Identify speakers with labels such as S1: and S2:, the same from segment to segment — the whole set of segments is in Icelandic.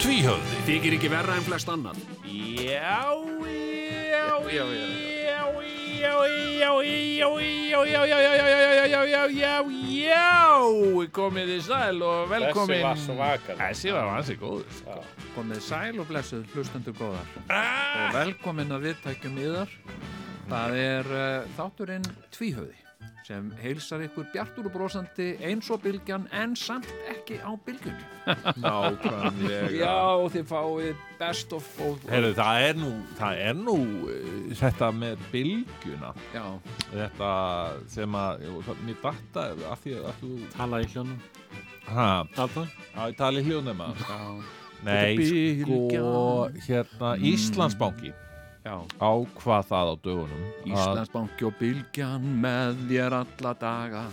S1: Tvíhöfði
S2: Þykir ekki verra en flest annan
S1: Já, já, já, já Já, já, já, já, já, já, já, já, já, já, já, já, já, já, komið í sæl og velkomin.
S3: Þessi var svakar.
S1: Þessi var hansi góður. sko.
S4: Komið sæl og blessuð hlustendur góðar
S1: Ah!
S4: og velkomin að viðtækjum yðar. Það er uh, þátturinn Tvíhauði sem heilsar ykkur bjartur og brosandi eins og bylgjan en samt ekki á bylgjunni.
S1: Nákvæmlega.
S4: Já, þið fáið best of both.
S1: Herru, það er nú, það er nú eh, þetta með bylgjuna,
S4: Já,
S1: þetta sem að, jú, það- mér datta af því að þú,
S2: Tala í hljónum
S1: hæ,
S2: Tala
S1: að ég tali hljóðnema.
S4: já,
S1: Nei,
S4: Bylgjan.
S1: sko, hérna, Íslandsbanki
S4: já.
S1: ákvað það á dögunum. að-
S4: Íslandsbanki og bylgjan með þér alla daga.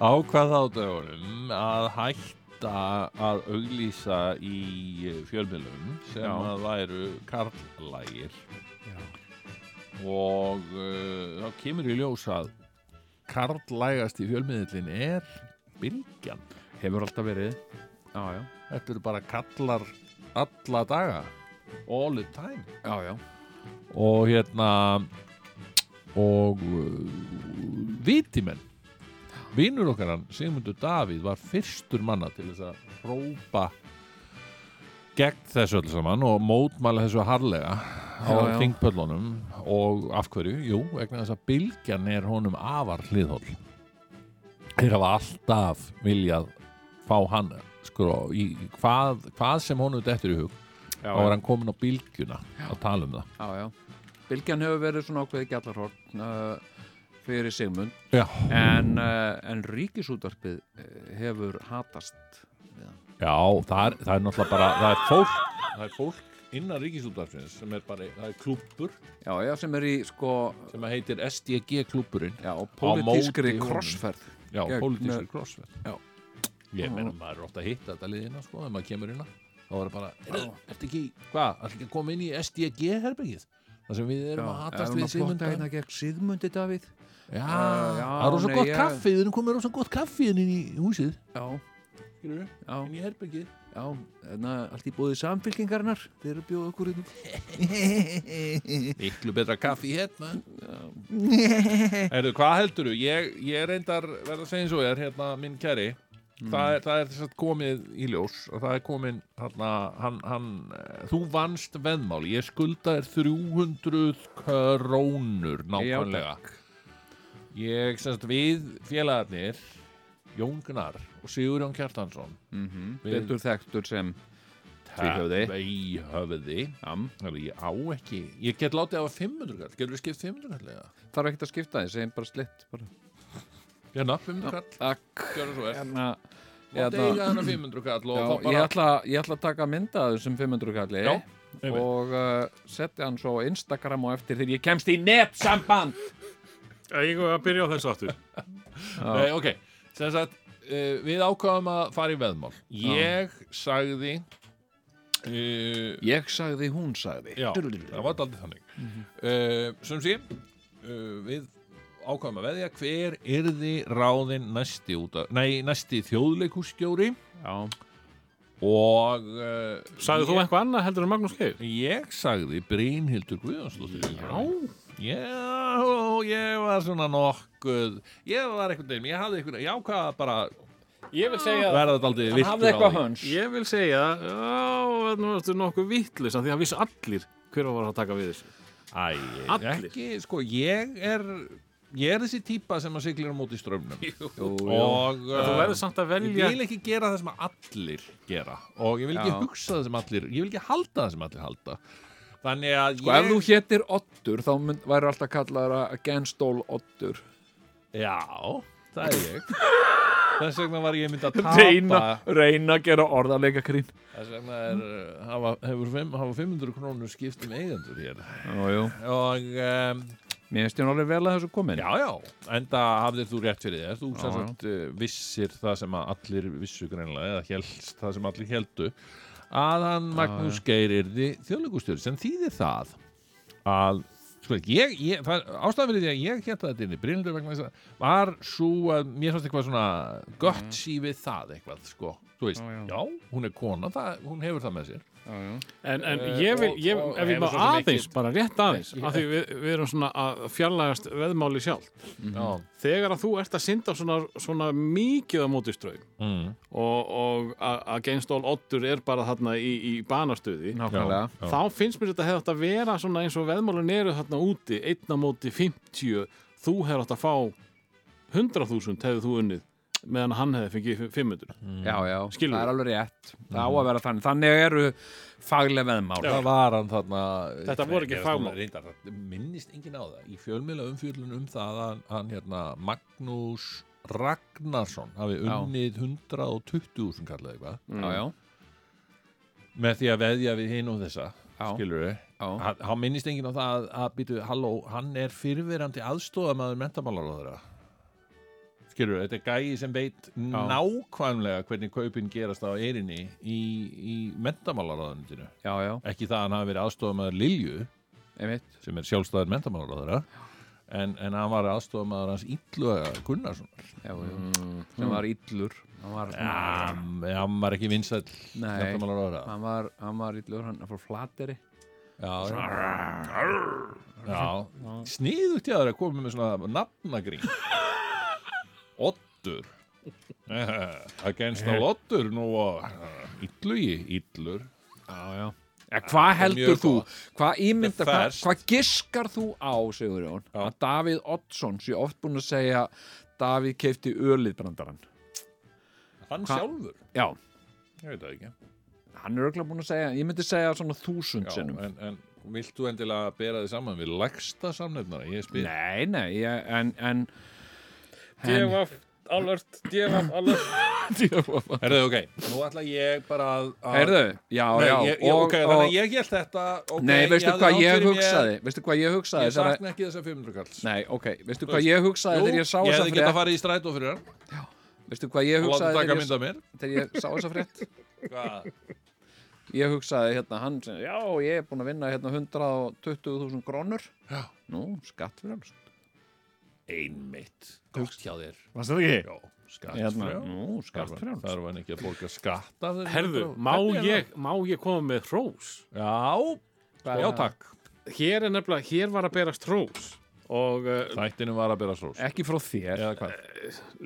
S1: ákvað á dögunum að hætta að auglýsa í fjölmjölum sem
S4: Já.
S1: að væru karlægir og uh, þá kemur í ljós að karlægast í fjölmiðlinn er bylgjan
S4: Hefur alltaf verið. Já, já.
S1: þetta eru bara kallar alla daga all the time
S4: Já, já.
S1: og hérna og uh, vitimenn vinnur okkar hann, Sigmundur Davíð var fyrstur manna til þess að hrópa gegn þessu öll saman og mótmæla þessu harlega á
S4: Já, já.
S1: þingpöllunum og af hverju, jú, vegna þess að bylgjan er honum afar hliðhóll þeir hafa alltaf viljað fá hann sko, í í hvað, hvað sem honum dettur í hug,
S4: Já,
S1: þá er hann komin á bylgjuna að tala um það
S4: Já, já. Bylgjan hefur verið svona ákveði gjallarhorn uh, fyrir Sigmund
S1: Já.
S4: en, uh, en ríkisútarpið hefur hatast við hann.
S1: Já, það er, það er náttúrulega bara, það er fólk, það er fólk innan ríkisútvarfins sem er bara, það er klúppur
S4: Já, já, sem er í sko
S1: sem að heitir SDG klúppurinn.
S4: já, pólitískri
S1: móti honum.
S4: krossferð.
S1: Já,
S4: Gegn-
S1: pólitískur krossverð.
S4: Já.
S1: Ég meina, maður er ofta að hitta þetta liðina, sko, þegar maður kemur innan. Þá er það bara, "Heyrðu, ertu ekki, hvað, ertu ekki að koma inn í SDG-herbyggið? Það sem við erum að hatast við
S4: Sigmund
S1: Sigmund.
S4: Dæna hérna gegn Sigmundi Davíð.
S1: Já,
S4: Já, já,
S1: það er rosa
S4: nei,
S1: gott
S4: ég-
S1: kaffi, þeir eru komið rosa gott kaffi hérna inn í húsið.
S4: Já,
S1: Skilurðu?
S4: já,
S1: Inn í herbyggið.
S4: já, þannig allt í búið samfylkingarnar, þeir eru bjóð okkur inn.
S1: Miklu betra kaffi hérna Erðu, hvað heldur þú? Ég, ég reyndar verða að segja eins og er hérna minn kæri það, er, það er þess að komið í ljós og það er komin hérna, hann, hann, eh, þú vannst veðmál ég skulda þér 300 krónur nákvæmlega ég semst við félagarnir Jóngnar og Sigurjón Kjartansson
S4: Mm -hmm.
S1: Við-
S4: Betur þekktur sem Tvíhöfði.
S1: Tvíhöfði
S4: Jam.
S1: Herðu, Ég á ekki, ég get látið á 500 kall, getur við skipt 500 kall eða?
S4: Þarf ekkert að skipta því, segjum bara slitt. Bara.
S1: Hérna, 500 kall,
S4: Takk.
S1: gjörðu svo vel
S4: Hérna,
S1: Mátt eiga hana 500 kall og þá
S4: Já, ég,
S1: bara
S4: ætla, ég ætla að taka mynda af þessum 500 kalli
S1: Já, einmitt.
S4: og uh, setja hann svo á Instagram og eftir þegar ég kemst í netsamband
S2: Ég var að byrja á þessu aftur
S1: Nei, ok, sem sagt uh, við ákvaðum að fara í veðmál Ég sagði uh,
S4: Ég sagði, hún sagði
S1: Já, það var aldrei þannig
S4: Mhm.
S1: uh, Sem sé, uh, við ákvaðum að veðja hver yrði ráðin næsti, út af, nei, næsti þjóðleikússtjóri
S4: Já.
S1: og uh,
S2: Sagði þú eitthvað annað heldur en Magnús Geir?
S1: Ég sagði Brynhildur Guðjónsdóttir Já Já, ég var svona nokkuð Ég var einhvern veginn, ég hafði einhvern veginn Ég ákvað að bara
S2: Ég vil segja
S1: verða þetta aldrei
S4: Hann hafði eitthvað höns
S2: Ég vil segja Já, nú ertu nokkuð vittlis Því að vissi allir hver var að taka við þessu
S1: Æ,
S2: Allir.
S1: ekki, sko, ég er Ég er þessi típa sem að siglir á móti strömmnum
S4: Jú, jú.
S1: Og
S2: Þú
S1: uh,
S2: verður samt að
S1: Ég
S2: velja
S1: vil ekki gera það sem að allir gera Og ég vil ekki
S4: Já.
S1: hugsa það sem allir Ég vil ekki halda það sem allir halda Þannig að
S4: Og Sko, ef þú hétir Ottur þá mynd, væri alltaf kallaður að genstól Ottur
S1: Já, það er ég þess vegna var ég mynd að tapa
S2: reyna, reyna að gera orðarleika grín
S1: þess vegna er, uh, hafa, hefur fimm, hafa 500 krónur skipt um eigendur hér
S4: Jú, jú.
S1: og um,
S4: Mér finnst ég nú alveg vel að þessu komin.
S1: já já, enda hafðir þú rétt fyrir þér þú
S4: Já,
S1: sem
S4: já.
S1: sagt uh, vissir það sem að allir vissu greinlega eða helst það sem allir heldu að hann Magnús Geir yrði þjóðleikustjóri sem þýðir það að sko, ég, ég, það, ástæðan fyrir því að ég hérta þetta inn í Brynlundur vegna þess að var svo að mér fannst eitthvað svona gött sí við það eitthvað sko, þú veist,
S4: Mhm. Já, já.
S1: já, hún er kona það, hún hefur það með sér
S4: Já, já.
S2: En, en
S1: Eh,
S2: ég vil,
S1: og-
S2: ég,
S1: og
S2: ef ég
S1: hefur
S2: má
S1: svo sem
S2: aðeins,
S1: ekkert-
S2: bara rétt aðeins
S1: Ekki-
S2: af því við, við erum svona að fjarlægast veðmáli sjálf
S4: Mhm.
S1: já,
S2: Þegar að þú ert að synda svona, svona mikið á móti ströym
S1: mm,
S2: og, og að að Gainstól Oddur er bara þarna í, í banastuði
S4: Nákvæmlega.
S1: já.
S2: þá finnst mér þetta hefði átt að vera svona eins og veðmálin eru þarna úti einn á móti 50, þú hefði átt að fá 100.000 hefði þú unnið meðan hann hefði fengið 500
S4: Já, já.
S1: Mm.
S2: Skilur.
S4: Það er alveg rétt. Það á að vera þannig. Þannig eru faglega veðmál.
S1: það var hann þarna
S2: Þetta voru ekki
S1: Ég-
S2: fagmál.
S1: reyndar, það minnist engin á það í fjölmiðla umfjöllun um það að hann hérna Magnús Ragnarsson hafi
S4: Já.
S1: unnið 120.000 kallað eitthvað
S4: Já, já.
S1: með því að veðja við hinn og þessa
S4: Já.
S1: skilur við
S4: Já,
S1: hann hann minnist engin á það að, að býtu, halló, hann er fyrverandi aðstofamaður mentamálaróðara skilur, þetta er gæi sem veit nákvæmlega hvernig kaupin gerast á erinni í, í mentamálaróðanundinu
S4: já, já.
S1: ekki það að hann hafi verið aðstofamaður Lilju
S4: Einmitt.
S1: sem er sjálfstæður mentamálaróðara en, en hann var aðstofamaður hans Ílluga Gunnarssonar
S4: Já, já. Sem var illur. Mm. Hann var,
S1: Ah, hann var ekki vinsæll
S4: Nei.
S1: mentamálaróðara
S4: hann var, hann var illur. Hann fór flateri.
S1: Já, já. já. Sniðugt jáður að koma með svona nafnagrín Oddur Against all Oddur nú og Illugi, illur
S4: Já, já. hvað heldur
S1: mjög
S4: þú? Hvað ímyndar,
S1: Þetta er
S4: hvað,
S1: ferskt.
S4: hvað giskar þú á, Sigurjón?
S1: Já.
S4: Að Davíð Oddsson sé oft búin að segja Davíð keifti öliðbrandarann.
S1: Hann
S4: Hva-
S1: sjálfur,
S4: Já,
S1: ég veit það ekki
S4: hann er örgulega búin að segja, ég myndi segja svona þúsund
S1: já,
S4: sinnum.
S1: en, en vilt þú endilega bera þið saman við lægsta samnefnara, ég spyr
S4: Nei, nei, ég, en, en, en
S2: Djöfaf, alvert, djöfaf, alvert
S1: Herðu, ok, nú ætla ég bara að, að
S4: Heyrðu, já,
S1: Nei,
S4: já,
S1: ég, ég, ok, þannig að ég held þetta okay,
S4: Nei, veistu
S1: hafði
S4: hvað
S1: rangt
S4: ég
S1: fyrir mér,
S4: hugsaði? Veistu hvað ég hugsaði?
S1: Ég
S4: þegar-
S1: sakna ekki þessa 500 kalls
S4: Nei, ok, veistu
S1: Þú
S4: hvað
S1: veist,
S4: ég hugsaði þegar ég sá
S1: ég
S4: þessa
S1: hefði getað
S4: frétt?
S1: farið í strætó fyrir hann
S4: Veistu hvað ég
S1: og láta
S4: hugsaði
S1: taka
S4: þegar ég-
S1: mynd af mér
S4: þegar ég sá þessa frétt?
S1: Hvað?
S4: ég hugsaði hérna hann sem, já, ég er búin að vinna hérna 120.000 grónur
S1: Já.
S4: nú, skatt fyrir hans
S1: Einmitt Gott hjá þér
S4: varst það ekki?
S1: Já, skatt
S4: Hérna,
S1: frjálst.
S4: nú, skatt
S1: Þarf-
S4: fyrir hans
S1: Þarf hann ekki að borga skatt af þeir
S2: Herðu, má ég, má ég koma með hrós?
S1: Já, já takk
S2: Hér er nefnilega, hér var að berast hrós og uh,
S1: Þættinum var að bera sós
S4: ekki frá þér
S1: Eða hvað?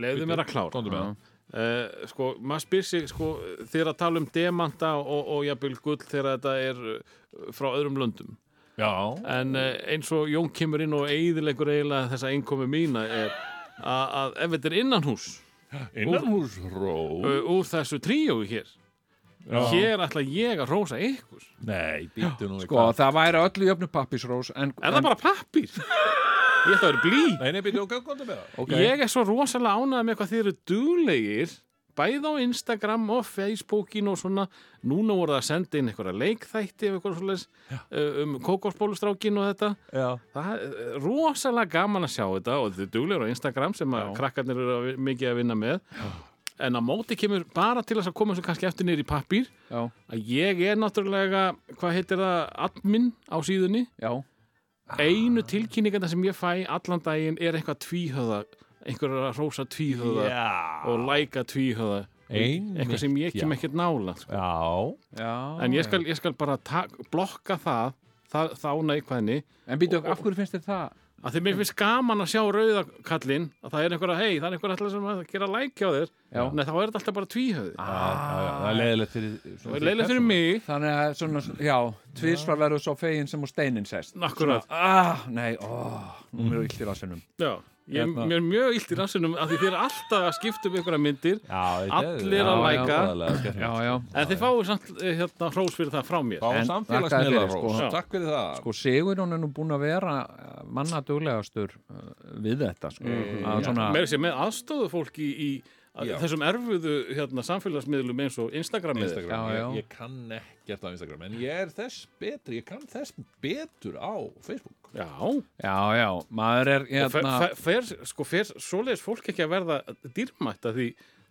S2: leiðu mér að klára
S1: Komdu með það
S2: Uh, sko, maður spyr sig sko, þegar að tala um demanta og, og jafnvel gull þegar þetta er uh, frá öðrum löndum
S1: Já,
S2: en uh, eins og Jón kemur inn og eiðilegur eiginlega þessa einkomi mína er að, að ef þetta er innanhús
S4: Eh.
S1: innanhús ró
S2: uh, úr þessu tríói hér
S4: Eh,
S2: hér ætla ég að rósa ykkur
S1: Nei, býttu nú
S4: sko, það væri öllu jöfnu pappisrós en,
S2: er það bara pappir? ég ætla að vera blí
S1: Nei, nei, býttu, ok, komdu með það
S4: okay.
S2: ég er svo rosalega ánægð með hvað þið eru duglegir bæð á Instagram og Facebookin og svona, núna voru það að senda inn einhverja leikþætti ef eitthvað svoleiðis, uh, um kókosbólustrákin og þetta
S1: Já
S2: Það er eh, rosalega gaman að sjá þetta og þetta er duglegur á Instagram sem að krakkarnir eru að vi- mikið að vinna með en á móti kemur bara til þess að koma svo kannski eftir niður í pappír
S4: já,
S2: að ég er náttúrulega, hvað heitir það, admin á síðunni
S4: já,
S2: einu tilkynningarna sem ég fæ allan daginn er eitthvað tvíhöða einhverja rosa tvíhöða
S1: Já
S2: og læka tvíhöða
S1: Einmitt,
S2: eitthvað sem ég kem
S1: já.
S2: ekkert nála sko.
S1: Já
S4: já
S2: en ég skal, ég skal bara ta- blokka það, það þá neikvæðni
S4: en býtu, af hverju finnst þér það?
S2: að því mér finnst gaman að sjá rauðakallin að það er einhverja, hei, það er einhverja alltaf sem að gera lækja á þér,
S4: Já. Ah,
S2: nei þá er þetta alltaf bara tvíhöði
S1: Já, já, já, Það er leiðilegt fyrir
S2: það er leiðilegt fyrir mig
S4: þannig að svona, já, tvísvar verður svo fegin sem á steinin sest
S2: Akkurat.
S4: ah, nei, ó, nú mér er illt í rassinum
S2: Já, ég,
S1: Hérna.
S2: mér er mjög illt í rassunum að því þið er alltaf að skipta um einhverja myndir
S1: Já,
S2: Allir að læka.
S4: já, já,
S2: en þið fáið samt eh, hérna hrós fyrir það frá mér
S1: Fá
S4: En
S1: samfélagsmiðla
S4: þakkaði fyrir,
S1: rós
S2: sko.
S1: Takk fyrir það
S4: sko Sigurjón er nú búinn að vera eh, manna duglegastur eh, við þetta sko, að svona,
S2: meira sér með aðstóðu fólki í, í að
S1: Já.
S2: þessum erfuðu hérna, samfélagsmiðlum eins og Instagram miðil
S1: Instagram,
S4: Já, já.
S1: Ég, ég kann ekkert á Instagram en ég er þess betur, ég kann þess betur á Facebook
S2: Já,
S4: Já, já, maður er
S2: og fer,
S4: hérna
S2: fer, fer, sko, fer svoleiðis fólk ekki að verða dýrmætt að því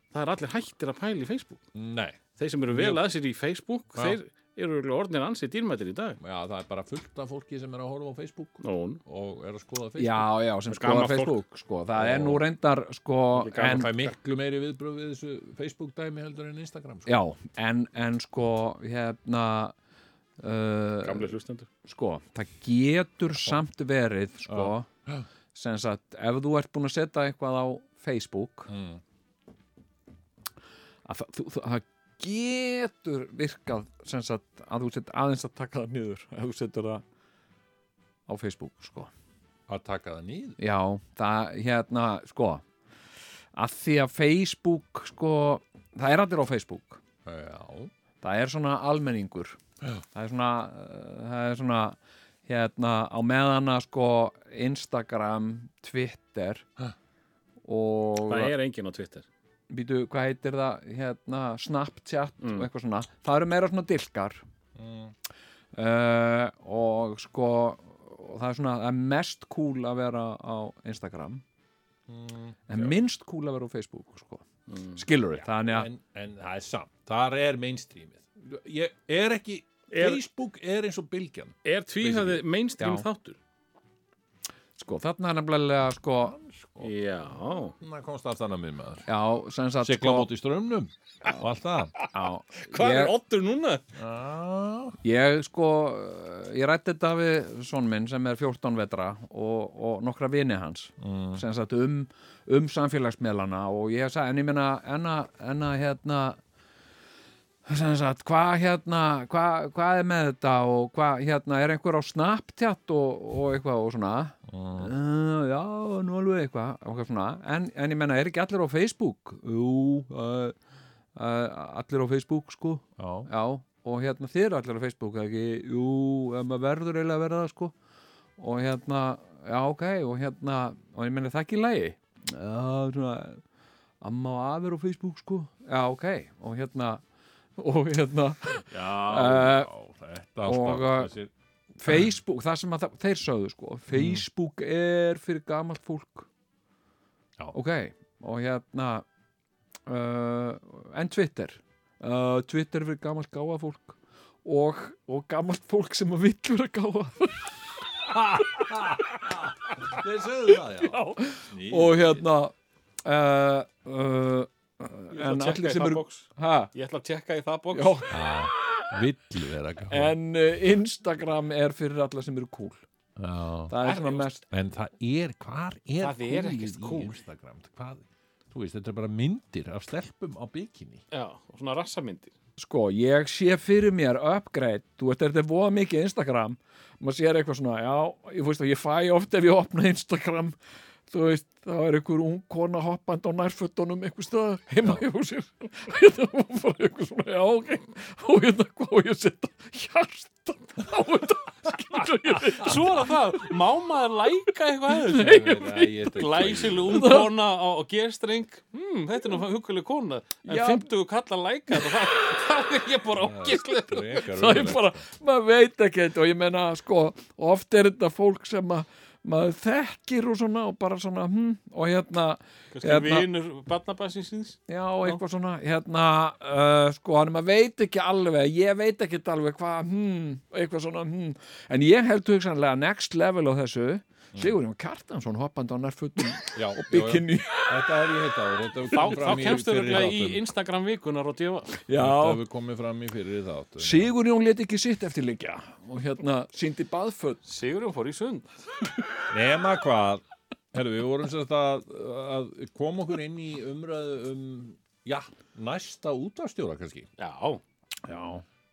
S2: það er allir hættir að pæla í Facebook
S1: Nei,
S2: Þeir sem eru vel að sér í Facebook
S1: Já.
S2: þeir eru örugglega orðnir ansið dýrmættir í dag
S1: já, það er bara fullt af fólki sem er að horfa á Facebook
S2: Nón,
S1: og er að skoða Facebook
S4: Já, já, sem
S2: Gamla
S4: skoðar
S2: fólk.
S4: Facebook sko. það er
S1: Og-
S4: nú reyndar sko,
S2: gamla
S4: en,
S1: Það er miklu meiri viðbröð við þessu Facebook dæmi heldur en Instagram sko.
S4: já, en, en sko hérna uh,
S2: gamli hlustendur
S4: sko, það getur samt verið sko, sem sagt ef þú ert búin að setja eitthvað á Facebook
S1: mm.
S4: að það, þú, þú, það getur virkað sem sagt að þú sett aðeins að taka það niður ef þú setur það á Facebook sko.
S1: Að taka það nýð
S4: já, það hérna sko að því að Facebook sko, það er allir á Facebook
S1: Já,
S4: það er svona almenningur það er svona, uh, það er svona hérna á meðan að sko Instagram, Twitter
S1: Ha.
S4: og
S2: Það er enginn á Twitter
S4: býtu, hvað heitir það hérna, Snapchat
S2: Mm.
S4: og eitthvað svona það eru meira svona dilkar
S1: Mm.
S4: uh, og sko og það er svona, það er mest cool að vera á Instagram
S1: mm.
S4: en minnst cool að vera á Facebook sko. mm. skilur við, þannig að
S1: en, en það er samt, þar er mainstreamið Ég er ekki
S2: Er-
S1: Facebook er eins og bylgjan
S2: Er tvíhæði mainstream
S4: Já.
S2: þáttur?
S4: sko, þarna er nefnilega sko,
S1: og
S2: Já
S1: það komst allt annað minn maður
S4: já, sem sagt
S1: Sigla
S4: sko,
S1: móti strömmnum og allt það
S4: já,
S2: Hvað
S4: ég,
S2: er oddur núna?
S1: Já,
S4: Ég sko, ég rætti þetta við son minn sem er 14 vetra og, og nokkra vini hans mm. sem sagt um, um samfélagsmiðlana og ég sagði, en ég meina enna, enna hérna sem sagt, hvað hérna hvað hva er með þetta og hvað hérna, er einhver á Snapchat og, og eitthvað og svona uh, já, nú alveg eitthvað, og eitthvað svona. en, en ég meina, er ekki allir á Facebook? Jú, uh, uh, allir á Facebook sko
S1: já,
S4: Já, og hérna þið eru allir á Facebook eða ekki, jú, eh, maður verður eiginlega að verða það sko og hérna, já ok, og hérna og ég meni það er ekki í lagi Já, svona, amma og afi eru á Facebook sko, já ok og hérna, og hérna
S1: já, þetta
S4: Eh, og,
S1: alltaf
S4: uh,
S1: þessir-
S4: Facebook, það sem að það, þeir sögðu sko
S2: Mm.
S4: Facebook er fyrir gamalt fólk
S1: Já.
S4: ok, og hérna uh, en Twitter uh, Twitter er fyrir gamalt gáða fólk og, og gamalt fólk sem að vill vera gáða
S1: Þeir sögðu það, já, já.
S4: og hérna uh, uh,
S2: Ég ætla að
S4: en
S2: tékka
S4: allir
S2: í
S4: sem
S2: það
S4: eru
S2: box.
S4: ha,
S2: Ég ætla að tjekka í það box
S4: já,
S1: Vill vera gáð
S4: en uh, Instagram er fyrir alla sem eru cool það er svona mest
S1: En það er, hvar er
S2: Það er
S1: coolið
S2: ekkert
S1: í
S2: cool.
S1: Instagram hvað, Þú veist, þetta er bara myndir af stelpum á bikini
S2: Já, og svona rassamyndir
S4: sko, ég sé fyrir mér upgrade, þú veist, þetta er voða mikið Instagram, maður sér eitthvað svona já, ég veist að ég fæ oft ef ég opna Instagram, þú veist þá er einhver ung kona hoppand á nærfötunum einhver stöð heima Hérna, hjá sér þetta var bara einhver svona, já, ok og hérna, hvað á ég að setja hjarta á þetta skilur ég veit
S2: Svo er það, má maður læka eitthvað að þessu?
S1: Glæsil
S2: Glæsileg ung kona á, á gerstreng hmm, Þetta er nú huguleg kona En
S4: Já.
S2: 50 kalla læka þetta, það, það er ég bara ógislega
S4: það er bara, maður veit ekki þetta og ég meina, sko, oft er þetta fólk sem að maður þekkir og svona og bara svona, hm, og hérna
S2: Kannski
S4: Hérna.
S2: vinur barnabassinsins
S4: Já, eitthvað svona, hérna, uh, sko, hann maður veit ekki alveg, ég veit ekki alveg hvað, hmm, eitthvað svona, hmm, en ég held hugsanlega next level á þessu, Sigurjón Kjartansson hoppandi á nærfutum
S1: Já,
S4: og bikini,
S1: Þetta er ég heitt áður Þetta hefur
S2: Þá,
S1: komið
S2: þá
S1: fram í
S2: kemstu
S1: fyrri
S2: örugglega í
S1: þáttum
S2: Instagram vikunar og djöfa
S1: Þetta
S4: já,
S1: hefur komið fram í fyrri þáttum
S4: Sigurjón let ekki sitt eftir liggja og hérna, síndi baðföt,
S2: Sigurjón fór í sund
S1: Nema hvað Herru, við vorum sér að, að koma okkur inn í umræðu um já, næsta útastjóra kannski
S2: Já,
S4: já,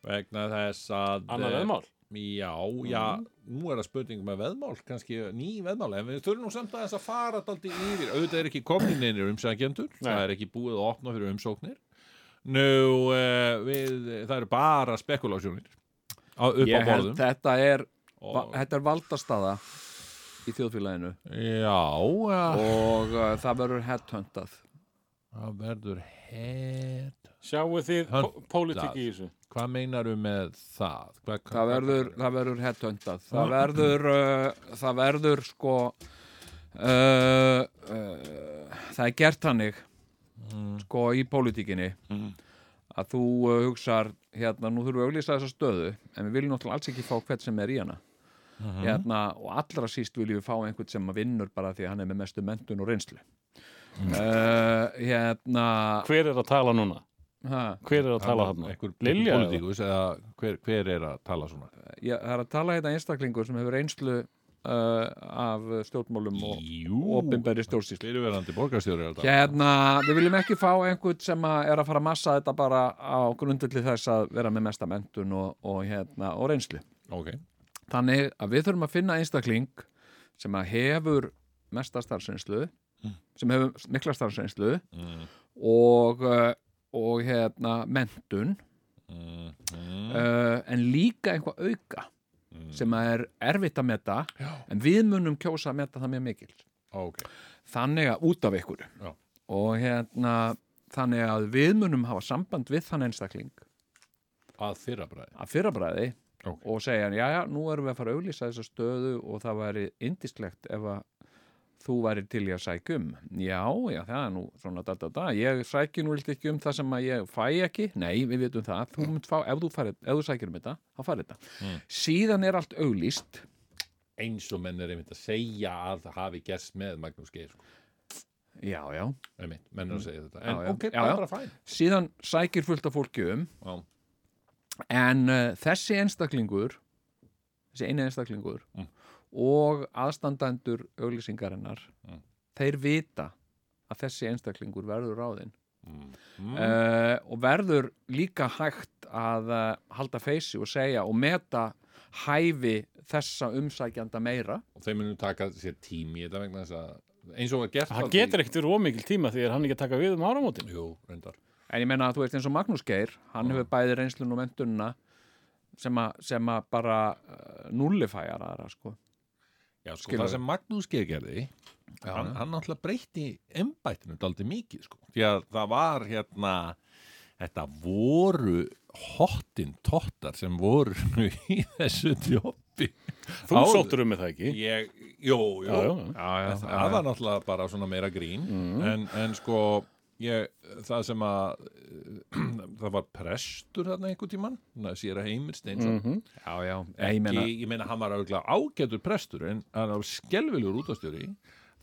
S1: vegna þess að
S2: annar
S1: eh,
S2: veðmál
S1: Já, já,
S4: Mhm.
S1: nú er það spurning með veðmál, kannski ný veðmál en við þurfum nú samt aðeins að fara daldi yfir auðvitað er ekki komin innir umsækjendur það er ekki búið að opna fyrir umsóknir Nú, uh, við, það eru bara spekulásjónir á, upp á
S4: ég held
S1: borðum
S4: þetta er, va,
S1: og,
S4: þetta er valdastaða í þjóðfélaginu
S1: Já, uh,
S4: og uh, það verður headhuntað
S1: það verður hett
S2: Sjáu þið
S1: Hönd-
S2: po- pólitík í þessu
S1: hvað meinaru með það? Hvað, hvað,
S4: það verður, það verður headhuntað það verður uh, það verður sko uh, uh, það er gert hannig sko í pólitíkinni að þú uh, hugsar hérna, nú þurfum við að auglýsa þessa stöðu en við viljum náttúrulega alls ekki fá hvert sem er í hana hérna, og allra síst viljum við fá einhvern sem að vinnur bara því að hann er með mestu mentun og reynslu uh, hérna
S2: Hver er að tala núna?
S4: ha,
S2: Hver er að tala hann?
S1: einhver
S2: Lilja? eða?
S1: politíkus eða hver, hver er að tala svona
S4: ég, það er að tala hérna einstaklingur sem hefur reynslu uh, af stjórnmálum og,
S1: Jú,
S4: opinberri stjórnsýslu
S1: fyrirverandi borgarstjóri er þetta.
S4: hérna, við viljum ekki fá einhvern sem að er að fara að massa þetta bara á grundulli þess að vera með mesta mentun og, og, hérna, og reynslu
S1: ok,
S4: þannig að við þurfum að finna einstakling sem að hefur mesta starfsreynslu sem hefur mikla starfsreynslu
S1: Mm.
S4: og, uh, og hérna, mentun
S1: mm, mm,
S4: uh, en líka einhvað auka sem að er erfitt að meta
S1: Já.
S4: en við munum kjósa að meta það mjög mikil
S1: ok
S4: þannig að út af ykkur
S1: Já.
S4: og hérna þannig að við munum hafa samband við þann einstakling
S1: að þyrra bræði
S4: að fyrrabræði
S1: Ok.
S4: og segja hann, já já, nú erum við að fara að auglýsa þessa stöðu og það væri indisklegt ef að þú væri til í að sækja um já, já, það er nú svona da, da, da. ég sækja nú vilt ekki um það sem að ég fæ ekki nei, við vitum það, þú munt fá ef þú, farið, ef þú sækir um þetta, þá farið þetta
S1: Mm.
S4: síðan er allt auglýst
S1: eins og menn er einmitt að segja að það hafi gerst með Magnús Geir sko.
S4: já, já,
S1: einmitt, menn er að segja þetta en
S4: Já, já.
S1: ok,
S4: Já,
S1: það
S4: já.
S1: er bara fæn
S4: síðan sækir fullt af fólki um
S1: já,
S4: En uh, þessi einstaklingur, þessi eini einstaklingur
S1: Mm.
S4: og aðstandendur auglýsingarinnar,
S1: Mm.
S4: þeir vita að þessi einstaklingur verður ráðinn
S1: mm,
S4: mm. og verður líka hægt að uh, halda feysi og segja og meta hæfi þessa umsækjanda meira.
S1: og þeir munum taka sér tími í þetta vegna þess að eins og var gert
S2: Það getur ekkert verið ómikil tíma því er hann ekki að taka við um áramótin
S1: jú, reyndar
S4: En ég meina að þú veist eins og Magnús Geir,
S1: Mm.
S4: hann hefur bæði reynslun og mentununa sem, a, sem að bara uh, nullifæjar aðra sko.
S1: já, sko,
S4: Skilurðu.
S1: það sem Magnús Geir gerði hann, hann náttúrulega breytti embættinu daldi mikið sko. því að það var hérna þetta voru hottin tottar sem voru í þessu djópi
S2: Þú
S1: Áður.
S2: sóttur um með það ekki
S1: ég, jú, jú,
S2: Já, já.
S4: Já, Mm.
S1: En það var náttúrulega bara svona meira grín en, en sko ég, það sem að það var prestur þarna einhvern tímann þannig að sér að heimir Steinsson
S4: Já, já,
S1: ekki,
S4: Mhm. ég meina
S1: ég meina hann var auðvitað ágætur prestur en hann var skelvilegur útastjóri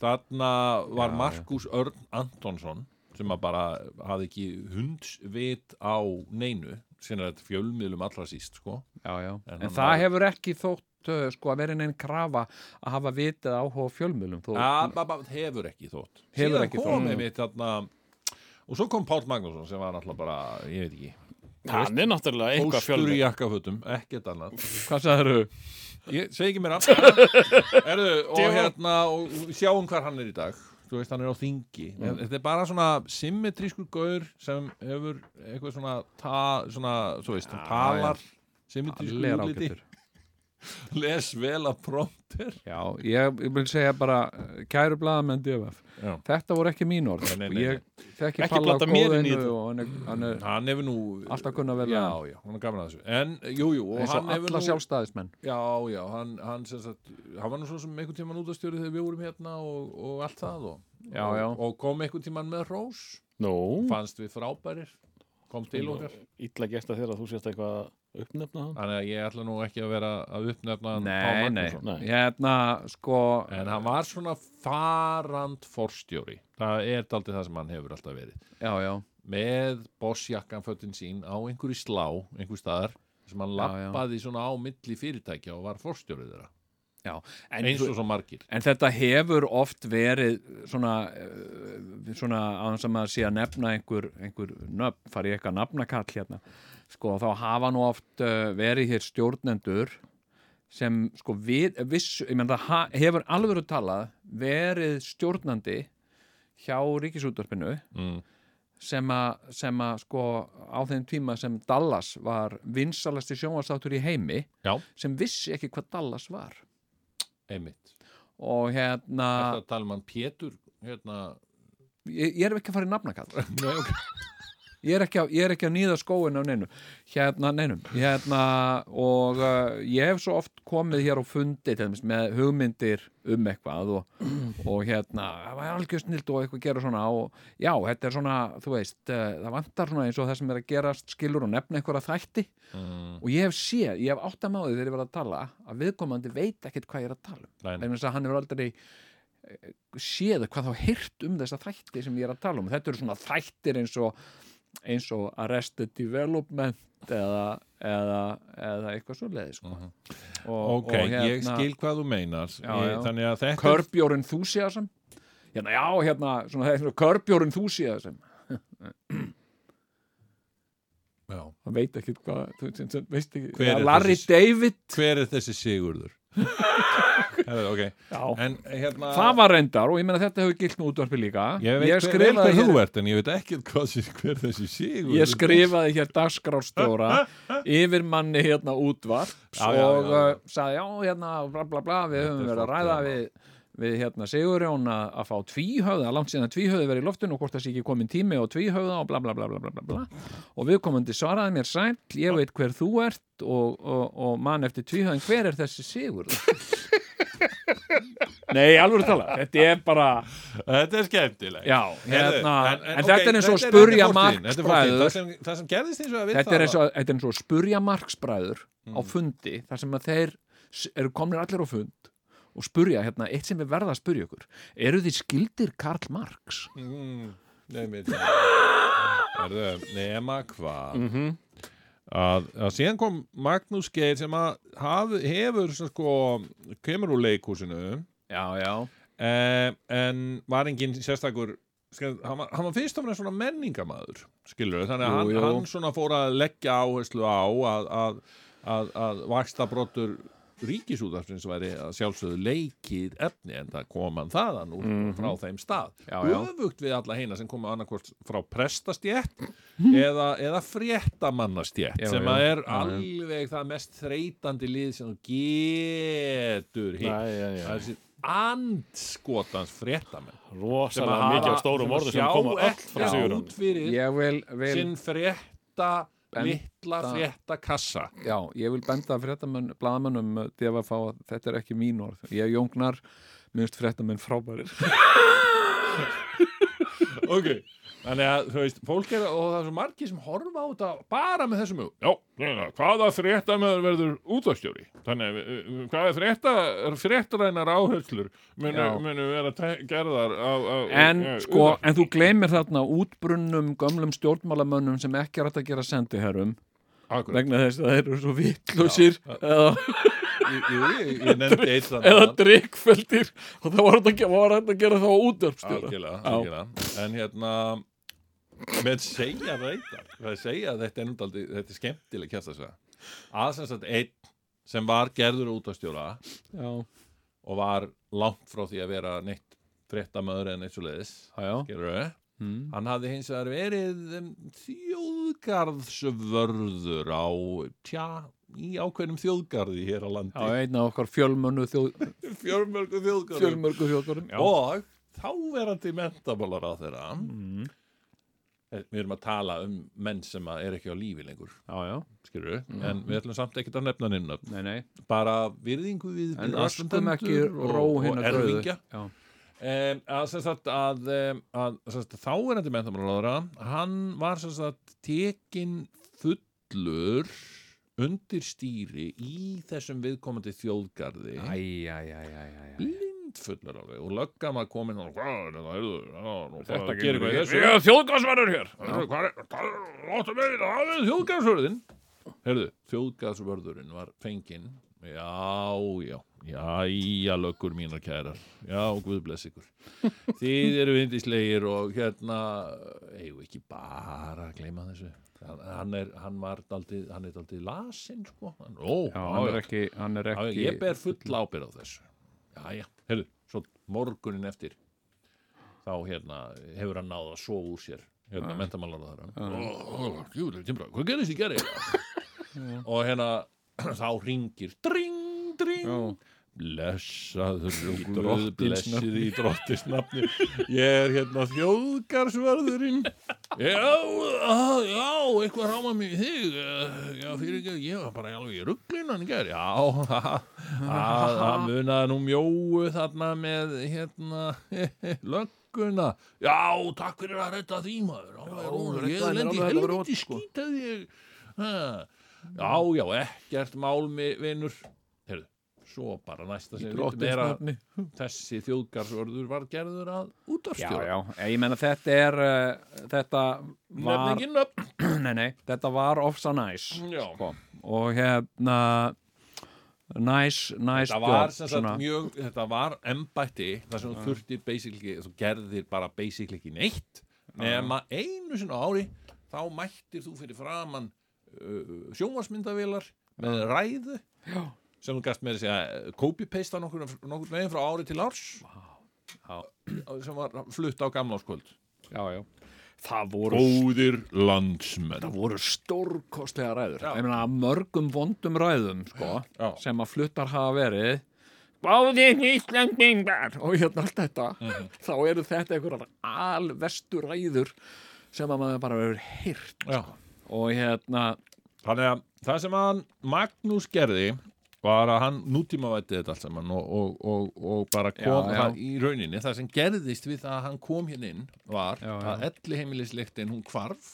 S1: þarna var Markus Örn Antonsson sem að bara hafði ekki hundsvit á neinu sem er þetta fjölmiðlum allra síst sko.
S4: já, já.
S1: En
S4: En,
S1: hann
S4: það
S1: var-
S4: hefur ekki þótt uh, sko að vera neinn krafa að hafa vitað áhuga á fjölmjölum þó,
S1: Abba hefur ekki þótt
S4: Hefur
S1: Síðan
S4: ekki
S1: kom
S4: þótt.
S1: einmitt þarna og svo kom Páll Magnússon sem var náttúrulega bara, ég veit ekki
S2: Hann er náttúrulega eitthvað
S1: Póstur í
S2: fjölmið
S1: jakkafötum, ekkert annað
S4: Hvað sagður þau?
S1: Ég segi ekki mér aftur Erðu, og
S2: Djó.
S1: hérna og sjáum hvar hann er í dag Þú veist, hann er á þingi En Þetta er bara svona symmetrískur gaur sem hefur eitthvað svona, ta, svona þú veist, hann
S4: Já,
S1: talar symmetrískur
S4: Allir
S1: útliti,
S4: ágættur
S1: les vel að prompter
S4: Já, ég, ég vil segja bara uh, kæru blaðamenn DFF
S1: Já.
S4: Þetta voru ekki mín orð
S1: Nei, nei,
S4: og
S1: nei,
S4: Ég þekki
S2: Ekki
S4: palla á
S2: blanda mér inn í
S4: góðinu
S2: þetta.
S4: og hann er, hann er
S1: Hann hefur nú
S4: alltaf kunna vel
S1: Já, já, hann er gaman að þessu En, jú, jú, og
S4: eins og
S1: hann hefur
S4: alla
S1: nú
S4: sjálfstæðismenn
S1: Já, já, hann, hann sem sagt hann var nú svo sem einhvern tímann út að stjóri þegar við vorum hérna og, og allt það og,
S4: Já,
S1: og,
S4: já.
S1: og kom einhvern tímann með rós
S2: Nú,
S1: fannst við frábærir, kom til okkar
S2: illa gert að þér að þú sést eitthvað að uppnefna hann
S1: þannig að ég ætla nú ekki að vera að uppnefna hann Pál Magnússon.
S2: Nei.
S4: Hérna, sko
S1: en hann var svona farand forstjóri, það er daldið það sem hann hefur alltaf verið,
S4: Já, já,
S1: með bossjakkan fötin sín á einhverju slá, einhverju staðar sem hann
S4: Já, já.
S1: lappaði svona á milli fyrirtækja og var forstjórið þeirra
S4: já En
S1: eins og svo margir
S4: En þetta hefur oft verið svona, eh, svona aðeins að maður sé að nefna einhver, einhver nöfn, fari ég eitthvað nafnakall hérna, sko þá hafa nú oft eh, verið hér stjórnendur sem sko við, viss, ég menn það ha- hefur alveg talað verið stjórnandi hjá ríkisútvarpinu
S1: mm.
S4: sem að, sem að sko á þeim tíma sem Dallas var vinsalasti sjónvarsáttur í heimi
S1: já,
S4: sem vissi ekki hvað Dallas var
S1: einmitt
S4: og hérna Ah.
S1: Þetta tala um hann Pétur hérna,
S4: ég, ég er ekki að fara í nafnakall
S1: Nei, ok.
S4: ég er ekki að, ég er ekki að nýða skóin af neinu hérna neinum hérna, og uh, ég hef svo oft komið hér á fundi til þess með hugmyndir um eitthvað og, og hérna, það var algjör snilt og eitthvað gera svona og já, þetta er svona þú veist, uh, það vantar svona eins og það sem er að gerast skilur og nefna eitthvað þætti
S1: Mm,
S4: og ég hef séð, ég hef átt að máði þegar ég var að tala að viðkomandi veit ekkit hvað ég er að tala um
S1: nei, nei.
S4: vegna þess að hann hefur aldrei eh, séð hvað þá heyrt um þessa þætti sem ég er að tala um þetta eru svona þættir eins og eins og Arrested Development eða, eða, eða eitthvað svo leiði sko.
S1: Mhm.
S4: og, hérna-
S1: Ok, ég skil hvað þú meinar
S4: Já,
S1: ég,
S4: já.
S1: Þannig að þetta er-
S4: Curb Your Enthusiasm hérna, já, hérna, svona, það er svona Curb Your Enthusiasm
S1: já.
S4: það veit ekki hvað þú sem- sem- veist ekki,
S1: Hver er
S4: Larry
S1: þessi-
S4: David
S1: Hver er þessi Sigurður? Herðu, ok
S4: já.
S1: En hérna
S4: það var reyndar og ég meina þetta hefur gilt með útvarpi líka
S1: Ég veit hver, vel
S4: skrifaði
S1: hver
S4: hér-
S1: þú ert en ég veit ekki hvað, sé- hver þessi Sigurður
S4: ég skrifaði hér dagskrárstjóra yfir manni hérna útvarps
S1: Já, já, já,
S4: og
S1: já.
S4: uh, sagði já hérna bla bla bla við höfum
S1: er
S4: verið að
S1: flott,
S4: ræða
S1: já.
S4: við, við hérna Sigurjón að, að fá tvíhöfða, langt síðan að tvíhöfði verið í loftinu og hvort það sé ekki komin tími á tvíhöfða og bla bla bla bla bla bla, bla. og viðkomandi svaraði mér sæl, ég veit hver þú ert og, og, og mann eftir tvíhöfðin hver er þessi Sigurð Nei, alveg tala, þetta er bara
S1: Þetta er skemmtilegt
S4: já,
S1: Heyrðu,
S4: hérna, en,
S1: ok,
S4: þetta er eins og að
S1: þetta er
S4: spurja
S1: fortíðin, þetta er fortíðin.
S4: markspræður
S1: það, sem- það sem gerðist eins og að við Mm.
S4: þetta er, eins og, þetta er eins og að spurja marksbræður á fundi þar sem að þeir s- eru komnir allir á fund og spurja hérna, eitt sem við verða að spurja ykkur eru þið skildir Karl Marx?
S1: mm, Nei, mér Erðu, nema hvað að, að síðan kom Magnús Geir sem að haf, hefur sem sko, kemur úr leikhúsinu
S4: Já, já
S1: eh, en var engin sérstakur skil, hann, var- hann var fyrst og fremst svona menningamæður skilur þannig að
S4: Jú,
S1: hann,
S4: jú.
S1: hann svona fór að leggja áherslu á að, að, að, að vaksta brottur ríkisúðarfins væri að sjálfsögðu leikið efni en það kom hann þaðan úr frá þeim stað
S4: Mhm. Já, já.
S1: öfugt við alla heina sem komu annarkvort frá prestastjétt eða, eða fréttamannastjétt
S4: Já,
S1: sem
S4: já.
S1: að er
S4: Já, já.
S1: alveg það mest þreytandi lið sem þú getur hitt
S2: Já, já, já.
S1: það er þessi andskotans fréttamenn sem
S2: rosalega
S1: að
S2: mikið
S1: hafa-
S2: af stórum
S1: að
S2: orðum sem
S1: sjá
S2: koma öll
S1: ekki
S2: frá Sigurðan
S1: út fyrir
S4: Ég vil, vil,
S1: sinn frétta
S4: Benda.
S1: litla frétta kassa
S4: já, ég vil benda fréttamenn, blaðamennum DFF á að þetta er ekki mín orð ég jóngnar minnst fréttamenn frábærir
S1: ok Þannig að, þú veist, fólk er, og það er svo margir sem horfa á þetta bara með þessum hug. Já, já, hvaða fréttamaður verður útastjóri? Þannig að, við- við- hvaða frétta, fréttarænar áherslur munu,
S4: Já.
S1: munu vera te- gerðar á, á,
S4: en,
S1: á-
S4: sko,
S1: útvarp?
S4: en þú gleymir þarna útbrunnum gömlum stjórnmálamönnum sem ekki er hægt að gera sendiherrum
S1: Akkurat.
S4: vegna þess að þeir eru svo vittlösir eða
S1: Jú, jú, ég, ég nefndi eitt
S4: eða
S1: þannig
S4: drikkfeldir og það var hægt að, ge- var hægt að gera það á útvarpstjóra
S1: algjörlega,
S4: Já.
S1: algjörlega en hérna með segja reytar það segja að þetta er núndaldi, þetta er skemmtileg kjast að segja að sem sagt einn sem var gerður út að stjóra
S4: Já,
S1: og var langt frá því að vera neitt fréttamaður eða neitt svo leiðis
S4: já, já mm.
S1: hann hafði hins vegar verið um, þjóðgarðsvörður á, tja, í ákveðnum þjóðgarði hér á
S4: Já,
S1: landi
S4: einn af okkar fjölmönnu þjóð,
S1: fjörmörgu þjóðgarði
S4: fjölmörgu þjóðgórum
S1: og þáverandi mentamálar á þeirra
S4: Mm.
S1: við erum að tala um menn sem að er ekki á lífi lengur
S4: Já, já,
S1: skilur
S4: Mhm.
S1: en við ætlum samt ekkert að nefna nefna
S4: nei, nei
S1: bara virðingu við,
S4: En
S1: við
S4: röskum
S1: aðstandendur
S4: ekki ró
S1: og, og
S4: hérna
S1: erfingja
S4: Já,
S1: um, að, sem sagt, að, um, að sem sagt, þáverandi mentamálaráðara hann var sem sagt tekin fullur undir stýri í þessum viðkomandi þjóðgarði
S4: æ, æ, æ, æ, æ
S1: blindfullur alveg og löggan var komin og hvað er þetta, heyrðu, já, nú hvað
S4: Þetta
S1: gerir
S4: gengur
S1: hvað í
S4: ekki.
S1: þessu
S4: Ég
S1: er þjóðgasverður hér hvað er, það er- láttu mig vita, það er þjóðgasverðin heyrðu, þjóðgasverðurinn var fenginn já, já jæja löggur mínar kærar já, guð bless ykkur þið eru vindislegir og hérna eigum við ekki bara að gleyma þessu hann, hann er, hann var daldið, hann er daldið lasinn sko, hann, ó,
S4: Já, hann er ekki, hann er
S1: Já,
S4: ekki
S1: ég ber full ábyrð á þessu já, já, heyrðu, svo morgunin eftir þá hérna hefur hann náð að sofa úr sér hérna, mentamálar á þeirra júlið, tímbra, hvað gerðist í gerði og hérna þá ringir dring, dring
S4: Já.
S1: blessaður og Guð
S4: drottins
S1: blessið í drottins nafni ég er hérna þjóðgarsverðurinn já, á, já, eitthvað ráma mig í þig eh, já, fyrir ekki, ég var bara alveg í rugglinan í gær, já ha, ha, það munaði nú mjóu þarna með hérna lögguna já, takk fyrir að redda því maður alveg, rólegur.
S4: reddaði mér
S1: ég lendi
S4: alveg, þetta var rót,
S1: helviti
S4: sko.
S1: skýtaði ég ha. já, já, ekkert málmi vinur, heyrðu svo bara næsta sem við vitum er að
S4: nafni
S1: þessi þjóðgarsvörður var gerður að
S4: Já,
S1: útvarstjóra
S4: já, ég meina þetta er uh, þetta var
S1: nefningin upp
S4: nei, nei, þetta var ofsa næs
S1: já.
S4: sko. og hérna næs, næs
S1: þetta var
S4: job,
S1: sem
S4: Sko, svona.
S1: sagt mjög þetta var embætti þar sem þú þurftir basically þú gerðir bara basically ekki neitt nema einu sinna ári þá mættir þú fyrir framann uh, sjónvarsmyndavélar með ræðu
S4: Já.
S1: sem þú gast með að segja eh, copy-pasta nokkur, nokkur veginn frá ári til árs
S4: Já.
S1: sem var flutt á gamláskvöld
S4: já, já. það voru
S1: Góðir landsmenn
S4: það voru stórkostlega ræður
S1: Já.
S4: ég meina af mörgum vondum ræðum sko,
S1: Já.
S4: sem að fluttar hafa verið Báðið Íslandingar og hérna allt þetta
S1: Mhm.
S4: þá eru þetta einhverjar alvestu ræður sem að maður bara verður hýrt
S1: Já.
S4: og hérna
S1: Þannig að það sem hann Magnús gerði var að hann nútímavætti þetta allt saman og, og, og, og bara kom
S4: Já, já.
S1: Hann, í rauninni. Það sem gerðist við það að hann kom hérna inn var
S4: Já, já.
S1: að elli heimilisliktin hún hvarf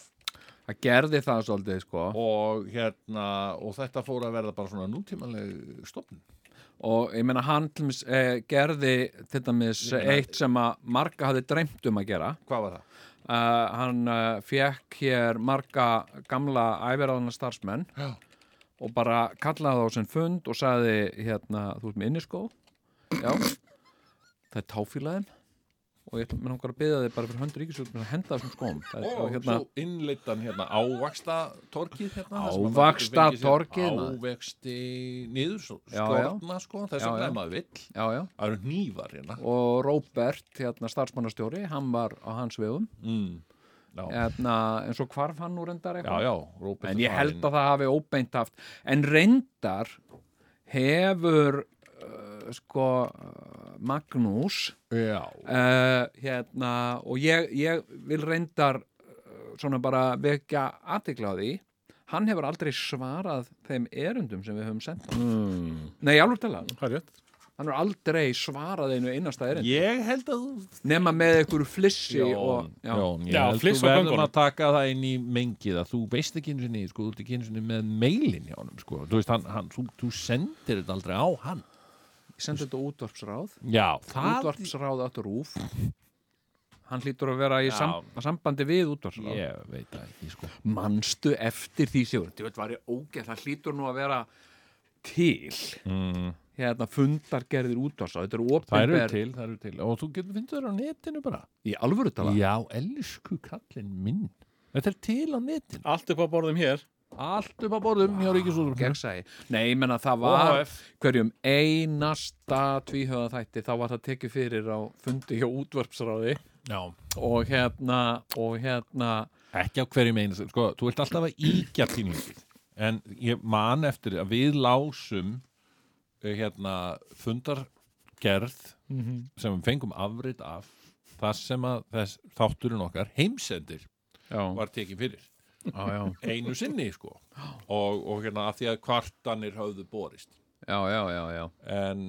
S4: það gerði það svolítið sko
S1: og, hérna, og þetta fór að verða bara svona nútímaleg stofn.
S4: og ég meina hann til dæmis, eh, gerði til dæmis
S1: Ég meina-
S4: eitt sem að marga hafði dreymt um að gera
S1: Hvað var það?
S4: uh, hann uh, fekk hér marga gamla æfirðana starfsmenn
S1: Já.
S4: og bara kallaði þá sem fund og sagði hérna, þú ert með inniskó já, það er táfílaðin og ég ætla með langar að byggja þig bara fyrir höndur ríkisjóðum að henda þessum skóm Það er-
S1: Og
S4: og hérna,
S1: svo innleittan hérna ávaksta torkið hérna. þar sem hann
S4: Ávaxta
S1: fengi sér
S4: torgið, maður.
S1: Ávexti niður,
S4: Já, já.
S1: skorna sko, þess
S4: Já,
S1: að
S4: já.
S1: það maður vill.
S4: já, já,
S1: Það eru nývar hérna.
S4: og Róbert hérna, starfsmannastjóri, hann var á hans vegum
S1: Mm. Já.
S4: hérna, en svo hvarf hann úr endar eitthvað
S1: já, já, Róbert
S4: en ég held
S1: að
S4: að það hafi óbeint haft en reyndar hefur uh, sko uh, Magnús
S1: já,
S4: uh, hérna og ég, ég vil reyndar uh, svona bara vekja aðtikla á því hann hefur aldrei svarað þeim erundum sem við höfum sendt hann.
S1: mm.
S4: Nei, alveg talað,
S2: Það er rétt.
S4: hann hefur aldrei svarað einu einasta erund,
S1: ég held að þú-
S4: nema með einhverju flissi og,
S1: Jón, Jón, ég
S2: Já,
S1: held
S2: fliss
S1: þú
S2: á
S1: verðum
S2: göngunum.
S1: að taka það inn í mengið að þú veist ekki einu sinni, sko, þú ert ekki einu sinni með mailin hjá honum, sko, þú veist, hann, hann þú, þú sendir þetta aldrei á hann
S4: ég sendi þetta á útvarpsráð
S1: já, það
S4: útvarpsráð áttur rúf hann hlýtur að vera í sam sambandi við útvarpsráð
S1: ég veit það ekki, sko
S4: manstu eftir því sigur þú veit var ég ógeð, það hlýtur nú að vera til
S1: mm.
S4: hérna fundargerðir útvarpsráð þetta eru
S1: það eru
S4: opinber
S1: til, það eru til og þú getur fundið það á netinu bara
S4: í alvöru tala
S1: já, elsku kallinn minn þetta er til á netinu
S2: Allt upp á borðum hér.
S1: allt upp á borðum hjá Ríkisúður
S4: gegnsæi, nei, ég menna það var hverjum einasta tvíhöða þætti, þá var það tekið fyrir á fundi hjá útvarpsráði
S1: já
S4: og hérna og hérna,
S1: ekki á hverju meina sko, þú ert alltaf að íkja pínlítið en ég man eftir að við lásum eh, hérna fundargerð sem við fengum afrit af þar sem að þess, þátturinn okkar heimsendir
S4: já,
S1: var tekið fyrir
S4: já, já
S1: einu sinni sko og, og hérna af því að kvartanir höfðu borist
S4: já, já, já, já,
S1: en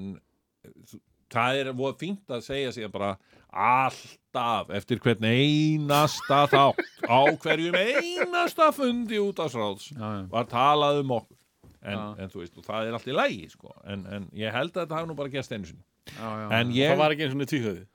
S1: eh, þú- það er voða fínt að segja sér bara alltaf eftir hvern einasta þátt á hverjum einasta fundi út af sráðs
S4: já, já.
S1: var talað um okkur en,
S4: Já.
S1: en þú veist, og það er allt í lægi sko. en, en ég held að þetta hafi nú bara gerst einu sinni
S4: já, já.
S1: en ég,
S2: Það var ekki eins og niður tvíhauði.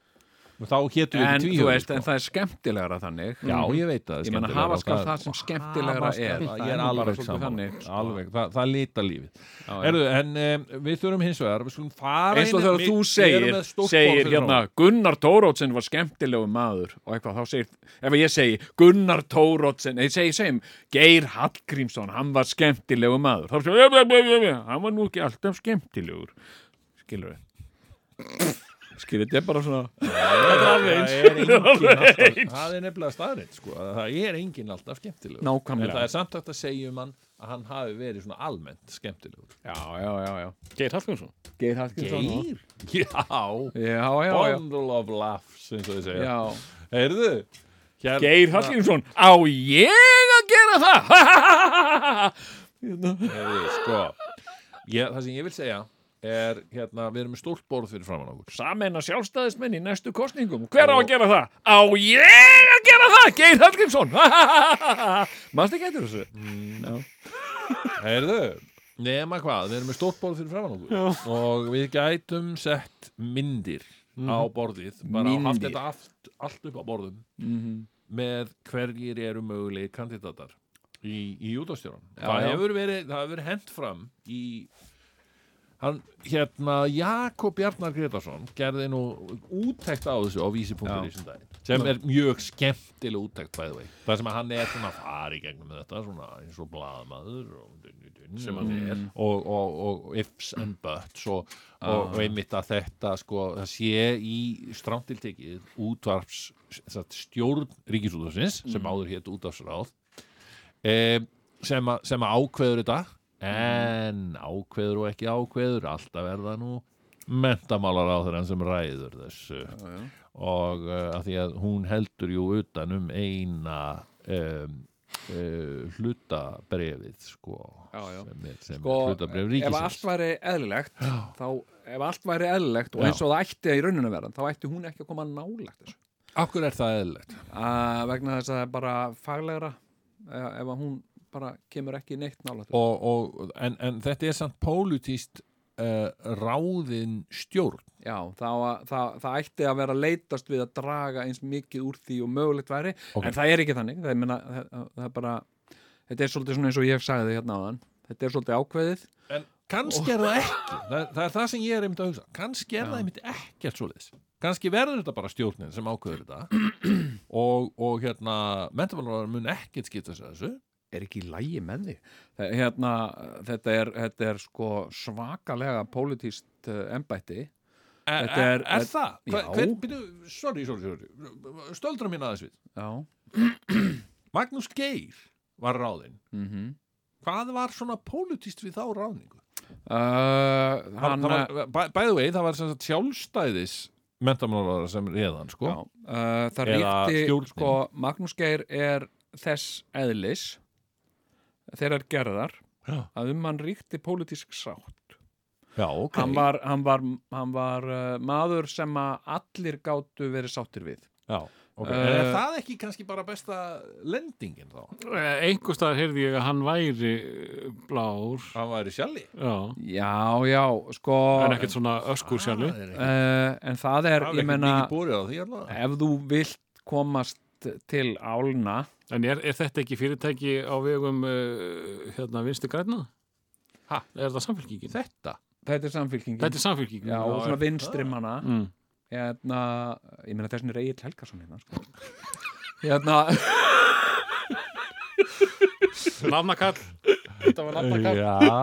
S1: þá hétu við
S4: en,
S1: ekki
S4: þú
S1: tvíhjóð
S4: veist, en það er skemmtilegra þannig
S1: sko. já, ég veit að það er
S4: ég menna
S1: skemmtilegra sko.
S4: hafa
S1: og
S4: skal það sem skemmtilegra
S1: hafa
S4: er
S1: skal-
S4: það
S1: ég er
S4: nú bara
S1: alveg
S4: svolítið
S1: saman
S4: þannig, sko.
S1: alveg, það, það lita lífið
S4: Já, já.
S1: Erðu, en um, við þurfum hins vegar við skulum fara
S4: eins og
S1: inn-
S4: þegar
S1: við- við
S4: þú
S1: erum
S4: segir
S1: með stórt borð
S4: segir
S1: fyrir
S4: hérna, Gunnar Tórótsen var skemmtilegu maður og eitthvað, þá segir, ef ég segi Gunnar Tórótsen, ég segi, segjum Geir Hallgrímsson, hann var skemmtilegu maður, þá segir, "Ja, ja, ja, ja, hann var nú ekki alltaf skemmtilegur skilur við skilur þetta er bara svona
S1: Það er engin alltaf, það er nefnilega staðrind sko. að það er engin alltaf skemmtilegur en það
S4: nákvæmlega,
S1: er samt hægt að segja um hann hann hafi verið svona almennt skemmtilegur
S4: já, já, já, já.
S2: Geir Hallgrímsson
S4: Geir Hallgrímsson og-
S1: Já,
S4: Já, já, já,
S1: bundle of laughs eins og þið segja
S4: já.
S1: Heyrðu hérna,
S2: Geir Hallgrímsson, á ég að gera það?
S1: heyrðu, sko, ég, Það sem ég vil segja er hérna, við erum með stórt borð fyrir framann okkur
S2: Sameina sjálfstæðismenn í næstu kostningum Hver á að gera það? Á ég að gera það? Geir Hallgrímsson Manstu ekki eftir þessu?
S1: Heyrðu, nema hvað, við erum með stórt borð fyrir framann okkur Já. og við gætum sett myndir á borðið bara myndir. haft
S4: Myndir.
S1: þetta allt, allt upp á borðum með hverjir eru mögulegir kandidatar í, í útastjóran
S4: Já,
S1: það
S4: já.
S1: hefur verið, það hefur verið hent fram í hann, hérna Jakob Bjarnar Gretarsson gerði nú úttekt á þessu á vísi.ri sem um daginn sem er mjög skemmtileg úttekt by the way það sem að hann er svona að fara í gegnum þetta svona eins og blaðmaður og sem hann er Ah. og, og, og, ifs and buts og, og, og einmitt að þetta sko, það sé í strandiltekið útvarps satt, stjórn ríkisútvarsins sem áður hétt útvarpsráð e, sem, a, sem að ákveður þetta en ákveður og ekki ákveður alltaf er það nú mentamálar á þeirra sem ræður þessu og uh, að því að hún heldur jú utan um eina um, uh, hlutabrefið sko
S4: Já, já.
S1: sem er, sem
S4: Sko,
S1: er hlutabref
S4: ef allt
S1: ríkisins
S4: væri eðlilegt þá, ef allt væri eðlilegt og
S1: Já.
S4: eins og það ætti í rauninu verðan þá ætti hún ekki að koma nálagt þessu
S1: Akkur er það eðlilegt
S4: uh, vegna þess að það er bara faglegra uh, ef að hún bara kemur ekki neitt nálagt þessu.
S1: og, og, en, en þetta er samt pólitíst uh, ráðin stjórn
S4: Já, það, það, það ætti að vera leitast við að draga eins mikið úr því og mögulegt væri
S1: Ok.
S4: en það er ekki þannig það, er meina, það, það er bara, þetta er svolítið svona eins og ég sagði hérna áðan þetta er svolítið ákveðið
S1: En kannski er það ekki það, það er það sem ég er einmitt að hugsa kannski er það einmitt ekkert svoleiðis kannski verður þetta bara stjórnin sem ákveður þetta og, og hérna mentamálvarar mun ekkert skipta sér þessu
S4: er ekki í lægi með því Þe- hérna, þetta, er, þetta er sko svakalega pólitíst uh, embætti
S1: Er,
S4: Þetta
S1: E, er,
S4: er-
S1: er það? Hver,
S4: Já.
S1: hver, byrju, sorry, sorry, sorry Stöldra mín aðeins við
S4: já,
S1: Magnús Geir var ráðinn
S4: mm
S1: Hvað var svona pólitíst við þá ráðningu? Hann,
S4: uh, Eh,
S1: e-
S4: hann
S1: það var, by, by the way, það var sem sagt sjálfstæðis mentamálvarar sem réðan, sko
S4: já, uh, það
S1: Eða stjórnin.
S4: ríkti sko, Magnús Geir er þess eðlis þegar er gerðar
S1: Já,
S4: að um hann ríkti pólitísk sátt
S1: já ok
S4: hann var, hann var, hann var uh, maður sem að allir gátu verið sáttir við
S1: já, ok. En er
S4: Eh,
S1: það ekki kannski bara besta lendingin þá?
S2: Eh, Einhvers staðar heyrði ég að hann væri eh, blár
S1: Hann væri sjalli
S2: Já,
S4: já, já, sko
S2: en ekkert svona öskur sjálfi
S1: Það er ekki-
S4: uh, en það er,
S1: það er
S4: ég
S1: ekki
S4: menna
S1: mikið búrið á því allavega.
S4: ef þú vilt komast til álna
S2: En er, er þetta ekki fyrirtæki á vegum uh, hérna vinstu græna?
S1: Ha?
S2: Er það samfélkingin?
S1: Þetta?
S4: þetta er samfélkingin
S2: Þetta er samfélkingin.
S4: já, og
S1: Já,
S4: svona
S1: er-
S4: vinstri manna
S2: Mm.
S4: hérna, ég meina þessin er Egil Helgason hérna sko. hérna,
S2: Nafnakall. Þetta var nafnakall.
S1: Já,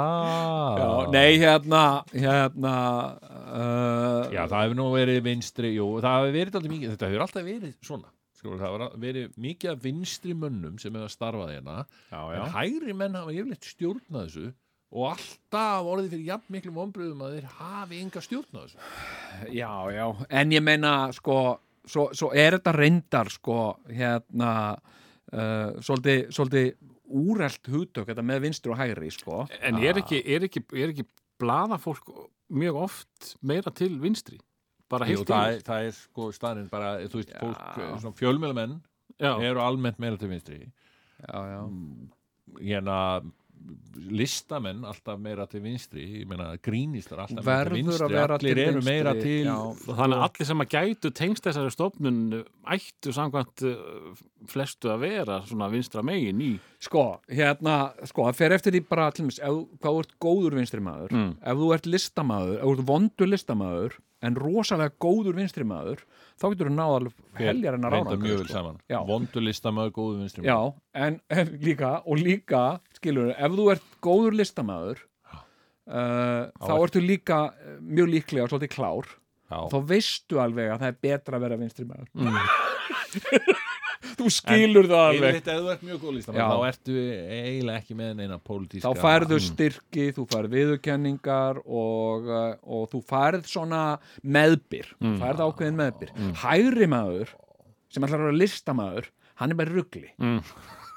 S4: já, nei hérna hérna uh,
S1: Já, það hefur nú verið vinstri, jú, það hefur verið alltaf mikið, þetta hefur alltaf verið svona Skur, það hefur verið mikið af vinstri mönnum sem hefur starfað hérna
S2: Já,
S1: en hægri menn hafa yfirleitt stjórnað þessu og alltaf orðið fyrir jafn miklum ombröðum að þeir hafi enga stjórnað þessu
S4: já, já, en ég meina sko, svo, svo er þetta reyndar sko, hérna uh, svolítið, svolítið úrælt hugtök, þetta með vinstri og hægri sko.
S2: En er ekki, er ekki, er ekki blaðafólk mjög oft meira til vinstri? Bara heilt
S1: það,
S2: yfir?
S1: er- það er sko staðurinn bara, þú veist, fólk,
S4: Já.
S1: eh, svona fjölmjölumenn
S2: Já,
S1: eru almennt meira til vinstri
S4: já, já,
S1: hérna listamenn alltaf meira til vinstri ég meina grínistar alltaf meira til
S4: verður að
S1: vinstri
S4: vera
S1: allir
S4: til
S1: eru
S4: vinstri,
S1: meira til
S4: já.
S2: þannig að allir sem að gætu tengst þessari stofnun eh, ættu samkvæmt eh, flestu að vera svona vinstra megin í
S4: Sko, hérna, sko, það fer eftir því bara til mér, ef, hvað þú ert góður vinstri maður,
S2: Mm.
S4: ef þú ert listamaður, ef þú ert vondur listamaður, en rosalega góður vinstri maður, þá getur þú náðal heljar en að rána.
S1: reynda mjög vel saman
S4: Já.
S1: vondur listamaður, góðu vinstri
S4: Já, en, en líka, og líka, skilur við, ef þú ert góður listamaður, uh, þá
S1: ert-
S4: ertu líka eh, mjög líklega og svolítið klár,
S1: Já.
S4: þá veistu alveg að það er betra að vera vinstri maður.
S1: Mm.
S2: þú skilur það alveg
S1: Yfirleitt, ef þú ert mjög góð
S4: Já.
S1: listamann, þá ertu eiginlega ekki með neina pólitíska
S4: þá færðu styrki, þú færð viðurkenningar og, uh, og þú færð svona meðbyr mm. færð ákveðin meðbyr hægri maður sem ætlar að vera listamaður hann er bara í rugli mm.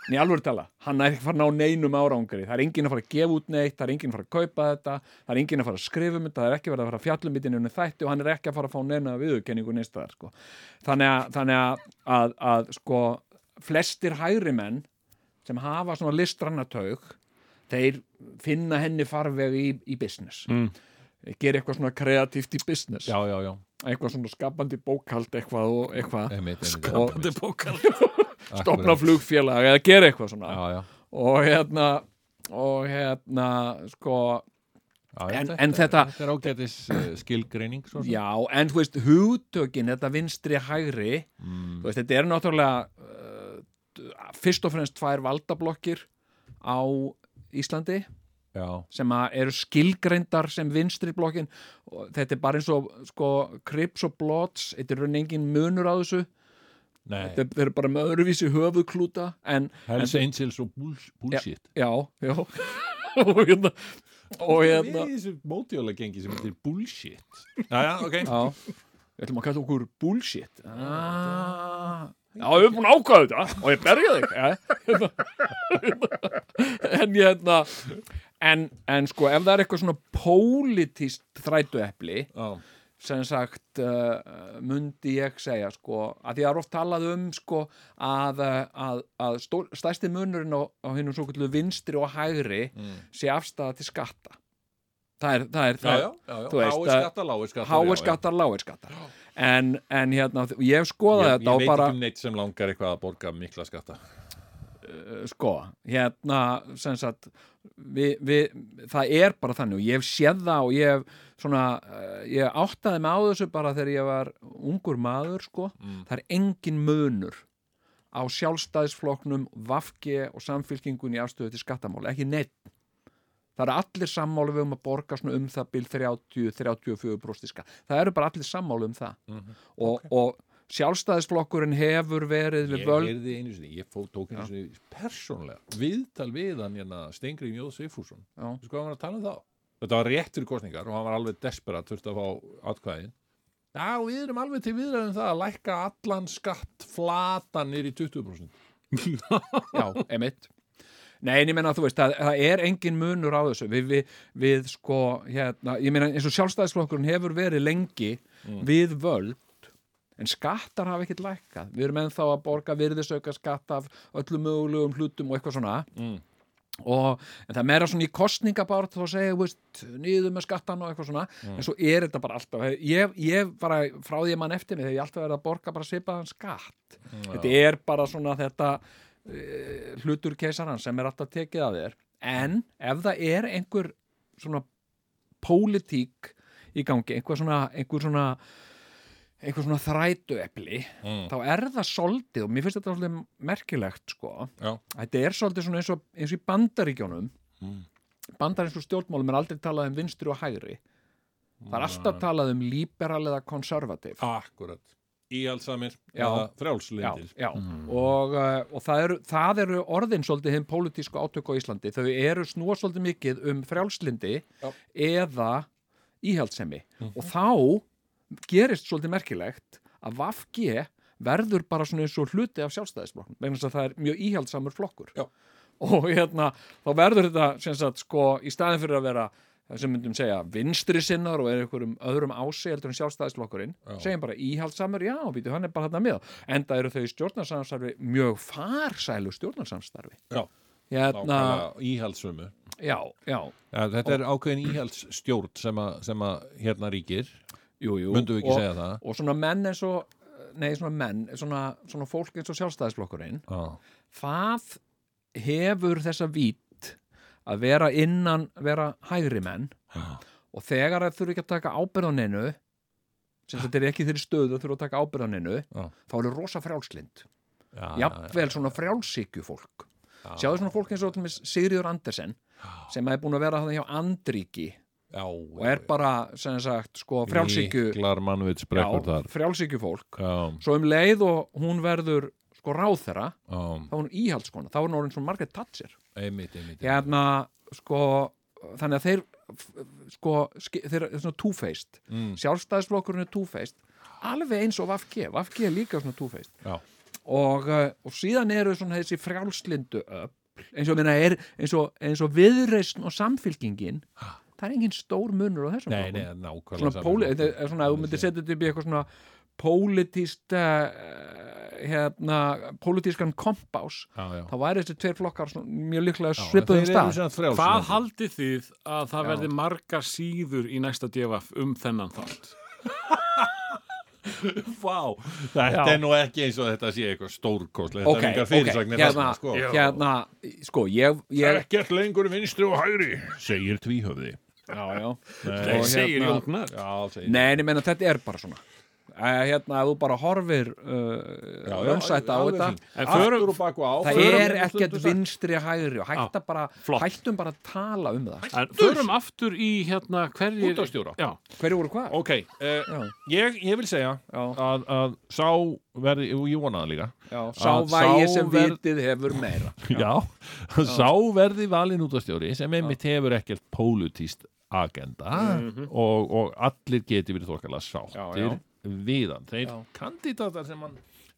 S4: en í alvöru tala, hann er ekki að fara að ná neinum árangri það er enginn að fara að gefa út neitt það er enginn að fara að kaupa þetta það er enginn að fara að skrifa um þetta það er ekki verið að fara að fjalla um þetta innan þætti og hann er ekki að fara að fá neina viðurkenningu neins staðar, sko. þannig að, þannig að, að, að sko, flestir hægri menn sem hafa svona listrannataug þeir finna henni farveg í, í business mm. gera eitthvað svona kreatíft í business
S1: Já, já, já,
S4: eitthvað svona skapandi bókald eitthvað og eitthvað
S1: einmitt, einmitt
S2: Skapandi bókar
S4: stopna flugfélag eða gera eitthvað svona
S1: Já, já,
S4: og hérna og hérna sko
S1: já
S4: En- en þetta-
S1: Þetta er ágætis uh, skilgreining svo sem.
S4: já en þú veist hugtökin þetta vinstri hægri
S1: Mm,
S4: þú veist þetta er náttúrulega uh, d- fyrst og fremst tvær valdablokkir á Íslandi
S1: já,
S4: sem að eru skilgreindar sem vinstri blokkin og þetta er bara eins og sko, Crips og Blots, þetta er raun engin munur á þessu,
S1: nei
S4: þetta þeir eru bara með öðruvísi höfuðklúta en
S1: Hells Angels og bulls- Bullshit
S4: já, já og hérna og hérna
S1: Við þessu mótjóla gengi sem heitir Bullshit Já, já, ok
S4: já, við ætlum að kalla okkur bullshit ah, já, við erum búin að ákvæða þetta og ég berja þig ja, hérna, en hérna en, en sko, ef það er eitthvað svona pólitíst þrætuepli
S1: Já,
S4: sem sagt uh, mundi ég segja sko, að því að er oft talað um sko, að, uh, að, að stór, stærsti munurinn á, á hinnum svo kvöldu vinstri og hægri
S1: mm.
S4: sé afstæða til skatta það er, það er,
S1: já, já,
S4: það er
S1: já, já.
S4: Þú veist,
S1: Háir skattar, láir skattar já, já.
S4: háir skattar, láir skattar en, en hérna, ég hef skoðað
S1: Ég,
S4: þetta
S1: ég
S4: og
S1: veit
S4: bara,
S1: ekki um neitt sem langar eitthvað að borga mikla skatta
S4: uh, sko hérna, sem sagt við, við, það er bara þannig og ég hef séð það og ég hef svona, uh, ég áttaði mig á þessu bara þegar ég var ungur maður sko
S1: mm.
S4: það er engin munur á sjálfstæðisflokknum, Vafge og samfylkingun í afstöðu til skattamála, ekki neitt það eru allir sammáli við um að borga svona um það bil 30-34% skatt, það eru bara allir sammáli um það
S1: Mhm.
S4: og, og sjálfstæðisflokkurinn hefur verið við
S1: Ég
S4: völd
S1: heyrði einu sinni, ég fó, tók einu sinni persónlega viðtal við hann hérna Stengri Jóð Seifússon
S4: Já.
S1: Sko hann var að tala um þá Þetta var réttur kostningar og hann var alveg desperat þurfti að fá atkvæðin Já, við erum alveg til viðræðum það að lækka allan skatt flatan niður í 20%
S4: Já, emitt Nei, en ég meina, þú veist, það, það er engin munur á þessu við, við, við sko, hérna ég meina, eins og sjálfstæðisflokkurinn hefur verið lengi við völd en skattar hafa ekkert lækkað við erum ennþá að borga virðisauka skatt af öllum mögulegum hlutum og eitthvað svona
S1: Mm.
S4: og en það er meira svona í kostningabárt þá segja, þú veist, niður með skattan og eitthvað svona, en svo er þetta bara alltaf ég, ég bara, frá því að mann eftir mig þegar ég alltaf verið að borga bara svipaðan skatt þetta er bara svona þetta uh, hlutur keisaran sem er alltaf tekið að þér en ef það er einhver svona pólitík í gangi, einhver svona einhver svona, einhver svona þrætuepli
S1: Mm.
S4: þá er það soldið og mér finnst þetta svolítið merkilegt sko
S1: Já.
S4: þetta er svolítið svona eins og, eins og í bandaríkjónum
S1: Mm.
S4: bandaríkjónum stjórnmálum er aldrei talað um vinstri og hægri það er alltaf talað um liberal eða konservativ
S1: Akkurat Íhaldsamir
S4: Já.
S1: eða
S4: já,
S1: frjálslindir
S4: já. og, uh, og það, eru, það eru orðin svolítið hinn pólitísku átök á Íslandi þau eru snúa svolítið mikið um frjálslindi
S1: Já.
S4: eða íhaldsemi og þá gerist svolítið merkilegt að VFG verður bara svona eins og hluti af sjálfstæðisflokknum vegna þess að það er mjög íhaldsamur flokkur
S1: Já.
S4: og hérna, þá verður þetta sem sagt sko í staðin fyrir að vera það sem myndum segja vinstri sinnar og er einhverjum öðrum ási heldur en sjálfstæðisflokkurinn
S1: Já.
S4: segjum bara íhaldsamur, já, býtu, hann er bara þarna með en það eru þau í stjórnarsamstarfi mjög farsælu stjórnarsamstarfi
S1: Já.
S4: hérna,
S1: Nákvæmlega íhaldsömu
S4: já, já
S1: ja, Þetta er ákveðin íhaldsstjórn sem, að- sem að hérna ríkir
S4: jú, jú.
S1: Mundum við ekki
S4: og,
S1: segja það
S4: og svona menn eins og nei, svona menn, svona, svona fólk eins og sjálfstæðisflokkurinn
S1: Já.
S4: það hefur þessa vít að vera innan vera hægri menn
S1: Já.
S4: og þegar þeir þurfa ekki að taka ábyrgð á neinu sem þetta er ekki þeirri stöðu að þurfa að taka ábyrgð á neinu
S1: Já.
S4: þá eru rosa frjálslind
S1: Já,
S4: jafnvel svona frjálsíkju fólk
S1: já, já.
S4: sjáðu svona fólk eins og til dæmis Sigríður Andersen sem er búin að vera þannig hjá Andríki
S1: já,
S4: og er bara, sem sagt, sko frjálsíkju
S1: miklar mannvitsbrekkur þar
S4: frjálsíkju fólk
S1: já,
S4: svo um leið og hún verður sko ráþera,
S1: já,
S4: þá er hún íhaldskona þá er hún orðin svo margir tatsir
S1: einmitt, einmitt
S4: hérna, sko þannig að þeir f- sko, ski- þeir eru svona two-faced
S1: Mm.
S4: sjálfstæðisflokkurinn er two-faced alveg eins og Vafke, Vafke er líka svona two-faced
S1: Já.
S4: og, eh, og síðan eru svona þessi frjálslindu öll eins og, minna, er, eins og, eins og viðreisn og samfylkingin það er engin stór munur á þessum
S1: nei,
S4: flokkum.
S1: nei, nákvæmlega
S4: svona,
S1: sami
S4: póli,
S1: flokkur.
S4: þetta er svona, ef þú myndir setja þetta upp í eitthvað svona pólitíst hérna, pólitískan kompás
S1: já, já.
S4: þá væri þessi tveir flokkar svona, mjög líklega
S1: Já,
S4: svipuðum
S1: þeir eru
S4: stað
S1: sem sagt frjálsir.
S2: Hvað haldið þið að það
S4: Já.
S2: verði margar síður í næsta djöfaf um þennan þátt?
S1: Vá, þetta
S4: Já.
S1: er nú ekki eins og þetta sé eitthvað stórkostlega Þetta
S4: ok,
S1: er engar
S4: ok,
S1: fyrirsagnir
S4: hérna,
S1: þarna, sko.
S4: hérna sko, ég, ég
S1: Ekkert lengur vinstri og hægri segir tvíhöfði
S4: já, já,
S1: Nei.
S4: Og
S2: segir
S4: hérna-
S2: Jónknar.
S1: Já, segir
S4: nei, en ég meina þetta er bara svona Eh, hérna, ef þú bara horfir uh, raunsæta á
S1: alveg
S4: þetta
S1: fínt.
S2: En
S1: Aftur
S2: förum-
S1: og bak og á
S4: það
S1: förum-
S4: er ekkert vinstri hægri og hætta bara,
S2: flott.
S4: hættum bara að tala um það
S2: En förum aftur í hérna hverjir...
S1: Útvarpsstjóra.
S2: Já,
S4: hverju voru hvað?
S1: Ok, eh,
S4: Já,
S1: ég, ég vil segja
S4: já,
S1: að, að sá verði, og ég vona það líka
S4: já, sá
S1: að
S4: vægi
S1: sá
S4: sem
S1: verð-
S4: vitið hefur meira
S1: Já, sá verði valin útastjóri sem einmitt hefur ekkert pólutíst agenda og, og allir geti verið þokkarlega sáttir
S4: Mhm. Já, já.
S1: við hann. Þeir
S4: Já.
S1: kandidatar sem hann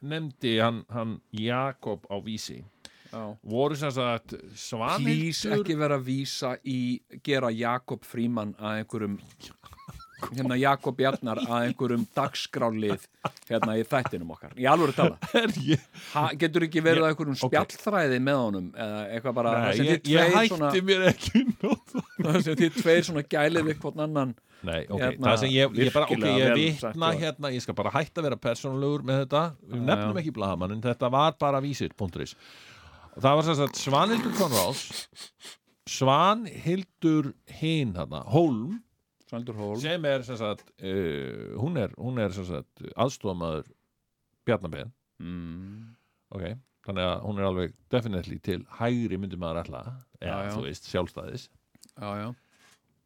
S1: nefndi, hann, hann Jakob á vísi,
S4: já.
S1: voru sem sagt
S4: Plís
S1: svanildur
S4: ekki vera að vísa í gera Jakob Fríman að einhverjum hérna Jakob Bjarnar að einhverjum dagskrálið hérna í þættinum okkar í alvöru tala,
S1: ég,
S4: ha, getur ekki verið að einhverjum spjallþræði með honum eða eitthvað bara,
S1: Nei,
S4: það sem
S1: ég, ég
S4: þið tveir
S1: hætti
S4: svona
S1: mér ekki nót
S4: það sem þið tveir svona gælið við hvort annan
S1: Nei, ok,
S4: Hérna,
S1: það sem ég, ég bara, ok,
S4: virkilega
S1: ég
S4: vel
S1: vitna
S4: sagt,
S1: hérna, ég skal bara hætta að vera persónulegur með þetta, við nefnum ekki blaðamannin, þetta var bara vísir.is og það var sem sagt Svanhildur Konráls Svanhildur hinn hérna, Hólm,
S4: Svandur Hól
S1: sem er sem sagt, uh, hún er, hún er sem sagt aðstofamaður Bjarnabeðin,
S4: mm.
S1: ok þannig að hún er alveg definitely til hægri myndi maður ætla, eða
S4: Já, já.
S1: þú veist sjálfstæðis,
S4: já, já,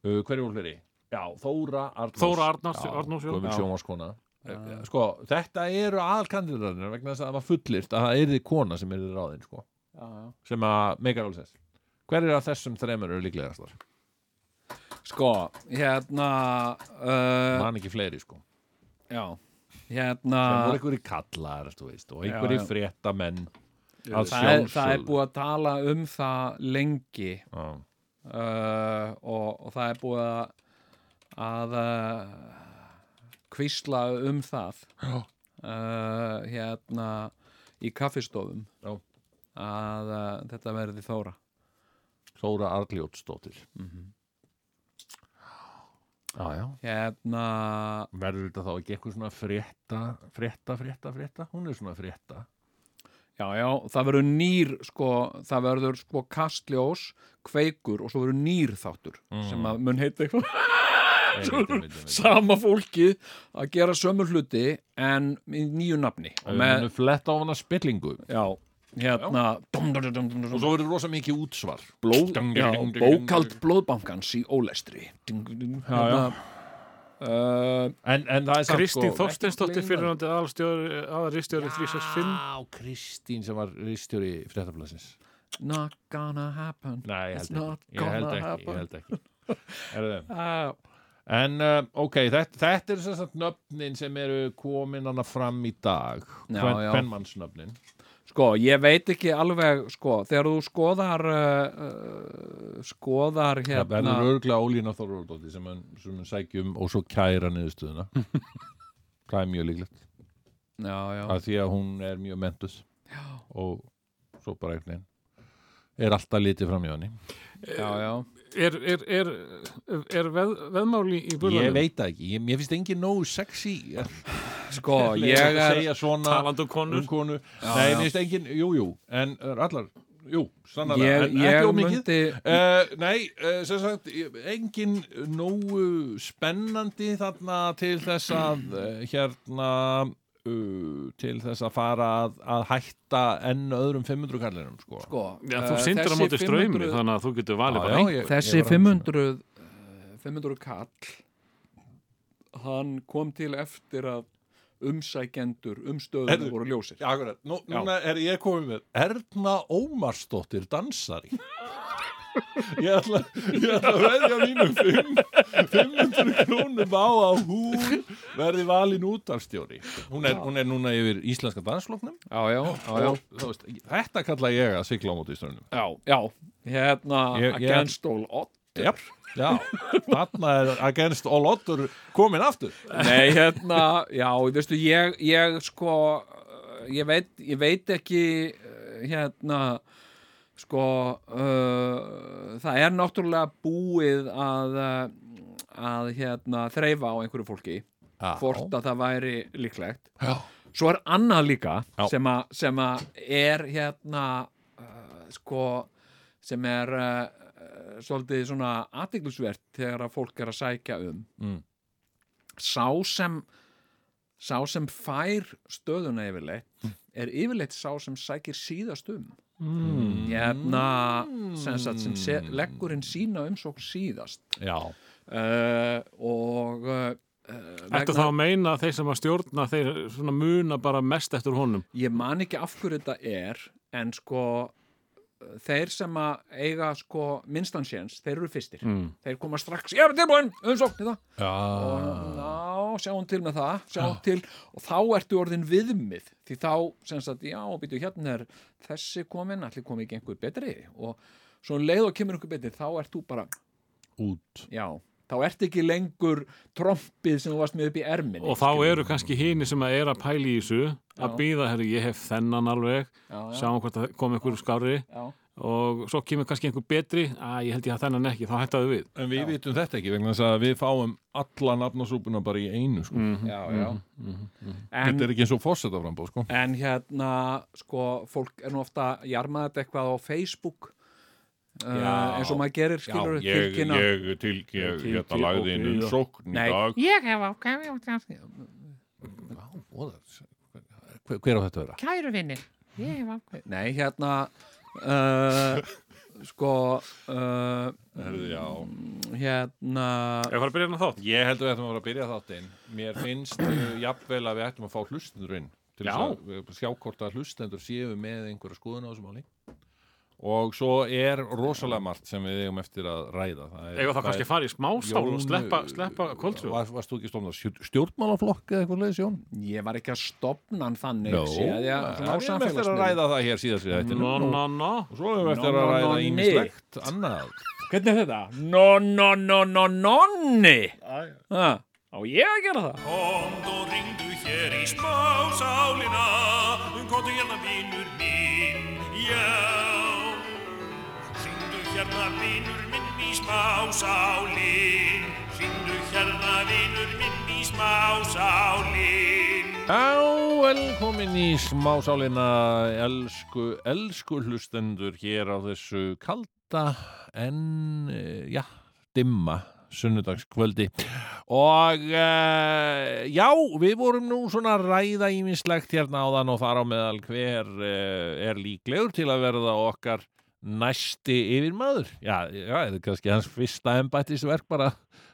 S1: uh, hverju hún fleiri? Já, Þóra Arnórs
S2: Þóra Arnars,
S1: Já,
S2: Arnars já.
S1: Guðmund
S4: Já.
S1: Sjómaskona sko, þetta eru aðalkandidatarnir vegna þess að það var fullirt að það erði kona sem erði ráðin sko,
S4: já, já.
S1: sem að meikar alveg sens hver er að þessum þremur eru líklegastar?
S4: sko, hérna uh,
S1: man ekki fleiri sko
S4: já, hérna
S1: það voru einhverjir kallar þú veist, og einhverjir
S4: já.
S1: fréttamenn að
S4: það er, það er
S1: sjálfsögðu.
S4: búið að tala um það lengi
S1: Já.
S4: uh, og, og það er búið að að uh, kvísla um það
S1: Já.
S4: uh, hérna í kaffistofum
S1: Já.
S4: að uh, þetta verði þóra
S1: Þóra Arljótsdóttir mm
S4: Mhm.
S1: Ah, já, já
S4: hérna
S1: verður þetta þá ekki eitthvað svona frétta frétta, frétta, frétta, hún er svona frétta
S4: já, já, það verður nýr sko, það verður sko kastljós kveikur og svo verður nýr þáttur sem að mun heita eitthvað
S1: Mm. Einmitt, einmitt, einmitt.
S4: sama fólkið að gera sömu hluti en í nýju nafni og
S1: með
S4: með,
S1: fletta á hana spillingu
S4: já, hérna dum, dum, dum, dum, dum,
S1: og
S4: dum,
S1: svo verður rosa mikið útsvar
S4: blóð,
S1: Dum, dum,
S4: já,
S1: dum, dum,
S4: bókald blóðbankans í ólestri ding, ding, hérna, uh,
S1: en, en það er samt
S2: Kristín
S1: sko-
S2: Þorsteinsdóttir
S1: Ekki gleyma
S2: fyrirhandi aðalstjóri, aðalristjóri 365
S1: Já, Kristín sem var rýstjóri fréttablasins
S4: not gonna happen
S1: Nei, ég
S4: It's
S1: held
S4: not
S1: ekki, ég held
S4: gonna
S1: ekki,
S4: happen.
S1: ég held ekki. Herðu.
S4: uh,
S1: En uh, ok, þetta, þetta eru sem sagt nöfnin sem eru komin hana fram í dag
S4: Já,
S1: Kven-
S4: já.
S1: Kvenmannsnöfnin
S4: sko, ég veit ekki alveg sko, þegar þú skoðar uh, uh, skoðar
S1: Það
S4: hérna
S1: verður örglega ólína Þorvaldóttir sem hann sem hann sækjum og svo kæra niðurstöðuna Það er mjög líklegt
S4: já, já,
S1: að því að hún er mjög mentus já. og svo bara einhvern veginn er alltaf litið fram í henni
S4: já, já,
S2: Er, er, er, er veð, veðmáli í burðanum?
S1: Ég veit það ekki, ég, ég finnst engin nógu sexy
S4: sko,
S1: Ég
S4: ég er
S1: segja svona
S2: Talandi um konur
S1: um konu Nei, mér finnst engin, jú, jú, en uh, allar, jú, sannlega,
S4: ég,
S1: en ekki
S4: ég
S1: of mikið
S4: myndi
S1: Uh, nei, uh, sem sagt ég- engin nógu spennandi þarna til þess að uh, hérna uh, til þess að fara að, að hætta enn öðrum 500 kallinum sko.
S4: sko,
S2: Já,
S4: eh,
S2: þú syndir á
S4: þessi
S2: móti ströymi
S4: 500
S2: þannig að þú getur valið
S1: Já,
S2: bara
S1: já,
S2: einn
S1: ég-
S4: Þessi
S1: ég var að hugsa.
S4: 500 eh, 500 kall hann kom til eftir að umsækjendur umstöðum
S1: Heyrðu.
S4: voru ljósir
S1: Já, akkurat. Nú, núna er ég komið með Erna Ómarsdóttir dansari. Ég ætla, ég ætla að veðja mínum fimm- 500 krónum á að hún verði valin útarstjóri. Hún er, hún er núna yfir íslenska dansloknum.
S4: já, já, já, já.
S1: Og, þú veist, þetta kalla ég að sigla á móti í ströndum.
S4: Já, já, hérna
S1: Ég- ég-
S4: against all odds
S1: Já, já. Þarna er Against All Otter komin aftur.
S4: Nei, hérna, já, veistu, ég, ég sko uh, ég veit, ég veit ekki uh, hérna sko uh, það er náttúrulega búið að uh, að hérna þreifa á einhverju fólki
S1: Já.
S4: hvort að það væri líklegt
S1: Já.
S4: svo er annað líka
S1: Já.
S4: sem að, sem að er hérna uh, sko sem er uh, uh, svolítið svona aðtiklisvert þegar að fólk er að sækja um
S1: Mm.
S4: sá sem sá sem fær stöðuna yfirleitt
S1: Mm.
S4: er yfirleitt sá sem sækir síðast um
S2: Mm.
S4: hérna sem, sagt, sem se,
S1: Mm.
S4: leggur inn sína umsókn síðast
S1: Já.
S4: uh, og uh,
S2: Þetta þá að meina að þeir sem að stjórna þeir svona muna bara mest eftir honum
S4: ég man ekki af hverju þetta er en sko uh, þeir sem að eiga sko minnstansjens, þeir eru fyrstir
S2: mm.
S4: þeir koma strax, ég er tilbúin, umsókn þetta og
S1: Já.
S4: ná, sjáum til með það sjáum til, og þá ertu orðin viðmið því þá, sem sagt, já, býtu hérna er þessi komin, allir komi ekki einhver betri og svo um leið og kemur einhver betri þá ert þú bara,
S1: Út.
S4: já þá ert ekki lengur trompið sem þú varst með upp í erminni
S2: Og þá eru kannski hini sem að er að pæli í þessu að
S4: Já.
S2: býða, herri, ég hef þennan alveg
S4: já, já,
S2: sjáum hvort það kom einhver skári
S4: já,
S2: og svo kemur kannski einhver betri að ég held ég að þennan ekki, þá hættaðu við
S1: En við vitum þetta ekki vegna þess að við fáum alla nafnasúpuna bara í einu sko.
S4: já, já. En,
S1: mhm, Þetta er ekki eins og fórseta frambóð sko.
S4: En hérna, sko, fólk er nú ofta að jarma þetta eitthvað á Facebook
S1: Já.
S4: uh, eins og maður gerir, skilur
S1: Já, ég, ég til, ég,
S2: Til-
S1: hérna
S2: til-
S1: lagði inn
S2: ok, já.
S1: umsókn í
S4: Nei.
S1: dag.
S3: Ég hef ákveðið út af
S1: Já, voða, hver, hver á þetta að vera?
S3: kæru vinnir. Ég hef ákveðið.
S4: Nei, hérna, uh, sko, uh,
S1: Herðu, já.
S4: hérna,
S2: Ef það er að byrja hérna þátt
S1: Ég held að við ættum að vera að byrja þáttinn. Mér finnst uh, jafnvel að við ættum að fá hlustendur inn til
S2: Já.
S1: þess að við- sjá hvort að hlustendur séu með einhverja skoðun á þessu máli. Og svo er rosalega margt sem við eigum eftir að ræða. Það er-
S2: Ef það kannski að fara í smásál og
S1: Jón,
S2: sleppa,
S4: eh,
S1: uh,
S2: sleppa koldsjóð
S1: var, Varst þú ekki stofnað stjórn- stjórnmálaflokk eða eitthvað leiðis, Jón?
S4: ég var ekki að stopna hann þannig,
S1: Nó,
S4: sé að
S1: Við
S4: ég, svona á
S1: erum eftir að
S4: samfélagsmiðlum.
S1: ræða það hér síðast í þættinum
S2: No, no, no
S1: og svo erum við eftir
S4: No,
S1: að
S4: no,
S1: ræða
S4: no, nei.
S1: ímislegt annað
S4: Hvernig er þetta? No, no, no, no, nonni! Ha, Á ég að gera það?
S5: Komd og ringdu hér í smásálina Komdu hérna vinur minn, já Ringdu hérna vinur minn í smásálin Ringdu hérna vinur minn í smásálin
S1: Já, velkomin í smásálina elsku, elsku hlustendur hér á þessu kalda en, eh, já, dimma sunnudagskvöldi og uh, já, við vorum nú svona að ræða ímislegt hérna áðan og þar á meðal hver uh, er líklegur til að verða okkar næsti yfirmaður já, já, þetta er kannski hans fyrsta embættisverk bara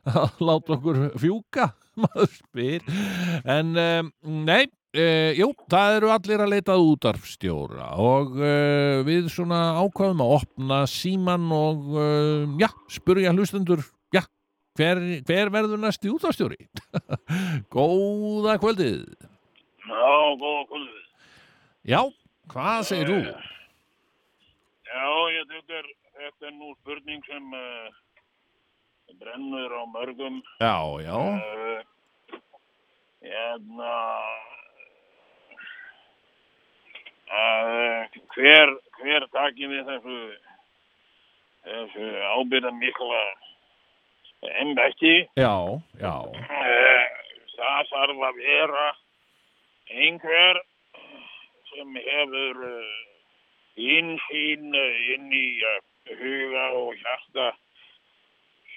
S1: að láta okkur fjúka maður spyr en um, nei Uh, jú, það eru allir að leita að útarfstjóra og uh, við svona ákvaðum að opna síman og uh, já, spurja hlustendur já, hver, hver verður næsti útarfstjóri? Góða kvöldið
S5: Já, góða kvöldu
S1: Já, hvað segir þú?
S5: Já, ég þetta er, þetta er nú spurning sem uh, brennur á mörgum
S1: Já, já
S5: Eh, hérna að hver, hver taki við þessu þessu ábyrða mikla embætti
S1: Já, já
S5: Eh, það þarf að vera einhver sem hefur eh, innsýn eh, inn í eh, huga og hjarta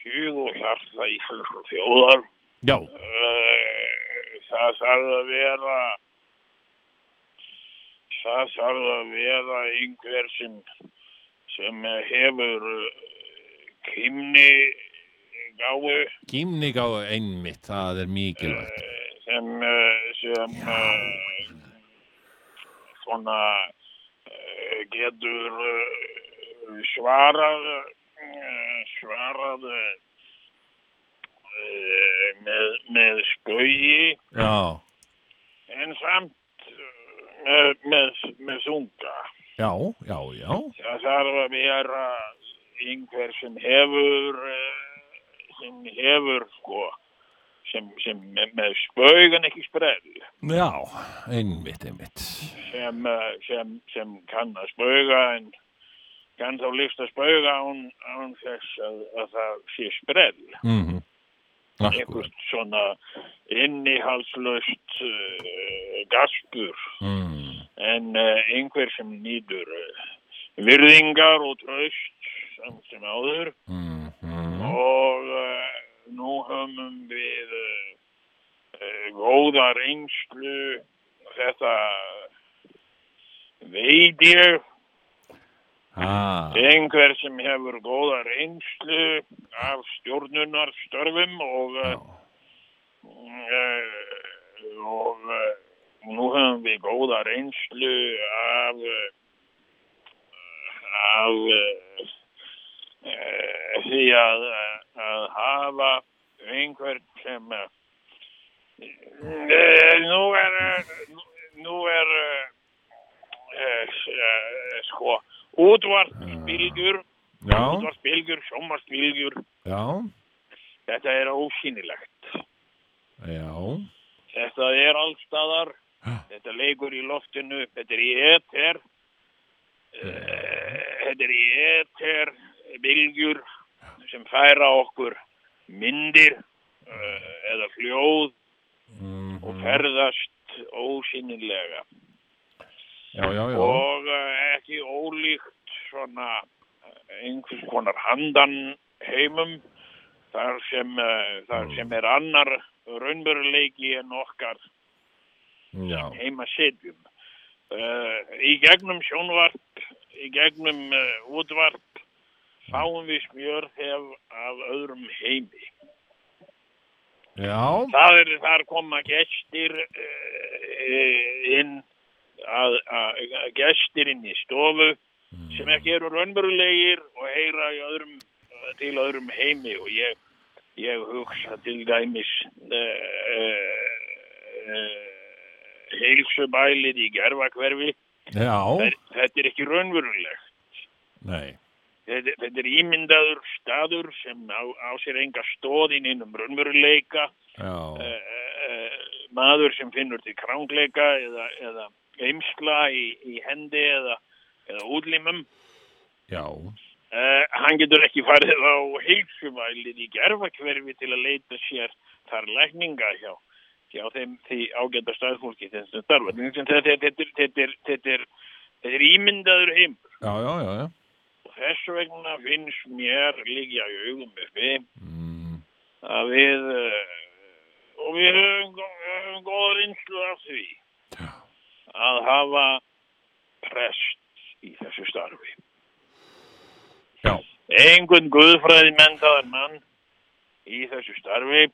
S5: hug og hjarta íslensku þjóðar
S1: Já,
S5: Eh, það þarf að vera það þarf að vera einhver sem sem hefur eh, kynni gáfu
S1: Kímnigáðu einmitt, það er mikilvægt.
S5: sem, eh, sem eh, svona eh, getur eh, svarað eh, svarað eh, með, með skauji
S1: Já,
S5: en samt eh, með, með, með þunga
S1: já, já, já.
S5: það þarf að vera einhver sem hefur eh, sem hefur sko sem, sem með, með spaugan ekki sprell
S1: Já, einmitt, einmitt.
S5: sem, eh, sem, sem kann að spauga en kann þá lífst að spauga án, án þess að, að það sé sprell
S1: Mm -hmm. Akkurat.
S5: einhvert svona innihaldslaust uh, gaspur
S1: Mm.
S5: en uh, einhver sem nýtur uh, virðingar og tröst samt sem áður
S1: Mm -hmm.
S5: og uh, nú höfum við uh, uh, góða reynslu þetta veit ég
S1: Ah,
S5: einhver sem hefur góða reynslu af stjórnunarstörfum og uh, uh, og uh, nú höfum við góða reynslu af uh, af uh, uh, því að, uh, að hafa einhver sem uh, uh, nú er uh, nú er uh, uh, uh, sko útvartspilgjur
S1: já,
S5: útvartspilgjur, sjómarspilgjur
S1: já,
S5: þetta er ósýnilegt
S1: já,
S5: Þetta er allstaðar,
S1: Já.
S5: þetta leikur í loftinu, þetta er í eter, eh, þetta er í eter, bylgjur sem færa okkur myndir eh, eða fljóð
S1: mm,
S5: og ferðast ósynilega
S1: já, já, já,
S5: og eh, ekki ólíkt svona eh, einhvers konar handan heimum þar sem, eh,
S1: Mm.
S5: þar sem er annar raunveruleiki en okkar
S1: já,
S5: heima setjum. Uh, í gegnum sjónvarp, í gegnum uh, útvarp, fáum við smjörþef af öðrum heimi.
S1: já,
S5: Það er þar koma gestir uh, inn, að, að, að gestir inn í stofu sem ekki eru raunverulegir og heyra í öðrum, til öðrum heimi og ég, ég hugsa til dæmis uh, uh, uh, heilsubælið í gerfakverfi
S1: já,
S5: Þe- þetta er ekki raunverulegt.
S1: nei,
S5: Þetta, þetta er ímyndaður staður sem á, á sér enga stóðin innum raunveruleika,
S1: já,
S5: uh, uh, maður sem finnur til krángleika eða, eða eimsla í, í hendi eða, eða útlimum.
S1: já,
S5: Uh, hann getur ekki farið á heilsumælið í gerfakverfi til að leita sér þar lækninga hjá, hjá þeim því ágæta staðfólki þeim sem starfa. Þetta, þetta, þetta, er- þetta, er- þetta, er- þetta er ímyndaður heim.
S1: já, já, já, já,
S5: Og Þess vegna finnst mér líkja í augum uppi
S1: mm,
S5: að við eh, og við höfum, gó- höfum góða reynslu af því að hafa prest í þessu starfi.
S1: já,
S5: Engun guðfræði mentaðar mann í þessu starfi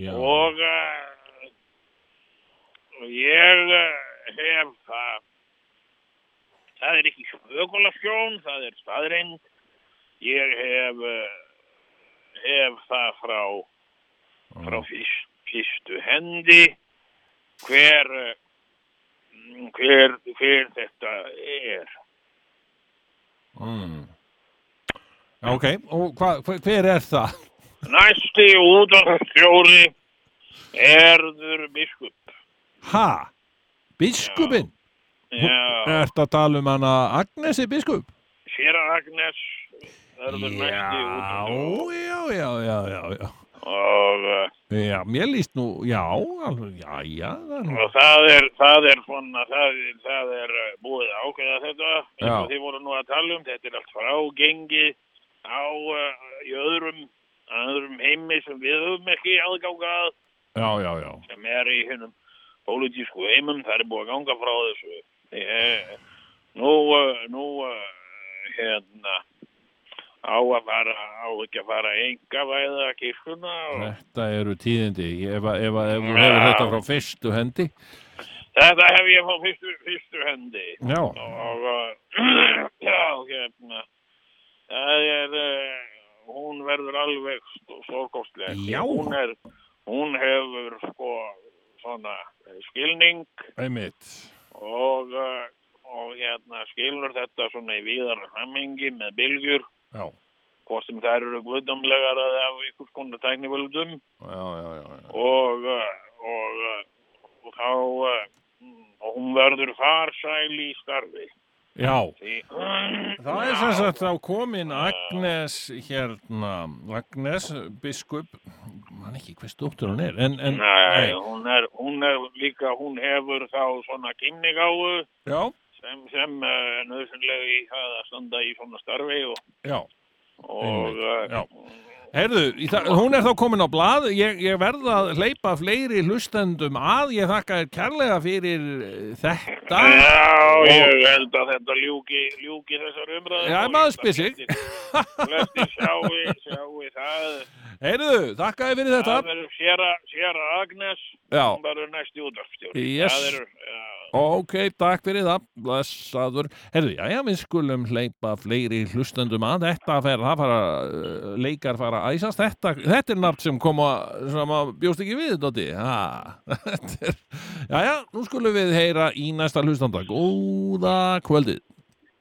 S1: já,
S5: og, eh, og ég eh, hef það það er ekki spökulafjón, það er staðreind ég hef eh, hef það frá frá fyrst, fyrstu hendi hver eh, mm, hver, hver þetta er
S1: mm. Já, ok, og hva, hver, hver er það?
S5: næsti útastjóri erður biskup
S1: Ha, biskupinn,
S5: já,
S1: ert að tala um hana Agnesi biskup?
S5: sér Agnes erður næsti
S1: Já,
S5: útastjóri
S1: já, já, já, já, já.
S5: og, eh,
S1: Já, mér líst nú, já, alveg, já, já, það er nú,
S5: og það er það er svona það, er- það er eh, búið að ákveða þetta eins
S1: Já.
S5: og þið voru nú að tala um þetta er allt frágengi á uh, í öðrum öðrum heimi sem við höfum ekki aðgángað
S1: já, já, já,
S5: sem er í hennum pólitísku heimum, það er búið að ganga frá þessu. Eh, Nú, eh, nú eh, hérna,
S6: á að fara, á ekki að fara enga væða kirkuna og
S1: Þetta eru tíðindi Ég- ef, að- ef, að- ef hún hefur þetta frá fyrstu hendi
S6: þetta hef ég fá fyrstu, fyrstu hendi
S1: Já,
S6: og uh, já, hérna það er uh, hún verður alveg stórkostleg
S1: Já.
S6: hún er, hún hefur sko svona eh, skilning
S1: einmitt
S6: og uh, og hérna skilur þetta svona í víðara samhengi með bylgjur
S1: Já,
S6: hvort sem þær eru guðdómlegar eða af ykkur konar tæknivöldum
S1: já, já, já, já.
S6: og, uh, og, uh, og þá uh, og hún verður farsæl í starfi
S1: já.
S6: Því,
S1: Það er sem sagt þá komin Agnes hérna, Agnes biskup, mann ekki hvers dóttur hún er, en, en
S6: Nei, hún er, hún er líka, hún hefur þá svona kynningáu
S1: já,
S6: sem, sem uh, nöðsynlega í það að standa í svona starfi og,
S1: já,
S6: og
S1: já.
S6: uh,
S1: Heyrðu, í það, hún er þá komin á blað, ég, ég verð að hleypa fleiri hlustendum að, ég þakka þér kærlega fyrir eh, þetta. Ah,
S6: já, ég held að þetta ljúki, ljúki þessar umræður.
S1: Já, maður spyr sig.
S6: Flesti sjáu, sjáu það.
S1: Heyrðu, þakka þér fyrir
S6: Það
S1: þetta.
S6: verður séra, séra Agnes,
S1: Já,
S6: hún verður næsti útvarpstjóri.
S1: Yes.
S6: Það verður, já.
S1: ok, takk fyrir það, blessaður. Heyrðu, já, já, við skulum hleypa fleiri hlustendum að, þetta fer, það fara, eh, leikar fara að æsast, þetta, þetta er nafn sem koma, sem að bjóst ekki við, Dóti. Ha, Þetta er, já, já, nú skulum við heyra í næsta hlustanda. Góða kvöldið.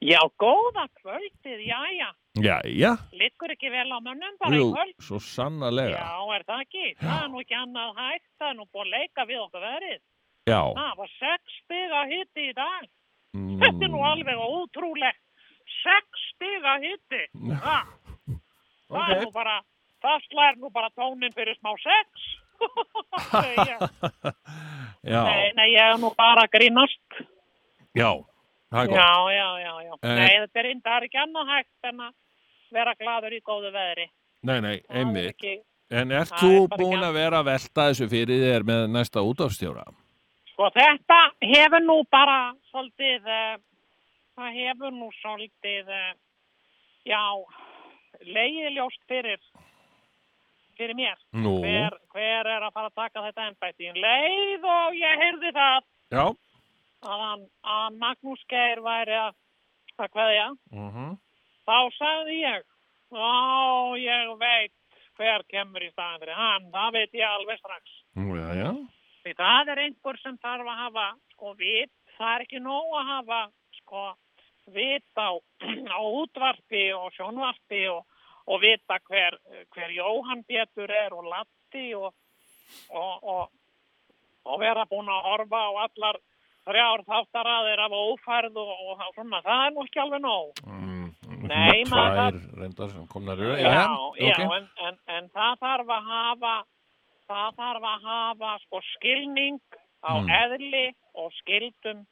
S5: Já, góða kvöldið, já, já.
S1: Já, já.
S5: Liggur ekki vel á mönnum bara í kvöld?
S1: svo sannarlega.
S5: Já, er það ekki? Það er nú ekki annað hægt, það er nú búið að leika við okkur verið.
S1: Já.
S5: Það var sex stiga hitti í dag.
S1: Mm.
S5: Þetta er nú alveg ótrúlegt. Sex stiga hitti. Það, það er nú bara, það slær nú bara tónin fyrir smá sex. Nei,
S1: Já,
S5: nei, ég er nú bara að grínast.
S1: já, það er gott.
S5: Já, já, já, já.
S1: Eh.
S5: Nei, þetta er, það er ekki annað hægt en að vera gladur í góðu veðri.
S1: Nei, nei,
S5: Það er
S1: einmitt.
S5: ekki-
S1: En ert
S5: Það er
S1: þú
S5: bara ekki
S1: búin að vera að velta þessu fyrir þér með næsta útafstjóra?
S5: Sko þetta hefur nú bara svolítið, uh, það hefur nú svolítið, uh, já, leiðiljóst fyrir, fyrir mér.
S1: Nú,
S5: Hver, hver er að fara að taka þetta ennbætti? En leið og ég heyrði það
S1: já.
S5: að, hann, að Magnús Geir væri að, að kveðja.
S1: Uh -huh.
S5: Þá sagði ég, á ég veit hver kemur í staðan fyrir hann, það veit ég alveg strax.
S1: Já, já.
S5: Því það er einhver sem þarf að hafa sko vit, það er ekki nóg að hafa sko vit á, á útvarpi og sjónvarpi og, og vita hver, hver Jóhann Pétur er og Latti og, og, og, og vera búin að horfa á allar þrjár þáttaraðir af ófærð og, og svona, það er nú ekki alveg nóg.
S1: Mm,
S5: Nei, maður-
S1: Tvær reyndar sem komnar eru.
S5: já, já,
S1: ok.
S5: en, en, en það þarf að hafa það þarf að hafa sko skilning á
S1: Mm.
S5: eðli og skildum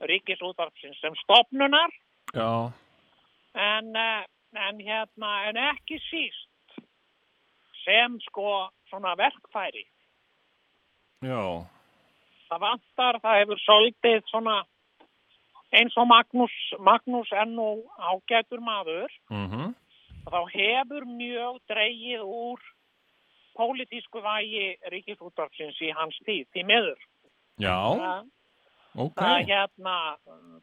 S5: ríkisútvarpsins sem stopnunar
S1: Já,
S5: en, eh, en hérna en ekki síst sem sko svona verkfæri
S1: já,
S5: það vantar, það hefur soldið svona eins og Magnús, Magnús er nú ágætur maður
S1: mhm,
S5: og þá hefur mjög dreigið úr pólitísku vægi ríkisúttarfsins í hans tíð, því miður.
S1: já,
S5: Það,
S1: ok.
S5: það, hérna,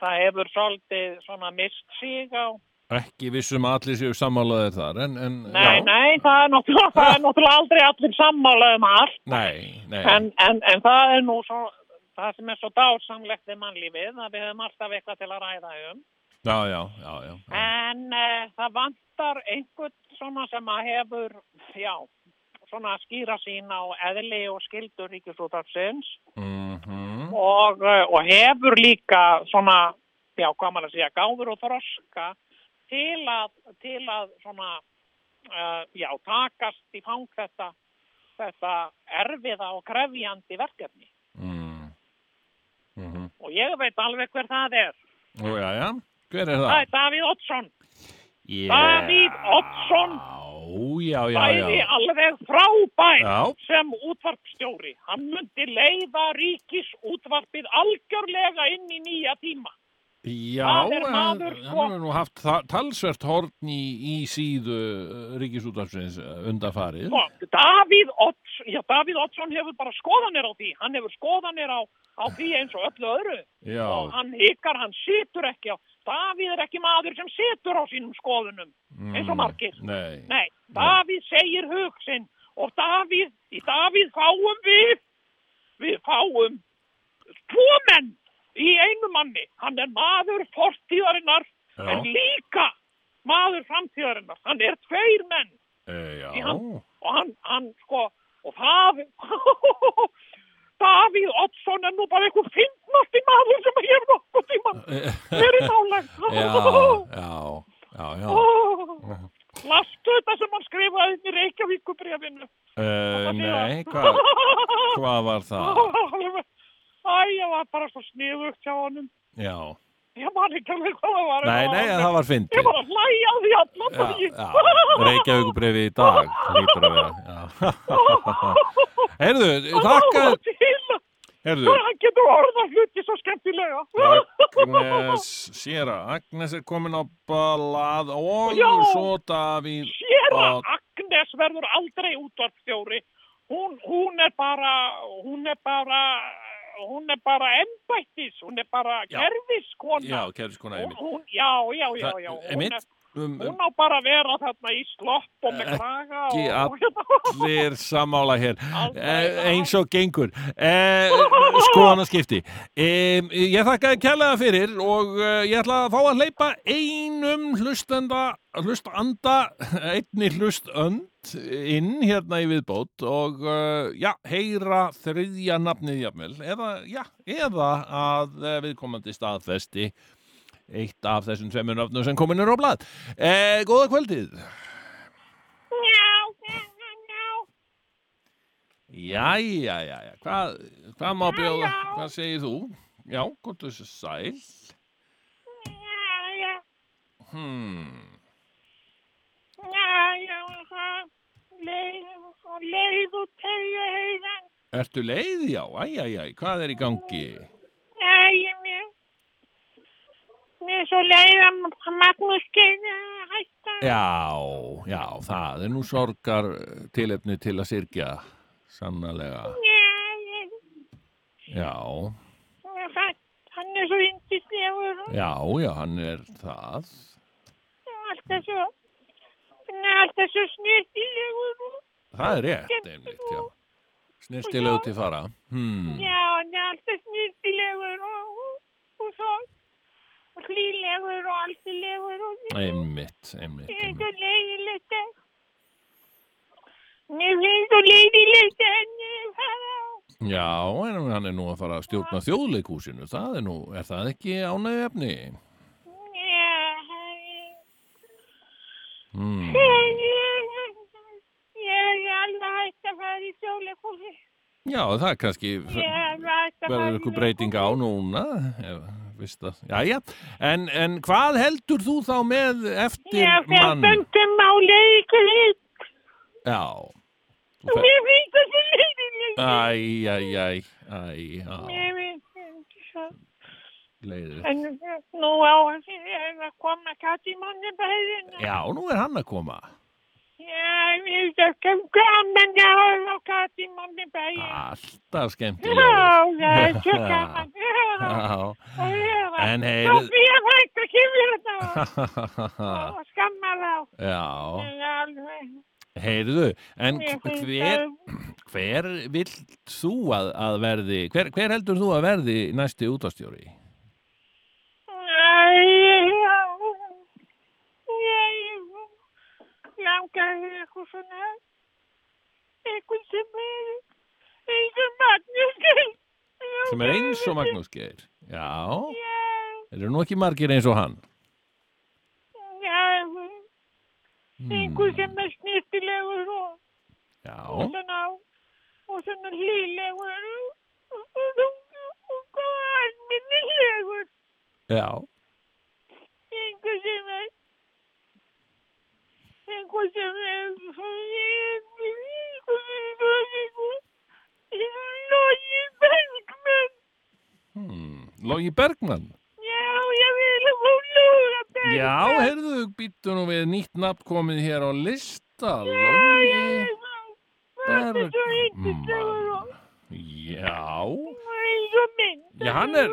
S5: það hefur svolítið svona mist sig á...
S1: Ekki vissum að allir séu sammálaðir þar, en, en,
S5: Nei,
S1: já.
S5: nei, það er náttúrulega, það er náttúrulega aldrei allir sammála um allt,
S1: Nei, nei.
S5: en, en, en það er nú svo, það sem er svo dásamlegt við mannlífið, að við höfum alltaf eitthvað til að ræða um.
S1: Já, já, já, já. já.
S5: En uh, það vantar einhvern svona sem að hefur, já, svona skýra sín á eðli og skildur ríkisútafsins
S1: Mm
S5: og, eh, og hefur líka svona, já, hvað maður að segja, gáður og þroska til að, til að svona, uh, já, takast í fang þetta, þetta erfiða og krefjandi verkefni.
S1: mm. Mm -hmm.
S5: Og ég veit alveg hver það er.
S1: Já, já, hver er það?
S5: Það er Davíð Oddsson.
S1: Yeah.
S5: Davíð Oddsson.
S1: Já, já, já,
S5: bæði
S1: já.
S5: alveg frábær
S1: Já.
S5: sem útvarpstjóri. Hann myndi leiða ríkis útvarpið algjörlega inn í nýja tíma.
S1: Já,
S7: Það er
S1: en
S7: maður,
S1: hann
S7: sko.
S1: hefur nú haft þa- talsvert horn í, í síðu uh, ríkisútvarpsins uh, undanfarið.
S7: Sko, Davíð, Odds, já, Davíð Oddsson hefur bara skoðanir á því. Hann hefur skoðanir á, á því eins og öllu öðru.
S1: Já,
S7: Og hann ykkar, hann situr ekki á. Davíð er ekki maður sem situr á sínum skoðunum. Eins og margir.
S1: nei.
S7: Nei, Davíð segir hug sinn og Davíð, í Davíð fáum við, við fáum tvo menn í einu manni. Hann er maður fortíðarinnar
S1: Já.
S7: en líka maður framtíðarinnar. Hann er tveir menn
S1: Eh,
S7: í
S1: já,
S7: hann og hann, hann sko, og það, Davíð Oddsson er nú bara einhver finnmasti maður sem ég hef nokkuð tíman verið nálægt.
S1: já, já, já, já.
S7: Oh, lastu þetta sem hann skrifaði inn í Reykjavíkubrefinu.
S1: Uh, nei, hvað hva var það?
S7: Æ, ég var bara svo sniðugt hjá honum.
S1: Já,
S7: Ég man ekki alveg hvað það var.
S1: nei, nei, en það var
S7: Ég
S1: fyndið.
S7: var að hlæja að því allan
S1: Já,
S7: daginn.
S1: já, Reykjavíkubrifi í dag, það lítur að vera, já. Heyrðu, þakka,
S7: Hann var til-
S1: heyrðu,
S7: Hann getur orða hluti svo skemmtilega.
S1: Agnes, séra, Agnes er komin á balað og
S7: Já.
S1: svo Davíð.
S7: Séra
S1: og-
S7: Agnes verður aldrei útvarpstjóri. Hún, hún er bara, hún er bara, hún er bara embættis, hún er bara
S1: Já.
S7: gerfiskona.
S1: Já, kæriskona
S7: hún,
S1: Emil.
S7: hún, já, já, já, já.
S1: Það-
S7: Hún,
S1: Emil,
S7: er,
S1: um,
S7: hún á bara að vera þarna í slopp og með
S1: Ekki
S7: kraga og, og hérna.
S1: allir sammála hér
S7: Alveg,
S1: eh,
S7: já.
S1: eins og gengur eh, skoðanaskipti eh, ég þakka þér kærlega fyrir og eh, ég ætla að fá að hleypa einum hlustanda hlustanda, einni hlustönd inn hérna í viðbót og eh, já, heyra þriðja nafnið jafnvel eða, já, eða að eh, viðkomandi staðfesti eitt af þessum tveimur nöfnum sem komin er á blað eh, Góða kvöldið
S7: Njá, njá, njá, njá.
S1: Jæja, jæja, hvað, hvað má bjóða,
S7: já.
S1: hvað segir þú? Já, gott þessu sæl.
S7: Njá, njá,
S1: Hmm,
S7: njá, njá, njá. Leið, og leið og tegja heiðan.
S1: ertu leið? Já, æj, æj, æj, hvað er í gangi?
S7: Æ, ég er mér. Mér er svo leið að Magnús Geir er að hætta.
S1: Já, já, það er nú sorgar eh, tilefni til að syrgja, sannlega.
S7: Njá, ég-
S1: Já,
S7: ég- hann- Hann er svo yndislegur og
S1: já, já, hann er það.
S7: alltaf svo, hann er alltaf svo snirtilegur og
S1: Það er rétt, einmitt, já. Snirtilegu til fara. Hmm,
S7: Já, hann er alltaf snýrtilegur og, og, og svo og hlýlegur og alltilegur og
S1: einmitt, einmitt,
S7: mér finnst
S1: einmitt.
S7: svo leiðilegt að mér finnst svo leiðilegt að henni fara á.
S1: Já, en hann er nú að fara að stjórna þjóðleikúsinu, það er nú, er það ekki ánægðu efni?
S7: Já,
S1: Hmm.
S7: ég- ég- ég er alveg hægt að fara í sjóleikúsi.
S1: Já, það er kannski,
S7: Ég er alveg hægt að fara
S1: verður
S7: í
S1: ykkur breyting á núna, ef, veist það, já, já, en, en hvað heldur þú þá með
S7: leikhúsi. Ég
S1: eftir
S7: fer
S1: mann?
S7: stundum á leikulík.
S1: Já, þú fer,
S7: Mér finnst það svo leiðilegt.
S1: æj, æj, æj, æj, já,
S7: Mér finnst svo
S1: leiður.
S7: En nú á að koma kattimann í bæðin.
S1: Já, nú er hann að koma.
S7: Já, ég þökkum gaman að horfa á kattimann í bæðin.
S1: Ah, Alltaf
S7: Já,
S1: skemmtilegur.
S7: það er svo gaman.
S1: Já, En Ah.
S7: En
S1: heyrðu-
S7: Sofía frænka kemur þetta
S1: já.
S7: og skammar á.
S1: Já,
S7: Ég er alveg-
S1: heyrðu, en
S7: mér finnst
S1: hver,
S7: það-
S1: hver vilt þú að, að verði, hver, hver heldur þú að verði næsti útastjóri?
S7: Æ, já. Ég langar eitthvað svona eitthvað sem er eins og Magnús Geir.
S1: Sem er eins og Magnús Geir. Já,
S7: Já,
S1: eru nú ekki margir eins og hann?
S7: já,
S1: Mm.
S7: einhver sem er snýttilegur og, og
S1: Hmm, Já,
S7: svona og svona hlýlegur og- og og- og góð alminnilegur
S1: já,
S7: einhver sem er einhver sem er einhver sem er einhver logi bergmenn
S1: hmm. Logi Bergmann.
S7: já, ég Guðmundur.
S1: Já, heyrðu, býttu nú við nýtt nafn komið hér á lista Logi
S7: Þetta er svo
S1: Bergmann.
S7: yndislegur og
S1: Já,
S7: og eins og minn.
S1: Já, hann er-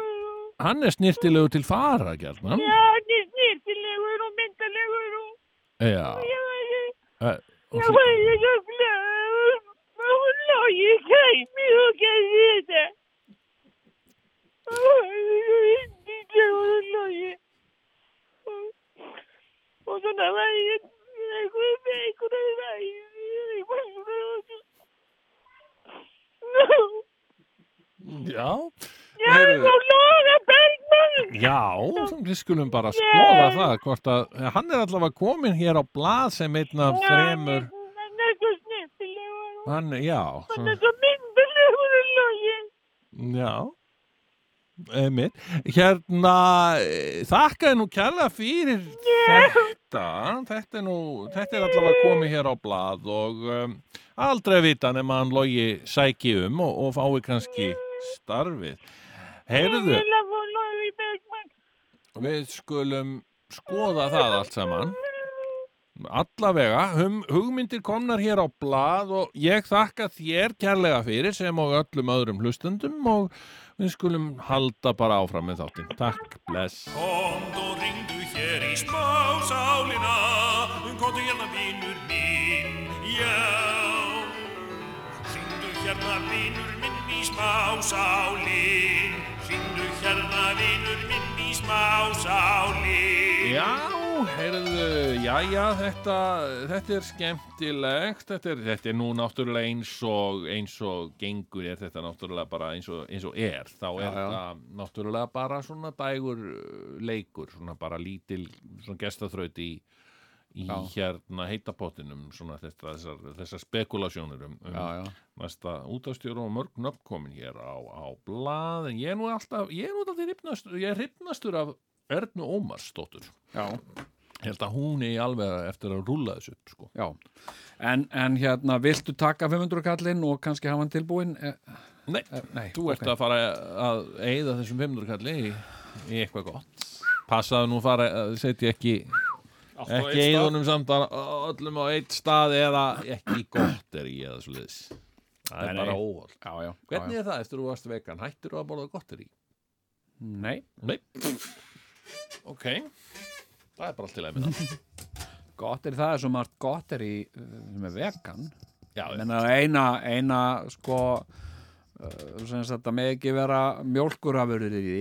S1: hann er snirtilegu til fara, gjarnan
S7: Já, hann er snýrtilegur og myndalegur og
S1: Já,
S7: ég veit ekki.
S1: eh, og
S7: Já,
S1: þú-
S7: ég er svo glæður. Hún logi kæmi og gerði þetta. Ó, ég er svo yndislegur og logi. Og- Og svona var ég einhverju veikur og var ég einhverju veikur.
S1: já
S7: Já,
S1: Heyrðu.
S7: og loga Bergmann.
S1: Já, við skulum bara skoða það hvort að, eh, hann er allavega komin hér á blað sem einn af fremur
S7: Hann er svo snittilegur og
S1: hann, já,
S7: hann er
S1: svona-
S7: svo myndalegur og login.
S1: já einmitt, hérna eh, þakkaði nú kærlega fyrir þetta, þetta er nú þetta er allavega komið hér á blað og um, aldrei að vita nema hann logi sæki um og, og fái kannski starfið heyrðu,
S7: Ég vil að fá logi Bergmann.
S1: við skulum skoða það allt saman allavega hum, hugmyndir komnar hér á blað og ég þakka þér kærlega fyrir sem og öllum öðrum hlustendum og við skulum halda bara áfram með þáttinn. Takk, bless
S8: Komd og ringdu hér í spásálina Komdu hérna vinur minn, já Ringdu hérna vinur minn í smásálin Ringdu hérna vinur minn í smásálin
S1: Já, heyrðu, já, já, þetta, þetta er skemmtilegt, þetta er, þetta er nú náttúrulega eins og, eins og gengur er þetta náttúrulega bara eins og, eins og er, þá er
S4: Já, já.
S1: þetta náttúrulega bara svona dægur uh, leikur, svona bara lítil, svona gestaþraut í, í
S4: Já.
S1: hérna heitapottinum, svona þetta, þessar, þessar spekulasjónir um, um
S4: já, já,
S1: næsta útastjóru og mörg nöfn komin hér á, á blað, en ég er nú alltaf, ég er nú alltaf hrifnastur, ég er hrifnastur af Ernu Ómarsdóttur
S4: já.
S1: Ég held að hún er alveg eftir að rúla þessu upp sko.
S4: Já, en, en hérna, viltu taka 500 kallinn og kannski hafa hann tilbúinn? Eh,
S1: Nei,
S4: eh, nei,
S1: þú ert að fara að eigða þessum 500 kalli í, í eitthvað gott Passaðu nú fara, að setja ekki ekki eigðunum samt að öllum á eitt stað eða ekki gott er í eða svo liðs Það er
S4: Nei, nei.
S1: bara óholt
S4: Já, já,
S1: Hvernig
S4: já, já.
S1: er það eftir þú varst vegan? Hættir þú að borða gott er í?
S4: Nei,
S1: Nei Ok Það er bara allt til að með það
S4: gott er það er svo margt gott er í, eh, sem er vegan.
S1: Já,
S4: Menna eina, eina, sko, eh, sem sagt að með ekki vera mjólkurafurður í því,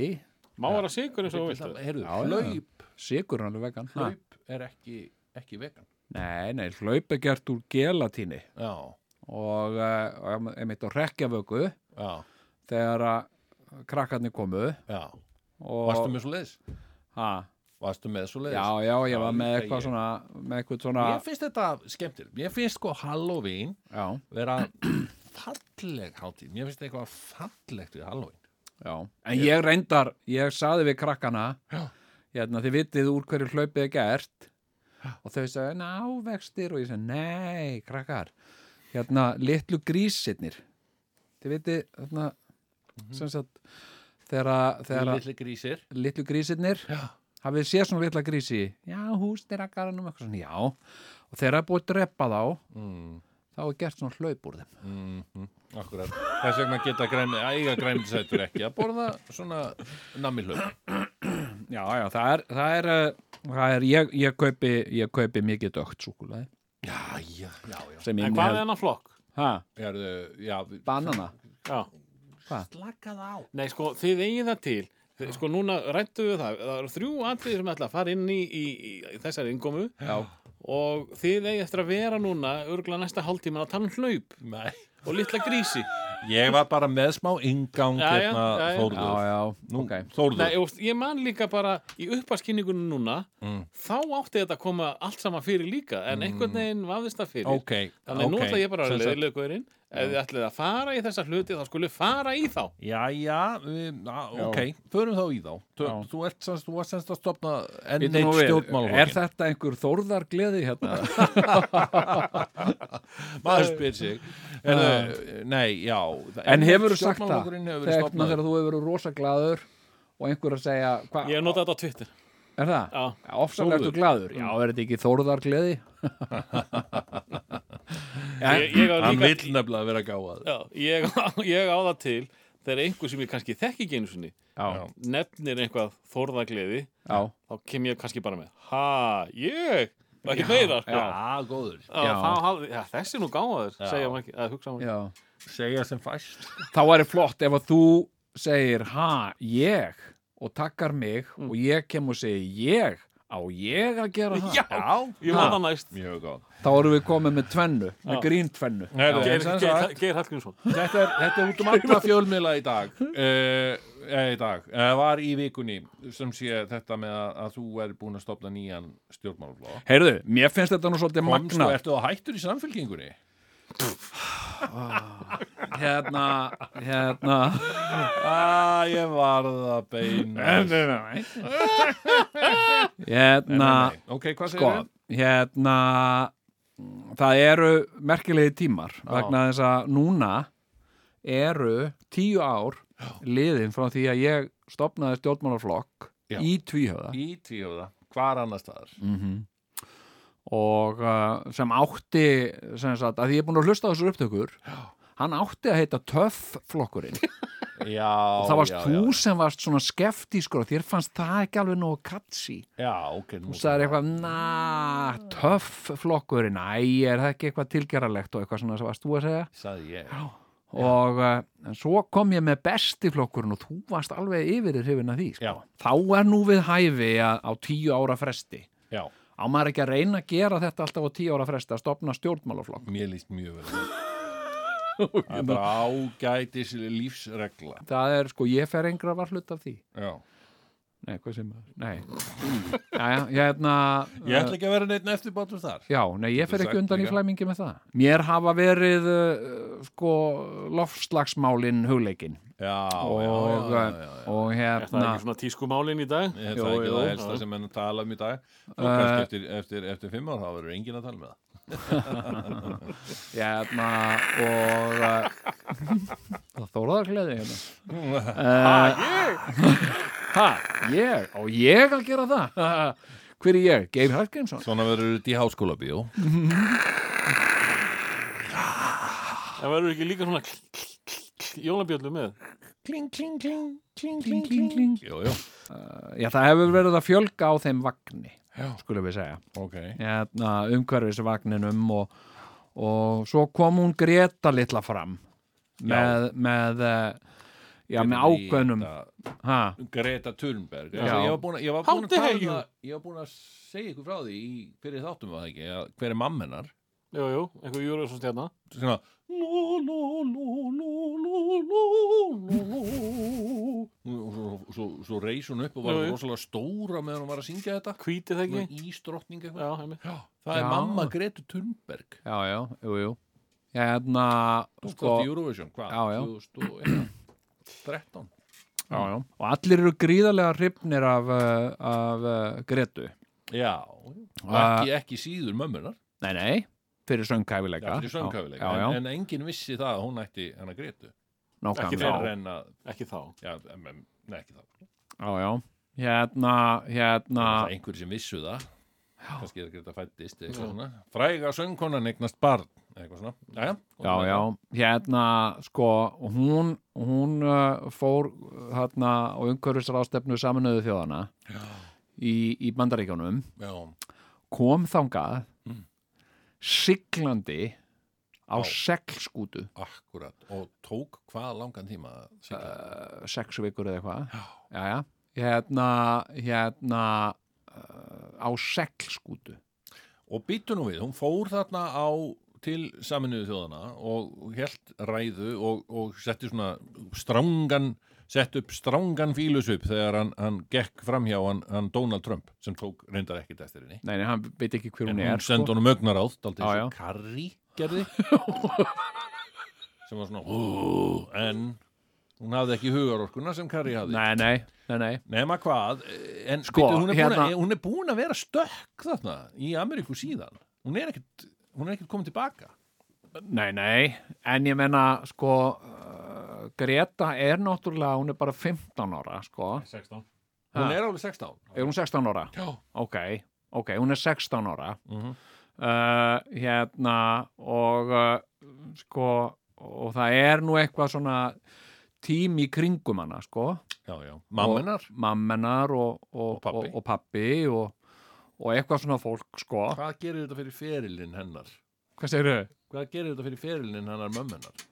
S2: Má vera sigur eins og þú vilt
S1: það, heyrðu,
S4: Já, já.
S1: hlaup,
S4: sigur hann er vegan. Ha?
S1: hlaup er ekki, ekki vegan
S4: Nei, nei, hlaup er gert úr gelatíni
S1: Já,
S4: og, eh, og einmitt á rekkjavöku
S1: já,
S4: þegar að krakkarnir komu
S1: já
S4: og...
S1: Varstu með svo liðs?
S4: Ha?
S1: Varstu með svo leiðis?
S4: Já, já, ég
S1: Já,
S4: var með
S1: líka
S4: eitthvað
S1: ég.
S4: svona, með eitthvað svona,
S1: Mér finnst þetta skemmtir. Mér finnst sko Halloween
S4: já,
S1: vera falleg hátíð. Mér finnst eitthvað fallegt við Halloween.
S4: já. En ég reyndar, ég saði við krakkana, hérna, þið vitið úr hverju hlaupið er gert og þau sagði, ná, vextir og ég sagði, nei, krakkar, hérna, litlu grísirnir, þið vitið, hérna, sem sagt, þegar að, þegar að,
S1: Lilli grísir.
S4: litlu grísirnir, hafið þið séð svona litla grísi, já, hústyrakaranum, eitthvað svona, já, og þegar að búið að drepa þá,
S1: Mm,
S4: þá er gert svona hlaup úr þeim.
S1: mm, mm, akkurat. Þess vegna geta græmi, æga græmiðsættur ekki að borða svona nammi hlöp.
S4: Já, já, það er, það er, uh, það er ég, ég, kaupi, ég kaupi mikið dögt súkulaði
S1: Já, já, já, já.
S4: sem
S2: En hvað er
S4: inniheld
S2: hennar flokk?
S4: ha,
S1: Erðu, já, við-
S4: banana
S2: Já.
S1: slakað á.
S2: Nei, sko, þið eigið það til Þið- Sko, núna rættu við það Það eru þrjú atriði sem ætla að fara inn í, í, í þessari ingomu
S4: Já,
S2: og þið eigið eftir að vera núna örgulega næsta hálftíma að tala um hlaup
S1: Nei.
S2: og litla grísi
S1: Ég var bara með smá ingang
S2: Já, já,
S1: hérna
S2: já, já.
S4: já,
S1: Þórður.
S4: já,
S1: Nú,
S4: ok
S1: Þórður.
S2: Nei, og ég man líka bara í uppaskinningunum núna
S1: Mm.
S2: þá átti þetta að koma allt saman fyrir líka en einhvern veginn vafðist það fyrir
S1: ok,
S2: þannig
S1: ok.
S2: nú ætla ég bara
S1: Sem
S2: að
S1: sagt-
S2: leiðlega hverinn ef þið ætlið að fara í þessa hluti þá skulle fara í þá
S1: Jæja, við, á, ok, förum þá í þá Þú,
S4: Já.
S1: þú ert semst, þú ert semst að stopna enn
S4: Bíddu nú
S1: eitt
S4: við, Er
S1: stjórnmálaflokkin
S4: þetta einhver þórðargleði hérna?
S1: Maður spyr sig Heyrðu, Nei, já
S4: En hefur þú sagt það?
S1: Stjórnmálaflokkurinn hefur verið
S4: Þegar
S1: stopnaður
S4: þegar þú hefur verið rosa glaður og einhver að segja hva,
S2: Ég hef notað þetta á Twitter
S4: Er það?
S2: Já. Mm.
S4: Ofsalega ertu glaður. Já, er þetta ekki Þórðar gleði?
S2: Ég, ég á
S1: Hann
S2: líka,
S1: vill nefnilega vera gáðað.
S2: já, ég, á- ég á það til þegar einhver sem ég kannski þekki ekki einu sinni
S4: Já,
S2: nefnir einhvað þórðagleði
S4: já,
S2: þá kem ég kannski bara með ha, ég, og ekki meira sko. já,
S1: góður.
S2: já.
S4: já.
S2: Þá, hafði- já, þessi er nú gáður
S1: Já.
S2: segja maður ekki, að hugsa maður
S4: já.
S1: Segja sem fæst.
S4: Þá væri flott ef að þú segir, ha, ég, og takkar mig, og ég kem og segi, ég, á ég að gera það?
S2: Mm. ég
S4: Ha.
S2: var það næst
S1: Mjög góð.
S4: Þá erum við komið með tvennu, með
S2: Já.
S4: grín tvennu.
S1: Heyrðu,
S2: Geir,
S1: en sem sagt,
S2: Geir, Geir Hallgrímsson
S1: Þetta er, þetta er út um alla fjölmiðla í dag eh, eh, í dag eh, var í vikunni sem sé þetta með að, að þú er búin að stopna nýjan stjórnmálaflóð
S4: Heyrðu, mér finnst þetta nú svolítið
S1: Komst og
S4: magnað.
S1: ertu á hættur í samfélkingunni?
S4: Hérna, hérna.
S1: Ah, ég varð að beina
S4: hérna,
S1: Ok, hvað segir
S4: sko,
S1: þau?
S4: hérna, mm, það eru merkilegi tímar vegna þess að núna eru tíu ár liðin frá því að ég stopnaði stjórnmálaflokk
S1: Já.
S4: í tvíhöða
S1: Í tíuða, hvar annar staðar?
S4: og uh, sem átti sem sagt, að því ég er búin að hlusta á þessar upptökur hann átti að heita töff flokkurinn
S1: Já,
S4: og það varst
S1: já,
S4: þú
S1: já,
S4: sem varst svona skeftískur og þér fannst það ekki alveg nógu katsi
S1: já, ok, nú
S4: og það er eitthvað, na, töff flokkurinn, æ, er það ekki eitthvað tilgerralegt og eitthvað svona sem varst þú að segja
S1: sagði ég
S4: og uh, en svo kom ég með besti flokkurinn og þú varst alveg yfir þér hrifin að því sko.
S1: Já.
S4: þá er nú við hæfi að, á tíu ára fresti
S1: Já,
S4: á maður ekki að reyna að gera þetta alltaf á tíu ára fresti að stopna stjórnmálaflokk
S1: mér líst mjög vel á það. Það er bara ágætis lífsregla
S4: það er sko, ég fer engra var hlut af því
S1: Já
S4: nei, hvað sem maður, nei já, hérna
S1: Ég ætla ekki að vera neitt eftirbátur þar
S4: Já, nei, ég fer
S1: Getur
S4: ekki
S1: sagt
S4: undan í
S1: líka.
S4: flæmingi með það. Mér hafa verið, uh, sko, loftslagsmálinn hugleikin
S1: Já,
S4: og,
S1: já,
S4: uh,
S1: já, já, já.
S4: og
S2: Er það
S4: hérna,
S2: ekki svona tískumálin í dag?
S1: Ég held
S4: Jú,
S1: það ekki
S4: jú.
S1: það helsta sem enn tala um í dag Svo kannski eftir, eftir, eftir fimm ár þá verður enginn að tala með það
S4: hérna og uh, það þóraðar gleði hérna. Uh, ha, ég? Ha, ég? Og ég að gera það? Hver er ég? Geir Hallgrímsson?
S1: Svona verður þetta í háskóla bíó
S2: Það verður ekki líka svona kl- kl- kl- kl- jólabjöllu með
S4: Kling, kling, kling.
S1: Jú, jú,
S4: Já, það hefur verið að fjölga á þeim vagni, skulum við segja.
S1: ok
S4: hérna, umhverfisvagninum og, og svo kom hún Greta litla fram með, með eh, já, með ákveðnum ha,
S1: Greta Thunberg
S4: Já.
S1: Ég var búin að, ég var búin
S2: How
S1: að
S2: dare
S1: tala um
S2: you?
S1: það- Ég var búin að segja ykkur frá því í, fyrir þáttum var það ekki að hver er mammenar
S2: Jú, jú, einhver júru svona stjarnar
S1: Svona lú, lú, lú, lú, lú, lú, lú. Og Svo, svo, svo reis hún upp og var
S2: Jú, jú.
S1: rosalega stóra meðan hún var að syngja þetta
S2: Hvítið það
S1: Svona
S2: ekki?
S1: Ísdrottning eitthvað
S2: Já, heimi
S1: Já, það
S4: Já.
S1: er mamma Gretu Thunberg
S4: já, já, jú, jú hérna,
S1: Sko,
S4: sko
S1: í Eurovision, hvað?
S4: Já, já.
S1: 2013
S4: já, já, og allir eru gríðarlega hrifnir af, eh, af eh, Gretu Ah,
S1: Já, og ekki, ekki síður mömmunar
S4: nei, nei, fyrir söngkæfileika
S1: fyrir sönghafileika,
S4: já, já,
S1: en, en
S4: já,
S1: enginn vissi það að hún ætti hennar Gretu
S2: ekki
S4: nákvæmlega
S2: Já.
S1: fyrir en að,
S2: Ekki þá
S1: já, em, em, nei ekki það
S4: já, já, hérna, hérna
S1: það er einhver sem vissu það kannski er Greta fættist eða eitthvað svona fræga söngkonan eignast barn eitthvað svona, já, já,
S4: Já, já, hérna, sko, hún, hún uh, fór uh, hérna á umhverfisrástefnu saminuðu þjóðana í, í Bandaríkjónum,
S1: já.
S4: kom þangað
S1: Mm.
S4: siglandi á seglskútu,
S1: akkurat, og tók hvað langan tíma að sigla?
S4: uh, sex vikur eða eitthvað, já, já, hérna, hérna, uh, á seglskútu,
S1: og býttu nú við, hún fór þarna á til saminuðu þjóðana og held ræðu og, og setti svona strangan sett upp strangan fílusup þegar hann, hann gekk framhjá hann, hann Donald Trump sem tók reyndar ekkert eftir henni
S4: nei, nei, hann veit ekki hver
S1: en
S4: hún
S1: hún
S4: er, sko.
S1: sendi honum augnaráð daldið
S4: Já, já.
S1: svo karri gerði sem var svona "Hú", en hún hafði ekki hugarorkuna sem karri hafði
S4: nei, nei, nei, nei,
S1: nema hvað en
S4: Sko,
S1: sko, hún, er búin
S4: hérna-
S1: að, hún er búin að vera stökk þarna í Ameríku síðan hún er ekkert, hún er ekkert komin tilbaka
S4: Nei, nei, en ég menna sko uh, Greta er náttúrulega, hún er bara 15 ára sko
S2: 16
S1: Hún
S4: Ha.
S1: er alveg 16
S4: Er hún 16 ára?
S1: Já
S4: Ok, ok, hún er 16 ára
S1: Mhm.
S4: uh, hérna og uh, sko og það er nú eitthvað svona tím í kringum hana sko
S1: Já, já Mammenar
S4: og, mammenar og, og,
S1: Og pabbi.
S4: og, og, pabbi og, og eitthvað svona fólk sko
S1: Hvað gerir þetta fyrir ferilinn hennar?
S4: Hvað segirðu?
S1: Hvað gerir þetta fyrir ferilinn hennar mömmenar?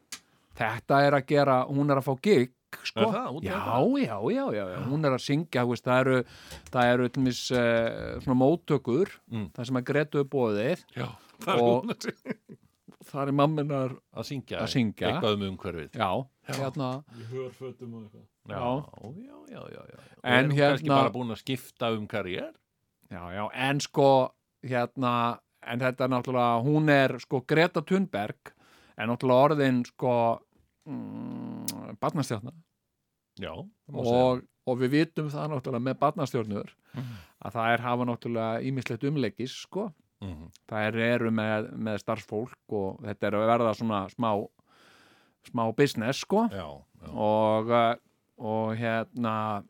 S4: Þetta er að gera, hún er að fá gig sko.
S1: Er það? Hún
S4: já,
S1: er
S4: já, já, já, já, hún er að syngja þú veist, það eru, það eru tlumis, uh, svona móttökur
S1: Mm.
S4: það sem að gretu upp bóðið
S1: Já
S2: Það er
S4: Og-
S2: hún að segja.
S4: það er mamminar
S1: Að syngja
S4: Að syngja.
S1: Eitthvað um umhverfið
S4: já, hérna,
S2: Í hörfötum og eitthvað.
S1: Já, já, já, já, já.
S4: En
S1: Er hún
S4: hérna-
S1: kannski bara búin að skipta um karriér
S4: já, já, en sko hérna, en þetta er náttúrulega hún er sko Greta Thunberg en náttúrulega orðin sko mm, barnastjárna
S1: Já það má segja. Mm.
S4: og, og við vitum það náttúrulega með barnastjórnur að það er hafa náttúrulega ímislegt umleikis sko
S1: Mhm.
S4: það er, eru með, með starfsfólk og þetta er að verða svona smá smá business sko
S1: Já, já
S4: og, uh, og hérna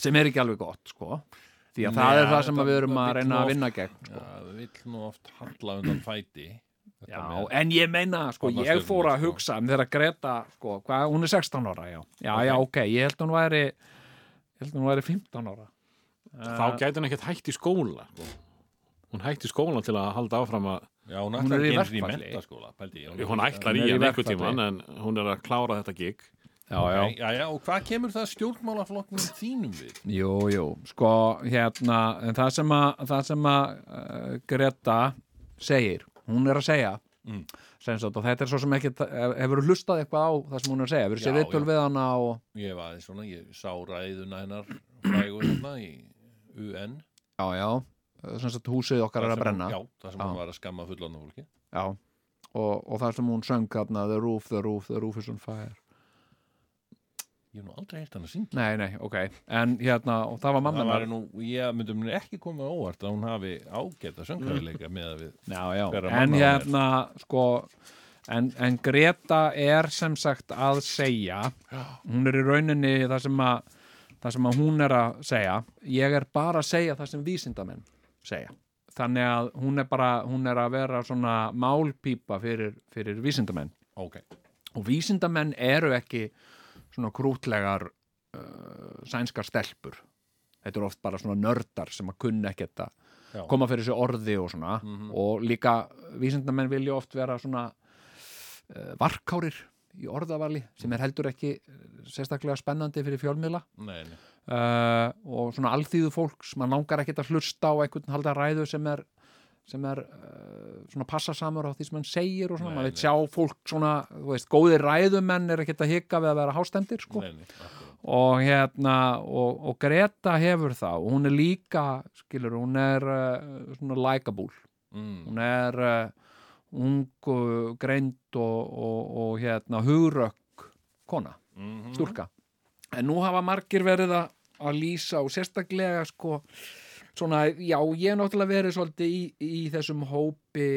S4: sem er ekki alveg gott sko því að það
S1: Nei,
S4: er það sem
S1: þetta-
S4: að við erum að
S1: þetta
S4: reyna
S1: vill
S4: að
S1: nú
S4: vinna gegn
S1: Já,
S4: sko.
S1: það vill nú oft halla undan fæti Þetta
S4: já,
S1: með-
S4: en ég meina sko, ég
S1: Barnastjörnur,
S4: fór að
S1: sko.
S4: hugsa um þegar Greta, sko, hvað, hún er 16 ára já, já,
S1: Ok.
S4: já, ok, ég held hún væri ég held hún væri 15 ára
S2: Þá gæti hún ekkert hætt í skóla. sko. Hún hætti skóla til að halda áfram að
S1: Já, hún
S4: Hún er
S1: ætlar
S4: í
S1: ekki eins og í
S4: verkfalli.
S1: mentaskóla pældi ég.
S4: Hún
S2: hún ætlar í
S4: er í
S2: hann einhvern
S4: verkfalli.
S2: tíman en hún er að klára þetta gig.
S4: já, já,
S1: Já, já, og hvað kemur það stjórnmálaflokknum þínum við?
S4: Jú, jú, sko hérna, en það sem að, það sem að uh, Greta segir, hún er að segja
S1: Mm.
S4: sem sagt, og þetta er svo sem ekki hefur hlustað eitthvað á það sem hún er að segja hefur séð
S1: Já,
S4: viðtöl
S1: já.
S4: við hana og
S1: Ég var aðeins svona, ég sá ræðuna hennar frægur hérna í UN.
S4: já, já, eh, sem sagt húsið okkar er
S1: Það
S4: að
S1: sem
S4: brenna
S1: Hún, já, það sem hún
S4: Já.
S1: var að skamma fullan af fólki.
S4: Já. Og, og það sem hún söng þarna, the roof, the roof, the roof is on fire
S1: Ég hef nú aldrei heyrt hann að syngja.
S4: Nei, nei, ok, en hérna og það var mamma
S1: það var nú, ég myndum henni ekki koma á óvart að hún hafi ágæta söngkæðileika með að við.
S4: já, já.
S1: hverra
S4: en
S1: mamma hún er.
S4: hérna sko en, en Greta er sem sagt að segja hún er í rauninni það sem að það sem að hún er að segja ég er bara að segja það sem vísindamenn segja þannig að hún er bara hún er að vera svona málpípa fyrir, fyrir vísindamenn
S1: Ok,
S4: og vísindamenn eru ekki svona krútlegar uh, sænskar stelpur þetta eru oft bara svona nördar sem að kunna ekkert
S1: Já.
S4: að koma fyrir þessu orði og svona og líka vísindamenn vilja oft vera svona uh, varkárir í orðavali sem er heldur ekki eh, sérstaklega spennandi fyrir fjölmiðla
S1: nei, nei.
S4: uh, og svona alþýðu fólks maður langar ekkert að hlusta á einhvern halda ræðu sem er, sem er uh, svona passasamur á því sem hann segir og svona,
S1: Nei,
S4: maður veit
S1: nei.
S4: sjá fólk svona þú veist, góðir ræðumenn er ekkert að hika við að vera hástendir sko
S1: nei, nei. akkurat.
S4: og hérna og, og Greta hefur það og hún er líka, skilur, hún er uh, svona likeable
S1: Mm,
S4: hún er uh, ung og greind og, og, og hérna hugrökk kona
S1: mhm.
S4: stúlka en nú hafa margir verið að, að lýsa og sérstaklega sko svona, já, ég hef náttúrulega verið svolítið í, í þessum hópi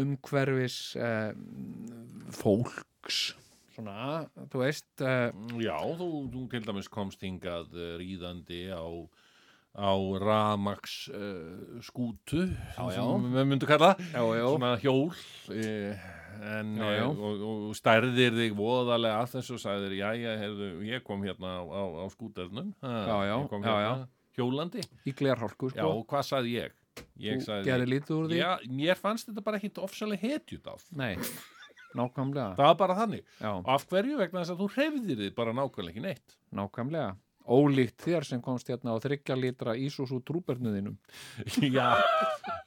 S4: umhverfis eh, fólks svona, þú veist eh,
S1: Já, þú, þú til dæmis komst hingað eh, ríðandi á á rafmaks uh, skútu
S4: Já, já.
S1: sem við myndum kalla
S4: já, já,
S1: svona hjól eh, en,
S4: Já, já.
S1: eh, Og, og stærðir þig voðalega að þessu og sagðir, jæja, heyrðu, ég kom hérna á, á, á skúternum
S4: Já, já,
S1: ég kom
S4: já,
S1: hérna hjólandi
S4: í glerhálku
S1: já,
S4: sko,
S1: og hvað sagði ég? ég
S4: þú gerir lítið úr því
S1: já, mér fannst þetta bara ekkit ofsalega hetjut á
S4: nei, nákvæmlega
S1: það var bara þannig,
S4: já,
S1: og af hverju vegna þess að þú hreyfðir þig bara nákvæmlega ekki neitt
S4: nákvæmlega ólíkt þér sem komst hérna á þryggja lítra Ísusu trúbernuðinum
S1: Já,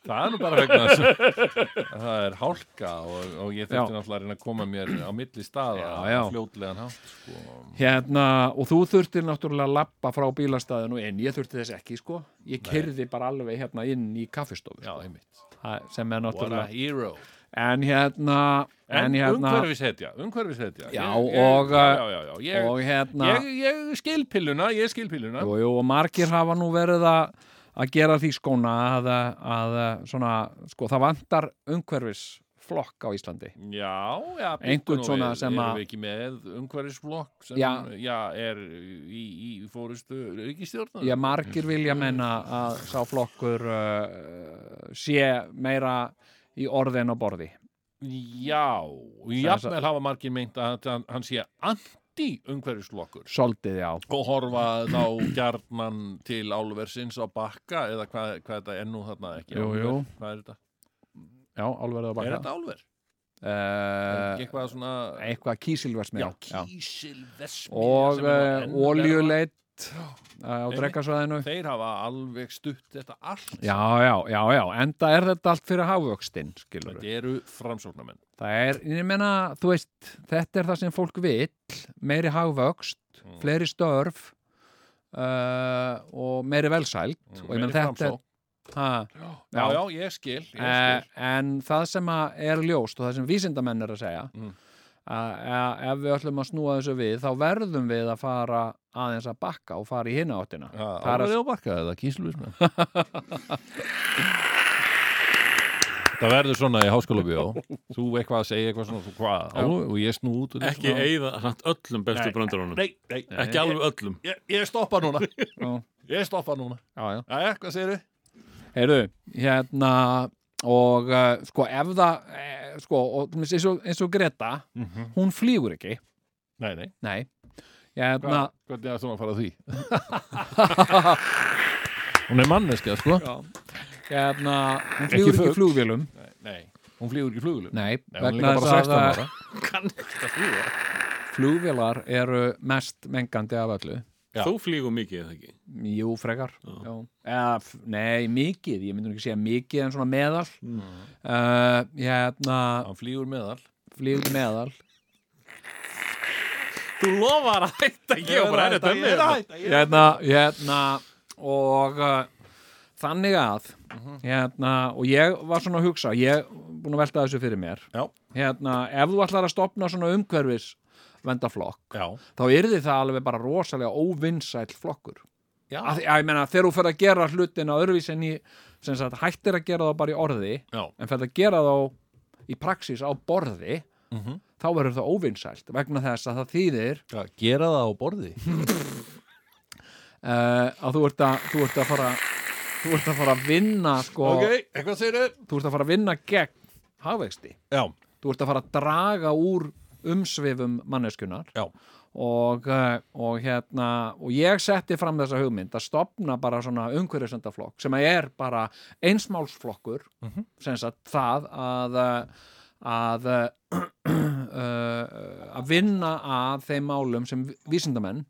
S1: það er nú bara vegna þess að það er hálka og, og ég þurfti
S4: Já.
S1: náttúrulega að reyna að koma mér á milli staða
S4: Já, já.
S1: á fljótlegan hátt sko.
S4: Hérna, og þú þurftir náttúrulega að lappa frá bílastæðinu inn, ég þurfti þess ekki, sko. Ég kyrði bara alveg hérna inn í kaffistofu,
S1: Já,
S4: sko.
S1: einmitt
S4: Það- sem
S1: What
S4: er
S1: a
S4: náttúrulega.
S1: hero
S4: En hérna, en,
S1: En,
S4: hérna,
S1: umhverfishetja, umhverfishetja
S4: Já,
S1: Ég- ég-
S4: og, uh,
S1: Já, já, já, já. Ég,
S4: og hérna,
S1: ég, ég skil pilluna, ég skil pilluna
S4: jú, jú, og margir hafa nú verið að, sko, að gera því skóna að, að svona, sko, það vantar umhverfis flokk á Íslandi
S1: Já, já, bíddu
S4: Einhvern
S1: nú
S4: svona
S1: við,
S4: sem
S1: erum
S4: að-
S1: við ekki með umhverfisflokk sem já.
S4: Já.
S1: er í, í fórustu ríkistjórnar
S4: Já, margir vilja menna að sá flokkur uh, sé meira í orði en á borði
S1: Já, jafnvel hafa margir meint að hann, hann sé anti-umhverfisflokkur
S4: Soldið, já
S1: og horfa þá gjarnan til álversins á bakka eða hvað, hvað þetta er nú þarna ekki
S4: Jú,
S1: álver?
S4: jú.
S1: Hvað er þetta?
S4: Já, álverðið á
S1: Er
S4: baka
S1: þetta álver? Er
S4: Eh,
S1: ekki eitthvað svona
S4: Eitthvað kísilversmiða
S1: já, kísilvesmi
S4: Og uh, oljuleit á
S1: Einmitt.
S4: drekkarsvæðinu
S1: Þeir hafa alveg stutt þetta allt
S4: Já, já, já, já, enda er þetta allt fyrir hafvöxtinn, skilur
S1: Þetta eru framsóknarmenn
S4: Það er, ég meina, þú veist, þetta er það sem fólk vill, meiri hagvöxt,
S1: Mm.
S4: fleiri störf uh, og meiri velsælt. og ég
S1: Mm. Meiri
S4: meina þetta,
S1: Framsókn.
S4: ha,
S1: Já,
S4: Já.
S1: já, ég skil, ég
S4: eh,
S1: skil.
S4: en það sem að er ljóst og það sem vísindamenn er að segja,
S1: Mm.
S4: að, að ef við ætlum að snúa þessu við, þá verðum við að fara aðeins að bakka og fara í hinna áttina. það er að-
S1: á bakka eða sko. kísilvismenn Það verður svona í háskóla bjó Þú eitthvað að segja eitthvað svona þú hvað, á, og ég snú út og
S2: Ekki
S1: svona.
S2: eigða samt öllum bestu bröndarunum
S1: Nei, nei,
S2: Ekki alveg öllum
S1: ég, ég stoppa núna Ég stoppa núna
S4: Já, já.
S1: Jæja, hvað segirðu?
S4: Heyrðu, hérna og uh, sko ef það eh, sko, og, til dæmis eins, og, eins og Greta
S1: Mhm.
S4: hún flýgur ekki,
S1: Nei, nei,
S4: nei
S1: Hva,
S4: hérna,
S1: hvernig er svona að fara að því? Hún er manneska, sko
S4: hérna
S1: Ekki
S4: hún flýgur ekki,
S1: fugl.
S4: ekki flugvélum
S1: Nei, hún flýgur ekki flugulum
S4: nei,
S1: Nei, hún er
S4: vegna
S1: líka bara
S4: þess
S1: 16
S4: að
S1: ára
S2: Kann ekki að flýga
S4: flugvélar eru mest mengandi af öllu
S1: Já.
S2: Þú flýgur mikið eða ekki
S4: jú, frekar já. Eða, f- nei, mikið, ég myndi nú ekki segja mikið en svona meðal uh, hérna,
S1: Hann flýgur meðal
S4: flýgur meðal
S2: Þú lofar að hætta ekki og bara er þetta með þetta.
S4: hérna, hérna og uh, þannig að hérna, og ég var svona að hugsa ég búin að velta þessu fyrir mér
S1: Já.
S4: hérna, ef þú ætlar að stopna svona umhverfis vendaflokk,
S1: Já,
S4: þá yrði það alveg bara rosalega óvinsæll flokkur
S1: já,
S4: að, að, ég meina, þegar þú fyrir að gera hlutin á öðruvís en í, sem sagt, hættir að gera þá bara í orði
S1: já.
S4: en fyrir að gera þá í praxis á borði þá verður það óvinsælt vegna þess að það þýðir
S1: Já, Gera það á borði
S4: uh, að þú ert að, þú ert að fara þú ert að fara að vinna sko,
S1: eitthvað segirðu?
S4: þú ert að fara að vinna gegn hagvexti,
S1: Já,
S4: þú ert að fara að draga úr umsvifum manneskunar
S1: já
S4: og, eh, og hérna og ég setti fram þessa hugmynd að stopna bara svona umhverjusendaflokk sem að er bara einsmálsflokkur sem sagt það að eh, að eh, eh, að vinna að þeim málum sem vi- vísindamenn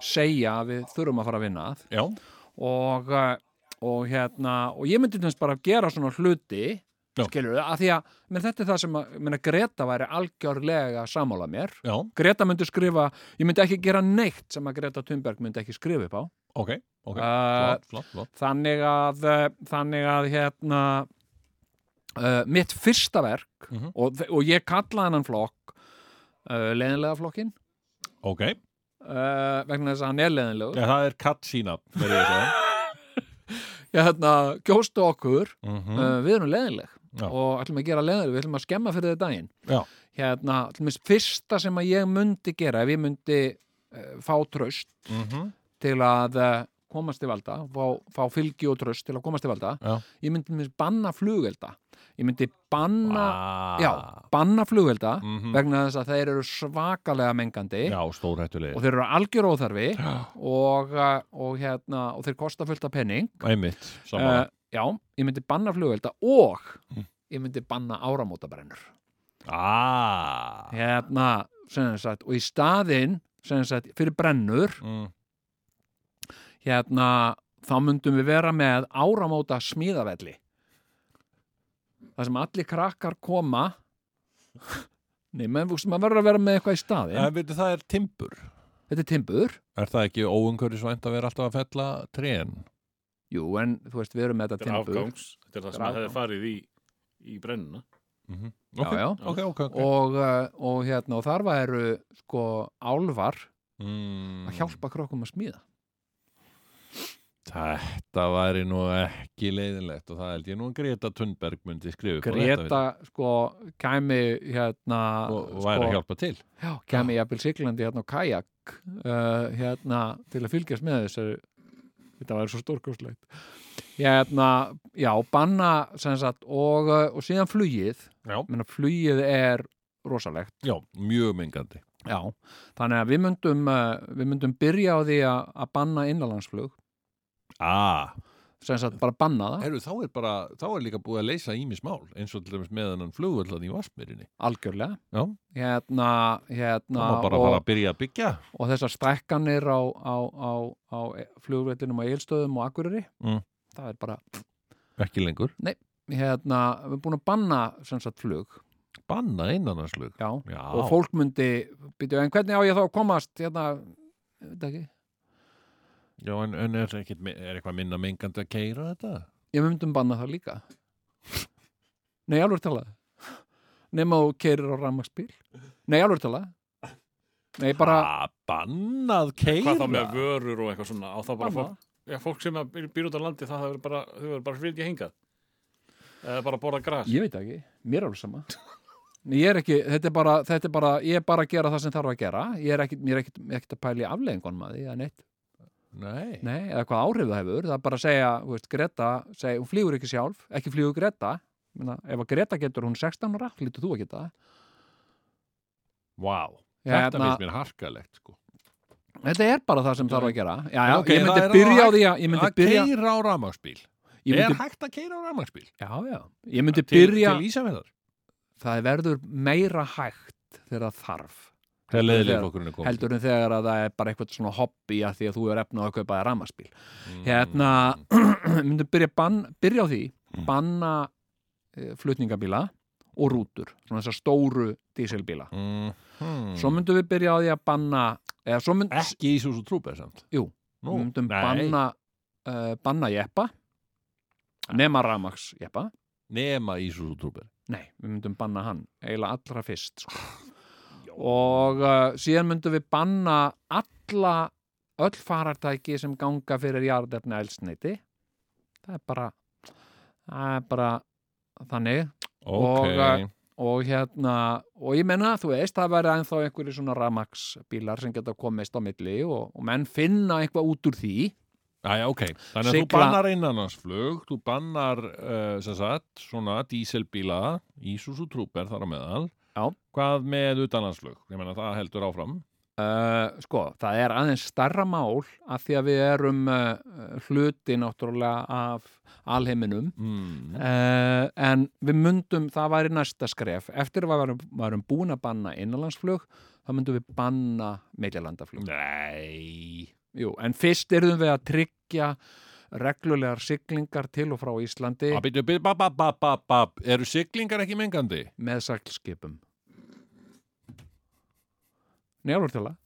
S4: segja að við þurfum að fara að vinna að
S1: Já,
S4: og, eh, og hérna og ég myndi tjóns bara að gera svona hluti
S1: Já.
S4: skilur að því að menn þetta er það sem að, menna, Greta væri algjörlega sammála mér
S1: já,
S4: Greta myndi skrifa, ég myndi ekki gera neitt sem að Greta Thunberg myndi ekki skrifa upp á
S1: ok, ok
S4: uh,
S1: Flott, flott, flott
S4: þannig að eh, þannig að hérna uh, mitt fyrsta verk
S1: Mhm.
S4: og, þe- og ég kallaði hennan flokk uh, leðinlega flokkin
S1: Ok,
S4: uh, vegna þess að hann er leðinlegur
S1: ja, það er katt sína verður ég að segja.
S4: ég hérna, kjóstu okkur
S1: Mhm.
S4: uh, við erum leðileg
S1: Já.
S4: og ætlum að gera leðileg, við ætlum að skemma fyrir þetta daginn
S1: Já.
S4: hérna, ætlum að fyrsta sem að ég myndi gera ef ég myndi uh, fá tröst
S1: Mhm.
S4: til að uh, komast til valda, fá, fá fylgi og tröst til að komast til valda,
S1: Já.
S4: ég myndi til dæmis banna flugelda, ég myndi banna
S1: Ah.
S4: já, banna flugelda
S1: Mhm.
S4: vegna þess að þeir eru svakalega mengandi
S1: Já, stórhættulegir
S4: og þeir eru algjör óþarfi og, uh, og, hérna, og þeir kosta fullt af penning
S1: Æmitt,
S4: uh,
S1: saman
S4: já, ég myndi banna flugvelda og
S2: Mm.
S4: ég myndi banna áramótabrennur
S1: Ah
S4: hérna, sem sagt, og í staðinn sem sagt, fyrir brennur
S1: Mm.
S4: hérna, þá myndum við vera með áramóta smíðavelli það sem allir krakkar koma Nei, menn, þú veist, maður verður að vera með eitthvað í staðinn
S2: Eh.
S1: En veitu, það er timbur
S4: Þetta er timbur,
S1: Er það ekki óumhverju svænt að vera alltaf að fella trén?
S4: jú, en þú veist, við erum með
S2: Þetta
S4: þetta
S2: er
S4: timbur
S2: afgangs Þetta er það
S4: Þetta er
S2: sem hefði
S4: afgangs.
S2: farið í, í brennuna
S1: Ok,
S4: já.
S1: ok, ok, ok
S4: og, uh, og hérna, og þar væru sko álfar
S1: mm.
S4: að hjálpa krökkum að smíða
S1: Þetta væri nú ekki leiðinlegt og það held ég nú að Greta Thunberg myndi skrifa upp á
S4: Greta
S1: þetta,
S4: sko kæmi hérna
S1: við- og, og væri
S4: sko,
S1: að hjálpa til
S4: já, kæmi jafnvel siglandi hérna á kajak uh, hérna til að fylgjast með þessu þetta væri svo stórkostlegt hérna, já, banna sem sagt, og, uh, og síðan flugið
S1: Já.
S4: Menna, flugið er rosalegt
S1: Já, mjög mengandi
S4: já, þannig að við myndum uh, við myndum byrja á því að- að banna innanlandsflug,
S1: ah.
S4: sem sagt bara banna það
S1: Heru, þá, er bara, þá er líka búið að leysa ímismál eins og til dæmis með hennan flugvöldan í Vassmyrinni
S4: algjörlega
S1: Já.
S4: hérna,
S1: Það
S4: hérna
S1: má bara fara að byrja að byggja
S4: og þessar stækkanir á, á, á, á flugvellinum á Egilstöðum og Akureyri
S1: Mm.
S4: það er bara,
S1: ekki lengur,
S4: hérna, við erum búin að banna sem sagt flug,
S1: banna innanlandsflug
S4: já,
S1: Já,
S4: og fólk myndi byrju, en hvernig á ég þá að komast hérna, ég veit ekki
S1: Já en, en er, ekkit, er eitthvað minna mengandi að keira þetta?
S4: ég myndum banna það líka nei, alveg talað nema þú keirir á rammaksbíl nei, alveg talað nei, bara,
S1: ah, bannað keira
S2: Hvað þá með vörur og eitthvað svona á þá bara
S4: Bannað.
S2: fólk, já, fólk sem að býr- býr út á landi það, það verður bara, þau verður bara fylgja hingað eða bara að borða gras
S4: ég veit ekki mér er alveg sama Nei, ég er ekki, þetta er bara, þetta er bara ég er bara að gera það sem þarf að gera ég er ekkit, mér er ekkit, ekkit að pæla í afleðingunum að því eða neitt,
S1: Nei,
S4: nei, eða hvað áhrif það hefur það er bara að segja, þú veist, Greta seg, hún flýgur ekki sjálf, ekki flýgur Greta Ég Meina, ef að Greta getur hún 16 ára lítur þú að geta það
S1: vá
S4: Hérna-
S1: Þetta finnst mér harkalegt sko
S4: þetta er bara það sem þarf að gera já, já,
S1: Ok,
S4: ég
S1: það er
S4: myndi byrja á
S1: hægt
S4: því að ég myndi
S1: Að
S4: byrja,
S1: keira á rafmagsbíl
S4: ég
S1: Er
S4: myndi,
S1: hægt að keira á rafmagsbíl?
S4: já, já, ég myndi
S1: Til,
S4: byrja
S1: til Ísafjörðar
S4: það verður meira hægt þegar það þarf
S1: Það er leiðileg
S4: Þegar-
S1: fólkurinn að koma
S4: heldur en þegar að það er bara eitthvað svona hobby að því að þú er efnað að kaupa þér ramaspíl
S1: Mm.
S4: hérna, myndum byrja, bann, byrja á því
S1: Mm.
S4: banna e, flutningabíla og rútur svona þessar stóru dísilbíla
S1: mm. hmm.
S4: svo myndum við byrja á því að banna eða svo mynd,
S1: Ekki Ísus og Trúber samt
S4: Jú. Mm.
S1: Nú,
S4: myndum
S1: nei.
S4: banna uh, banna jeppa nema ramaks jeppa
S1: Nema Ísus og Trúber
S4: nei, við myndum banna hann eiginlega allra fyrst sko. og uh, síðan myndum við banna alla öll farartæki sem ganga fyrir jarðefna elsneiti það er bara það er bara þannig Og, eh,
S1: Ok,
S4: og hérna, og ég menna þú veist, það verða ennþá einhverju svona ramaksbílar sem geta komist á milli og, og menn finna eitthvað út úr því
S1: Æja, ok, þannig að þú
S4: sigla-
S1: bannar innanlandsflug, þú bannar, uh, sem sagt, svona díselbíla, Ísus og Trúber þar á meðal.
S4: Já.
S1: Hvað með utanlandsflug? Ég meina, það heldur áfram.
S4: Uh, sko, það er aðeins starra mál að því að við erum uh, hluti náttúrulega af alheiminum
S1: Mm.
S4: uh, en við myndum, það væri næsta skref eftir að við varum, varum búin að banna innanlandsflug, þá myndum við banna millilandaflug
S1: Nei.
S4: Jú, en fyrst erum við að tryggja reglulegar siglingar til og frá Íslandi
S1: Að byrja, byrja, Ah, bap, bap, bap, bap, bap, eru siglingar ekki mengandi?
S4: með seglskipum Njálfur til það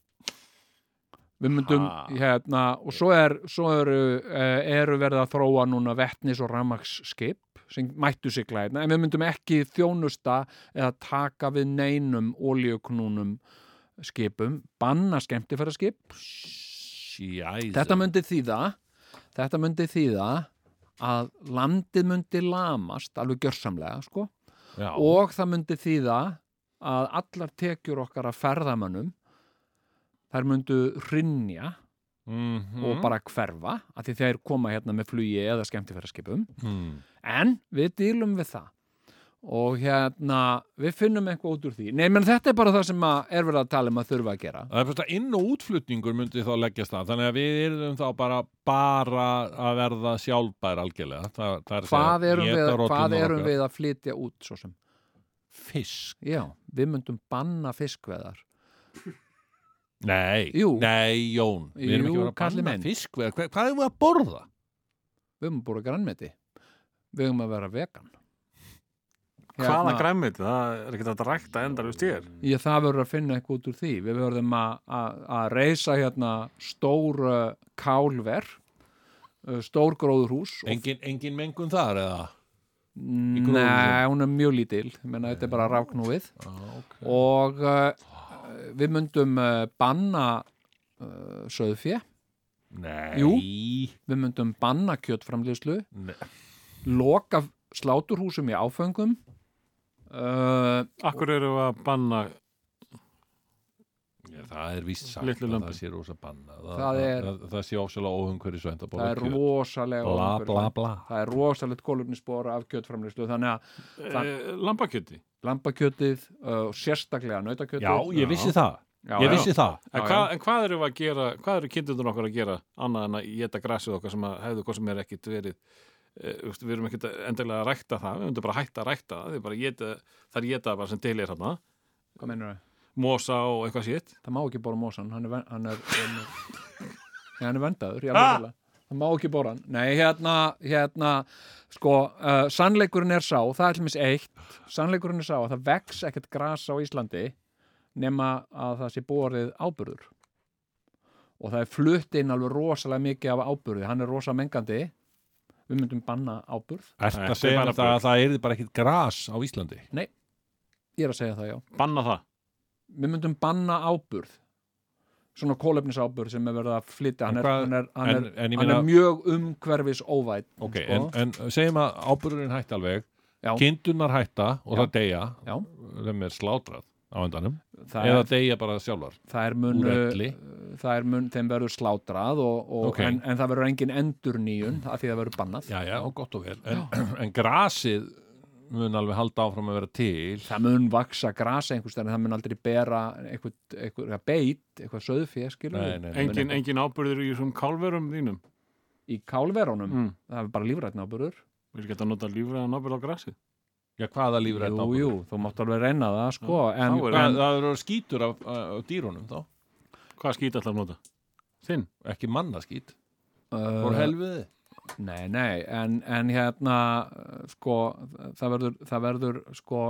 S4: Við myndum,
S1: Ha.
S4: hérna, og svo, er, svo eru, eh, eru verið að þróa núna vetnis og ramaksskip sem mættu sigla hérna, en við myndum ekki þjónusta eða taka við neinum olíuknúnum skipum, banna skemmtifæraskip
S1: Sjæði.
S4: Þetta myndi þýða þetta myndi þýða að landið myndi lamast alveg gjörsamlega, sko
S1: Já,
S4: og það myndi þýða að allar tekjur okkar af ferðamönnum þær myndu hrynja
S1: Mhm.
S4: og bara hverfa af því þeir koma hérna með flugi eða skemmtifæraskipum
S1: Mm.
S4: en við dýlum við það og hérna við finnum eitthvað út úr því nei, menn þetta er bara það sem að er verið að tala um að þurfa að gera
S1: Það er bara inn og útflutningur myndi þá leggjast það, þannig að við erum þá bara, bara að verða sjálfbær algjörlega. Það, það er að segja,
S4: hvað erum, við,
S1: éta rollurnar
S4: hvað erum
S1: okkar.
S4: við að flytja út svo sem
S1: Fisk.
S4: já, við myndum banna fiskveðar
S1: Nei,
S4: Jú.
S1: nei Jón Við erum
S4: Jú,
S1: ekki að fara
S4: Kalli
S1: að
S4: minn.
S1: banna fisk við, hvað, hvað erum við að borða?
S4: við höfum búið að grannmeti við höfum að vera vegan Hérna,
S2: Hvaða græmið, það er ekki þetta rækta endar við stíðir
S4: Já, það verður að finna eitthvað út úr því. Við verðum að- að að reysa hérna stór uh, kálver, uh, stór gróðurhús. og-
S1: Engin, engin mengun þar eða? gróðurhúsi?
S4: Nei, hún er mjög lítil, menna þetta er bara ráknúið.
S1: Okay.
S4: Og uh, við myndum uh, banna uh, söðfjö
S1: Nei.
S4: Jú. Við myndum banna kjötframleyslu
S1: Nei.
S4: loka sláturhúsum í áföngum uh,
S2: Akkur eru að banna
S1: Já, Það er víst sagt
S2: Litlu
S1: að
S2: lömbin.
S1: það sé rosa banna. Það,
S4: Það er-
S1: það, það sé ofsalega óhungverið svend að
S4: það
S1: borða
S4: er
S1: kjöt.
S4: rosalega
S1: Bla,
S4: ofurverð.
S1: bla, bla.
S4: það er rosalegt kólurnisbor af kjötframleyslu þannig að
S2: Þa...
S4: Það-
S2: eh, lambakjöti.
S4: lambakjötið uh, og sérstaklega nautakjötið
S1: Já, ég vissi það.
S4: Já,
S1: Ég
S4: já.
S1: vissi það.
S2: En,
S4: Já,
S2: hva, en hvað eru að gera, hvað eru kindundur okkar að gera annað en að geta grasið okkar sem að hefðu hvað sem er ekkit verið e, við erum ekkit endilega að rækta það við myndum bara að hætta að rækta það, Þið bara geta, það er geta bara sem til er hérna
S4: Hvað meinarðu?
S2: mosa og eitthvað sitt
S4: það má ekki bóra mósan hann er, ven- hann er, hann er, Nei, hann er vendaður í alveg fjöla það má ekki bóra hann nei hérna, hérna sko, uh, sannleikurinn er sá, það er allmis eitt sannleikurinn er sá að það vex ekkert gras á Íslandi nema að það sé borið áburður og það er flutt inn alveg rosalega mikið af áburði, hann er rosa mengandi við myndum banna áburð
S1: Ertu
S2: Þetta
S1: að
S2: er
S1: segja
S2: bara
S1: þetta að það er bara ekkit gras á Íslandi?
S4: ég er að segja það já
S2: banna það
S4: við myndum banna áburð svona kólefnisáburð sem er verið að flytja hann
S1: En
S4: er,
S1: hvað-
S4: hann er, hann
S1: En,
S4: er,
S1: en ég
S4: hann
S1: meina,
S4: er mjög umhverfis óvæt sko.
S1: ok, en, en segjum að ábyrðurinn hætti alveg,
S4: Já.
S1: kindunar hætta og
S4: Já.
S1: það deyja,
S4: Já.
S1: þeim er slátrað á endanum,
S4: það,
S1: eða
S4: er,
S1: deyja bara sjálfar.
S4: það er
S1: úr
S4: mun uh,
S1: elli.
S4: það er mun, þeim verður slátrað og, og,
S1: Ok.
S4: en, en það verður engin endurnýjun af því það verður bannað
S1: Já, já, gott og vel. En, en grasið mun alveg halda áfram að vera til.
S4: það mun vaksa grasa einhvers staðar en það mun aldrei bera eitthvað, eitthvað, eitthvað beit eitthvað söðfér skilur
S1: Nei,
S4: við,
S1: nei, nei.
S2: engin, engin ábyrður í þessum kálverum þínum
S4: í kálverunum
S2: mm.
S4: það er bara lífrætna áburður
S2: við geta að nota lífræðan ábyrð á grasið
S1: Já, hvaða lífur er
S4: jú, jú, þú mátt alveg reyna það sko, en,
S2: þá er-
S4: en,
S1: Það eru skítur af, af dýrunum þá,
S2: hvað skýt alltaf að nota? þinn,
S1: ekki mannaskít.
S4: uh,
S1: Hvor helviði?
S4: Nei, nei, en, en hérna uh, sko, það verður, það verður sko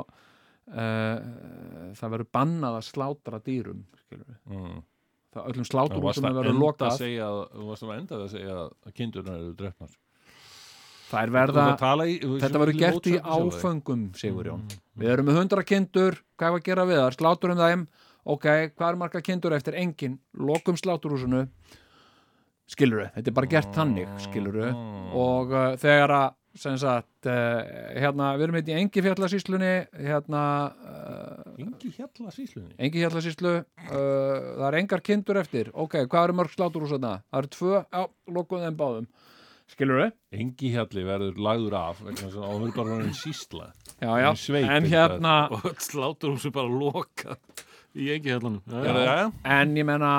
S4: uh, það verður bannað að slátra dýrum skilur við.
S1: Mm.
S4: Það
S1: Þú
S4: öllum
S1: varst
S4: sláturhúsum
S1: að
S4: verður
S1: enda að
S4: lokað
S1: segja, þú varst að enda að segja að kindurnar eru drefnar.
S4: Það
S1: Þú
S4: er
S1: ert
S4: verða,
S1: að tala í- þú-
S4: þetta
S1: þú-
S4: verður gert í
S1: mótsögn sjálfum þér.
S4: áföngum Sigurjón. Við erum með hundra kindur, hvað er að gera við það? Sláturum þeim, ok, hvað er marga kindur eftir? Engin, lokum sláturhúsinu skilur við, þetta er bara gert þannig skilur við og uh, þegar að sem sagt, uh, hérna, við erum heit í engi fjallasýslunni hérna uh,
S1: Engi hjalla síslunni.
S4: engi fjallasýslu uh, það er engar kindur eftir, ok, hvað eru mörg sláturhúsana? Það eru tvö, já, lokum þeim báðum, skilur við
S1: Engi hjalli verður lagður af vegna þess að hún er bara hann sísla
S4: já, já,
S1: Hún sveik
S4: en
S1: eitthvað.
S4: hérna
S2: og öll slátur hún sem bara loka í engi hellanum
S1: Er það?
S4: en ég menna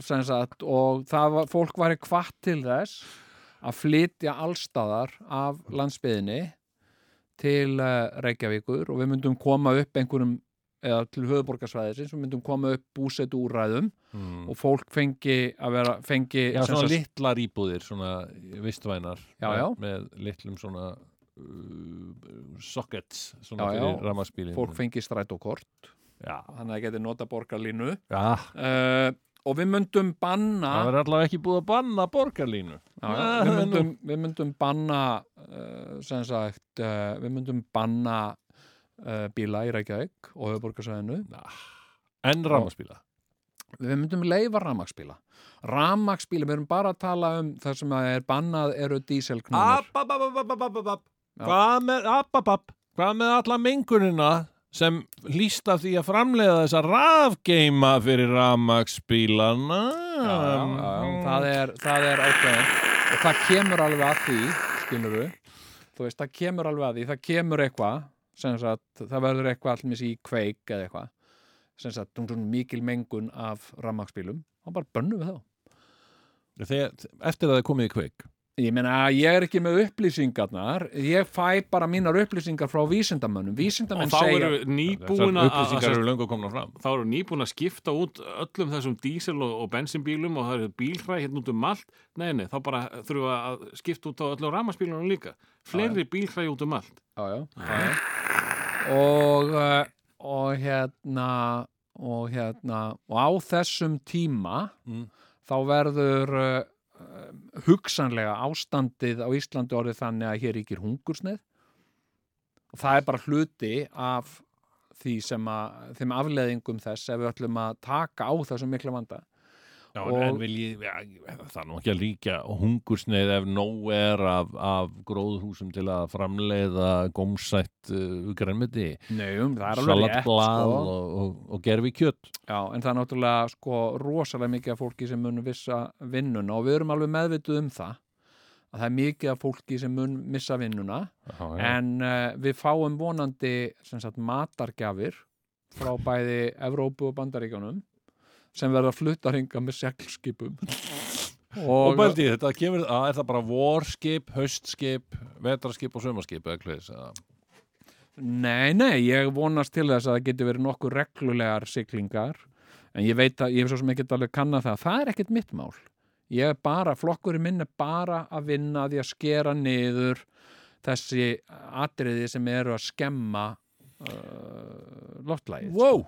S4: sem sagt, og það var, fólk væri hvatt til þess að flytja allstaðar af landsbyðinni til eh, Reykjavíkur og við myndum koma upp einhverjum eða til höfuborgarsvæðisins, við myndum koma upp búsetu úræðum
S1: Mm.
S4: og fólk fengi að vera, fengi
S1: Já,
S4: sem
S1: svona
S4: sagt-
S1: litlar íbúðir, svona vistvænar
S4: Já, já.
S1: með litlum svona uh, sockets svona
S4: Já, já.
S1: fyrir rammarspílin
S4: fólk fengi strætókort
S1: Já,
S4: þannig að það geti nota borgarlínu
S1: já.
S4: uh, og við myndum banna
S1: Ah. það verður allavega ekki búið að banna borgarlínu
S4: Já,
S1: Ah,
S4: já, við,
S1: nú.
S4: myndum, við myndum banna uh, sem sagt uh, við myndum banna uh, bíla í Reykjavík og höfuborgarsæðinu
S1: En rammarspíla
S4: við myndum leifa rafmaksbíla rafmaksbíla, við erum bara að tala um það sem að er bannað eru díselknúmur
S1: Abababababababab
S4: Já.
S1: Hvað með ababab Hvað með alla mengunina sem líst af því að framleiða þessa rafgeima fyrir rammarspílana
S2: Um,
S4: það er, það er ákveðin og það kemur alveg að því skilur þú veist, það kemur alveg að því það kemur eitthvað sem sagt, það verður eitthvað allmis í kveik eða eitthvað sem sagt, dun- dun- mikil mengun af rafmaksbílum og bara bönnum við þá
S1: Þegar, eftir að það er komið í kveik
S4: Ég meina, ég er ekki með upplýsingarnar, ég fæ bara mínar upplýsingar frá vísindamönnum.
S2: og
S4: Vísindamenn
S2: þá
S4: segja,
S2: eru nýbúin
S1: Þessar
S2: að- að
S1: upplýsingar eru löngu komna fram
S2: þá eru nýbúin að skipta út öllum þessum dísel og, og bensinbílum og það eru bílhræ hérna út um allt nei, nei, þá bara þurfum við að skipta út á öllum rafmarsbílunum líka fleiri bílhræ út um allt
S4: já, já, já, já. Og, eh, og hérna, og hérna, og á þessum tíma,
S1: Mm.
S4: þá verður uh, hugsanlega ástandið á Íslandi orðið þannig að hér ríkir hungursneið og það er bara hluti af því sem að, þeim afleðingum þess ef við ætlum að taka á þessum mikla vanda
S1: Já, en,
S4: Og-
S1: en vil ég, ja, það er nú ekki að líka hungursneið ef nóg er af, af gróðhúsum til að framleiða gómsætt uh, grænmeti,
S4: Nei, um, það er alveg rétt
S1: salatblað
S4: sko.
S1: og, og, og gerfi kjött.
S4: Já, en það er náttúrulega sko rosalega mikið af fólki sem mun vissa vinnuna og við erum alveg meðvituð um það að það er mikið af fólki sem mun missa vinnuna en uh, við fáum vonandi sem sagt matargjafir frá bæði Evrópu og Bandaríkjunum sem verða fluttar hinga með seglskipum
S1: og bældi, þetta kemur, að, er það bara vorskip, haustskip, vetraskip og sömarskip, eða hvað þess að...
S4: Nei, nei, ég vonast til þess að það getur verið nokkuð reglulegar siglingar en ég veit að, ég hef svo sem ekkert alveg kannað það það er ekkert mitt mál ég er bara, flokkurinn minn er bara að vinna að því að skera niður þessi atriði sem eru að skemma uh, loftlægið
S1: Wow!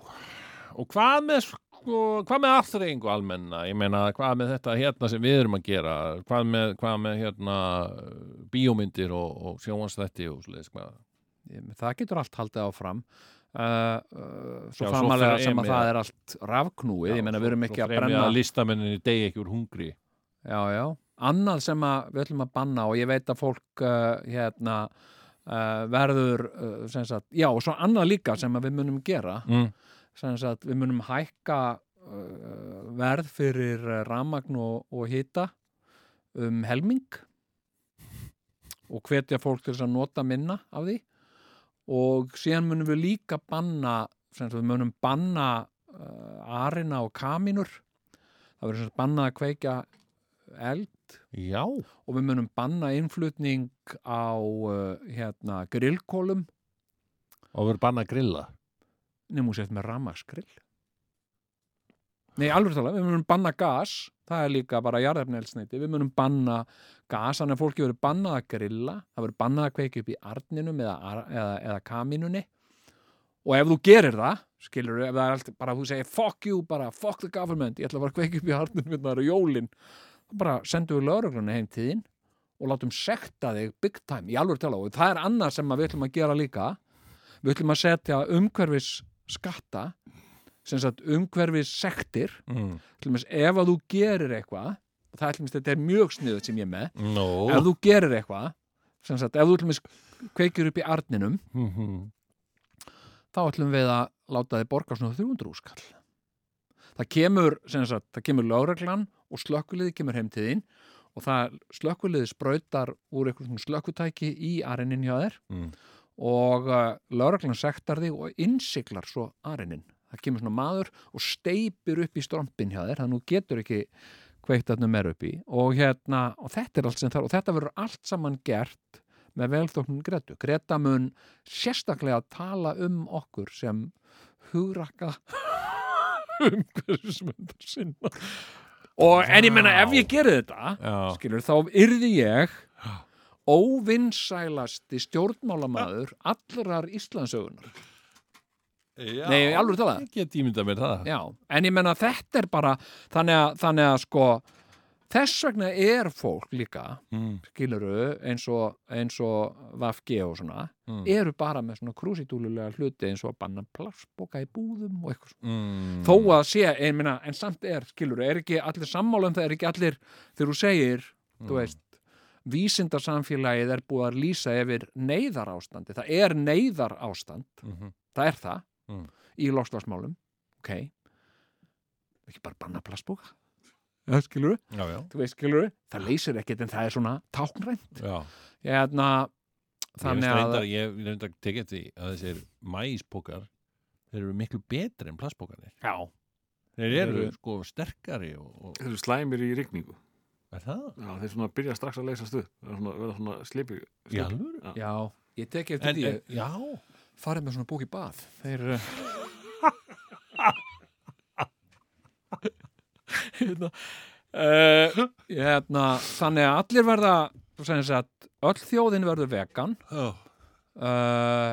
S1: Og hvað með, sko, hvað með aftrengu almenna? Ég meina, hvað með þetta hérna sem við erum að gera? Hvað með, hvað með hérna bíómyndir og, og sjónvansþætti og sliðis, hvað?
S4: það getur allt haldið áfram Uh, uh, svo
S1: Já, svo
S4: framalega
S1: fer
S4: sem
S1: EM
S4: að
S1: í
S4: það
S1: það.
S4: er allt rafknúið, ég meina
S1: svo-
S4: við erum ekki
S1: svo
S4: að
S1: fremja
S4: brenna
S1: listamenninni degi ekki úr hungri
S4: Já, já. Annað sem að við ætlum að banna og ég veit að fólk uh, hérna uh, verður uh, sem sagt, já og svo annað líka sem að við munum gera
S1: mm.
S4: sem sagt, við munum hækka uh, verð fyrir ramagn og, og hita um helming og hvetja fólk til þess að nota minna af því og síðan munum við líka banna sem sagt, við munum banna uh, arina og kaminur það verður sem sagt bannað að kveikja eld
S1: Já,
S4: og við munum banna innflutning á uh, hérna, grillkólum
S1: og við erum banna að grilla
S4: nefnum hún sett með ramagsgrill Nei, alveg tala, við munum banna gas það er líka bara jarðefnelsneiti við munum banna gas þannig að fólki verður bannað að grilla það verður bannað að kveiki upp í arninum eða, ar- eða, eða kaminunni og ef þú gerir það skilur ef það er allt, bara þú segir fuck you bara, fuck the government, ég ætla bara að kveiki upp í arninum hérna eru jólin þá bara sendum við lögreglunni heim tíðin og látum sekta þig big time í alveg tala og það er annað sem að við ætlum að gera líka við ætlum að setja umhverfis skatta sem sagt umhverfis sektir
S1: mm.
S4: til dæmis ef að þú gerir eitthvað og það ætlum að þetta er mjög sniðut sem ég er með
S1: No
S4: ef þú gerir eitthvað sem sagt ef þú ætlum að kveikir upp í arninum
S1: Mhm.
S4: þá ætlum við að láta þið borga svona 300 úrskall það kemur sem sagt það kemur lögreglan og slökkuliði kemur heim til þín og það slökkuliði sprautar úr einhvern slökkutæki í arinin hjá þér
S1: Mm.
S4: og uh, lögreglan sektar þig og innsiklar svo arinin það kemur svona maður og steipir upp í strompin hjá þér, þannig að nú getur ekki kveikt þarna meir upp í og, hérna, og þetta er allt sem þar og þetta verður allt saman gert með velþóknum Gretu. Greta mun sérstaklega tala um okkur sem hugrakka umhverfismyndar sinna og en ég menna ef ég geri þetta
S1: Já.
S4: skilur þá yrði ég óvinsælasti stjórnmálamaður allrar Íslandsögunar
S1: Já.
S4: Nei, alveg talað.
S1: Ég get ímynda mér það
S4: Já, en ég menna þetta er bara þannig að, þannig að sko þess vegna er fólk líka
S1: mm.
S4: skiluru eins og, eins og VFG og svona
S1: Mm.
S4: eru bara með svona krúsitúlulega hluti eins og að banna plastboka í búðum og eitthvað svona
S1: Mm.
S4: þó að sé, en, minna, en samt er skiluru, er ekki allir sammála um það er ekki allir þegar þú segir,
S1: Mm.
S4: þú veist vísindarsamfélagið er búið að lýsa yfir neyðar ástandi, það er neyðar ástand,
S1: Mhm.
S4: það er það
S1: Mm.
S4: í lofslagsmálum, ok ekki bara banna plastboka ja, skiluru,
S1: Já, já,
S4: þú veist skiluru það leysir ekkert en það er svona táknrænt
S1: já.
S4: hérna, þannig
S1: ég
S4: að
S1: reyndar, ég ég reyndar að tekja því að þessir mæspókar þeir eru miklu betri en plastpókarnir
S4: já,
S1: þeir
S4: Þeir
S1: eru
S4: eru-
S1: sko sterkari og, og
S2: Þeir eru slæmir í rigningu.
S1: er það?
S2: Já, þeir svona byrja strax að leysa stuð. Það er svona, verða svona slipi.
S1: Í alvöru?
S4: já, ég tek eftir
S1: En,
S4: Sko, því
S1: en, já,
S4: farið með svona bók í bað þeir uh, hérna, uh, hérna, þannig að allir verða sem sagt, öll þjóðin verður vegan
S1: já.
S4: uh,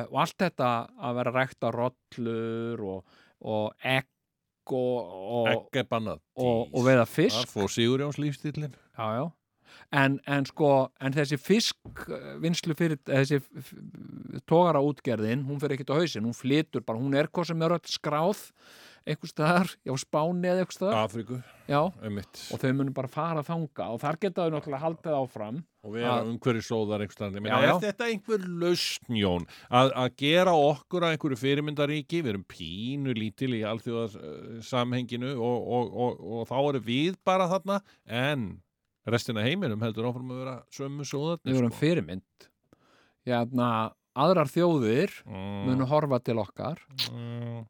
S4: og allt þetta að vera rækta rollur og, og egg og, og,
S1: ekki bannað
S4: og, og veiða fisk
S1: og Sigurjóns lífstýrlin
S4: já, já. En, en sko, en þessi fiskvinnslu fyrir, eh, þessi tógara útgerðin, hún fyrir ekkert á hausinn, hún flytur bara, hún er hvað sem er öll skráð einhvers staðar, já Spáni eða einhvers staðar
S1: Afríku,
S4: já,
S1: einmitt
S4: og þau munum bara fara að þanga og þar geta þau náttúrulega haldið áfram
S1: og við erum
S4: að-
S1: umhverju sóðar einhverstaðar.
S4: Já,
S1: Er
S4: já.
S1: þetta einhver lausn, Jón, að, að gera okkur að einhverju fyrirmyndaríki, við erum pínu lítil í alþjóðar uh, samhenginu og, og, og, og þá erum við bara þarna, en restina af heiminum heldur áfram að vera sömu sóðarnir. sko.
S4: við erum fyrirmynd Sko. hérna, aðrar þjóðir munu horfa til okkar
S1: Mm,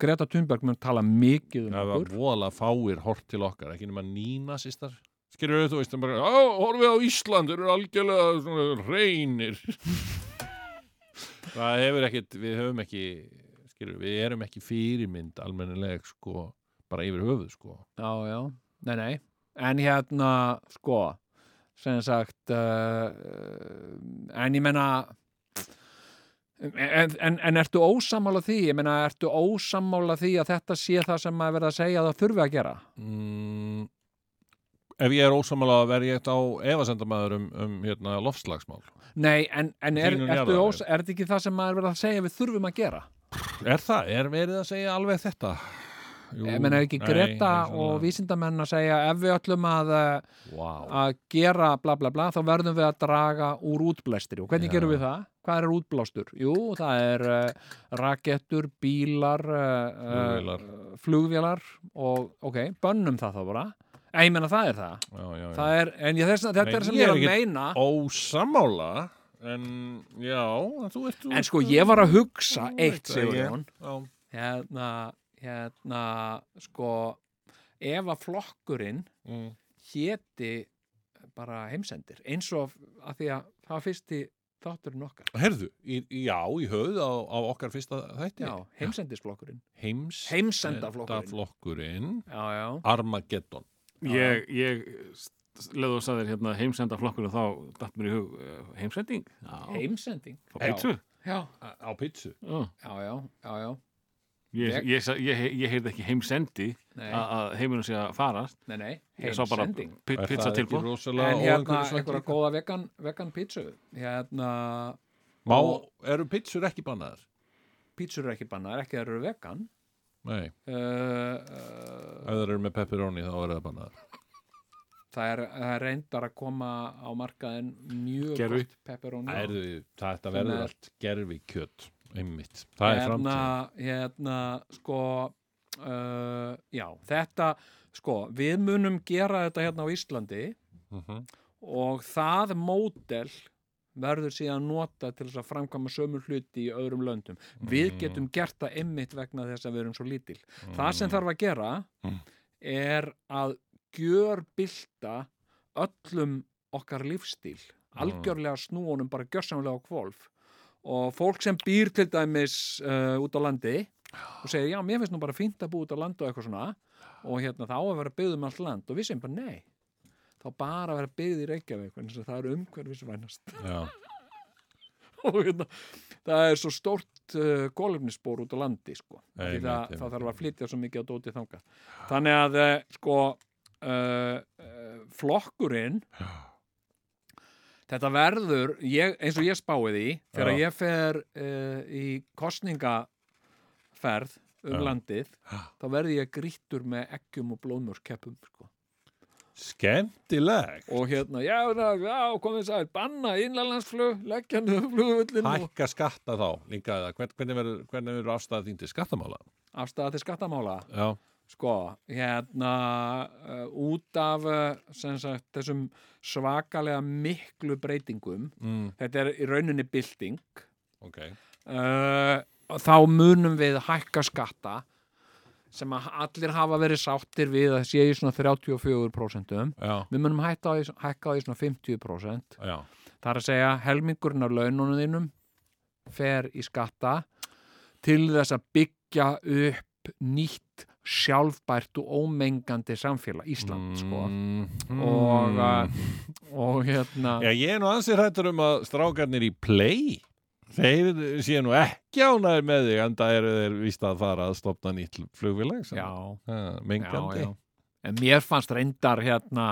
S4: Greta Thunberg mun tala mikið um
S1: það var
S4: okkur
S1: vola fáir hort til okkar, ekki nema nína sýstar. Skilur þú veist, það er bara, á, horfið á Ísland, þeir eru algjörlega svona reynir. það hefur ekkit, við höfum ekki, skilur við erum ekki fyrirmynd almennileg, sko, bara yfir höfuð, sko.
S4: já, já, nei, nei en hérna, sko sem sagt uh, en ég menna en, en, en ertu ósammála því ég menna, ertu ósammála því að þetta sé það sem maður verið að segja að það þurfi að gera
S1: Mm, ef ég er ósamála að verja eitt á efasendamæður um, um hérna, lofslagsmál.
S4: Nei, en, en er,
S1: Hlýnun
S4: ertu
S1: jarðar,
S4: ós, er þetta ekki það sem maður verið að segja að við þurfum að gera?
S1: Er það, er verið að segja alveg þetta? Jú,
S4: Ég menna ekki
S1: nei,
S4: Greta
S1: hugsanlega.
S4: og vísindamenn að segja ef við ætlum að, eh,
S1: Vá.
S4: að gera bla bla bla þá verðum við að draga úr útblæstri og hvernig
S1: Já.
S4: gerum við það? Hvað er útblástur? Jú, það er uh, rakettur, bílar, uh,
S1: Flugvélar.
S4: flugvélar og ok, bönnum það þá bara. En ég menna það er það.
S1: Já, já, já.
S4: það er, en ég, þess,
S1: Nei,
S4: þetta er sem
S1: ég
S4: ég
S1: er
S4: er að
S1: ekkert-
S4: meina.
S1: ósamála en já, þú ert
S4: En sko, ég var að hugsa
S1: Ég veit
S4: eitt,
S1: það
S4: Sigur
S1: ekki.
S4: Jón. hérna, hérna sko ef að flokkurinn
S1: mm.
S4: héti bara heimsendir eins og að því að það var fyrsti þátturinn okkar
S1: Herðu, í, já, í höfð á, á okkar fyrsta þætti
S4: já, heimsendisflokkurinn,
S1: Heims
S4: heimsendaflokkurinn
S1: flokkurinn
S4: já, já,
S1: Armageddon
S2: Ég, ég leðu að sagðir hérna heimsenda flokkur og þá datt mér í hug eh, heimsending? Já.
S4: heimsending
S2: Á pítsu?
S4: já,
S1: á, á pizzu
S2: Já.
S4: já, já, já, já.
S2: Ég,
S4: Ég-
S2: ég, sa- ég, ég, ég heyrði ekki heimsendi
S4: Nei,
S2: að að heimurinn sé að farast.
S4: nei, nei,
S2: Ah. Ég sá bara
S4: heimsending
S2: pi- pizza tilbúð.
S1: rosalega
S4: en hérna
S1: óumhverfisvænt
S4: einhverja
S1: líka?
S4: góða vegan, vegan pítsu hérna,
S1: Má, eru pizzur ekki bannaðar?
S4: pítsur eru ekki bannaðar ekki þær eru vegan
S1: Nei,
S4: uh,
S1: ef það eru með pepperoni þá eru það bannaðar
S4: það er, það er reyndar að koma á markaðin mjög
S2: Gervi.
S4: gott pepperoni
S1: Erðu, þetta
S4: Þannig
S1: verður
S4: að-
S1: allt gerfi kjöt einmitt, það er framtíð
S4: hérna sko uh, já, þetta sko, við munum gera þetta hérna á Íslandi
S1: Mhm.
S4: og það módel verður síðan nota til þess að framkama sömur hluti í öðrum löndum
S1: Mm.
S4: við getum gert það einmitt vegna þess að við erum svo lítil
S1: Mhm.
S4: það sem þarf að gera
S1: Mm.
S4: er að gjörbylta öllum okkar lífstíl algjörlega snúunum bara gjörsamlega á kvolf og fólk sem býr til dæmis uh, út á landi og segir já, mér finnst nú bara fínt að búa út á landi og eitthvað svona og hérna þá á að vera byggð um allt land og við segjum bara nei þá bara að vera byggð í Reykjavík vegna þess að það eru umhverfisvænast
S1: Já,
S4: og hérna, það er svo stórt uh, kólefnisbór út á landi sko. Af því
S1: Einmitt,
S4: það,
S1: einmitt.
S4: það þarf að flytja svo mikið á dótið þangað þannig að uh, sko uh, uh, flokkurinn þetta verður ég, eins og ég spáið í þegar
S1: Já.
S4: ég fer uh, í kostningaferð um
S1: Já.
S4: landið
S1: Já.
S4: þá verði ég grýttur með eggjum og blóðmörskeppum sko
S1: skemmtileg
S4: og hérna, já, na, já komið sæl, banna innlanlandsflug, leggja niður flugvöllin og
S1: Hækka skatta þá líka eða hvern- hvernig verður, hvernig verður afstæða þín til skattamála?
S4: afstæða til skattamála
S1: Já,
S4: sko, hérna uh, út af uh, sem sagt, þessum svakalega miklu breytingum
S1: mm,
S4: þetta er í rauninni bylting
S1: ok
S4: uh, þá munum við hækka skatta sem að allir hafa verið sáttir við að sé í svona 34%
S1: Já,
S4: við munum hætta á því- hækka á í svona 50%
S1: já,
S4: Það er að segja helmingurinn af laununum þínum fer í skatta til þess að byggja upp nýtt sjálfbært og ómengandi samfélag
S1: Mm.
S4: Ísland
S1: sko
S4: Og, uh, sko og hérna
S1: Já, ég er nú ansið hættur um að strákarnir í play Þeir séu nú ekki ánægir með þig en það eru þeir víst að fara að stopna nýtt flugvélag
S4: já, já,
S1: eh, Mengandi
S4: já en mér fannst reyndar hérna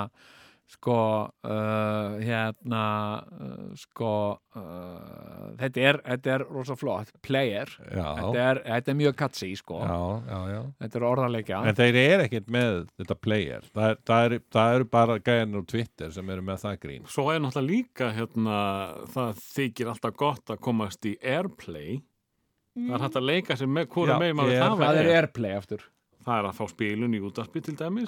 S4: sko uh, hérna uh, sko uh, þetta er, þetta er rosa flott player,
S1: já,
S4: þetta er, þetta er mjög katsi sko,
S1: já, já, já.
S4: þetta er orðarleikja
S1: En þeir eru ekkert með þetta player Það, er, það, er, það eru bara gæðanir á Twitter sem eru með það grín
S2: Svo er náttúrulega líka hérna, það þykir alltaf gott að komast í Airplay Það er hægt að leika sér með hvora
S1: Já,
S2: megin maður
S1: Air-
S2: það
S4: það
S2: væri.
S4: er airplay aftur
S2: Það er að fá spilun í útarpi til dæmis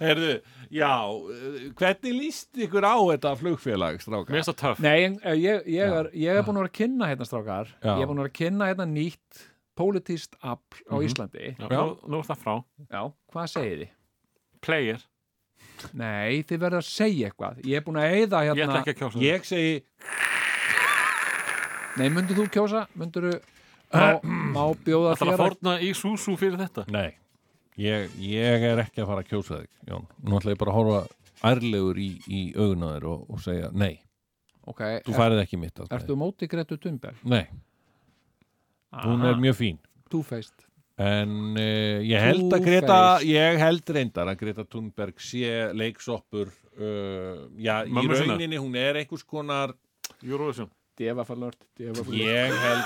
S1: Herðu, Ah. já eh, Hvernig líst ykkur á þetta flugfélag, stráka?
S2: Mér er það töff
S4: Nei, en, eh, ég, ég,
S1: Já.
S4: er, ég er búin að vera að kynna hérna strákar,
S1: Já.
S4: ég er búin að vera að kynna hérna nýtt pólitíst afl
S1: Mhm.
S4: á Íslandi
S2: Já,
S1: Já.
S2: nú, nú er það frá
S4: Já, hvað segið þið?
S2: Player,
S4: Nei, þið verður að segja eitthvað Ég er búin að eyða
S2: ég ætla
S4: hérna
S2: ekki að kjósa
S1: Ég segi
S4: Nei, myndir þú kjósa? Myndir má, má bjóða
S2: Það er að
S4: að-
S2: fórna í Súsú fyrir þetta
S1: Nei, ég, ég er ekki að fara að kjósa þig Jón, nú ætla ég bara að horfa ærlegur í, í augunaður og, og segja Nei,
S4: Ok,
S1: þú
S4: er,
S1: færið ekki mitt atkvæði.
S4: ertu á móti Gretu Thunberg?
S1: Nei, hún er mjög fín
S4: Two-faced
S1: En uh, ég held að
S4: Two-faced.
S1: Greta, ég held reyndar að Greta Thunberg sé leiksoppur, uh, já,
S2: Mömmu
S1: í
S2: sinnar.
S1: rauninni hún er einhvers konar,
S2: Eurovision
S4: Devafalört, devafalört
S1: ég held,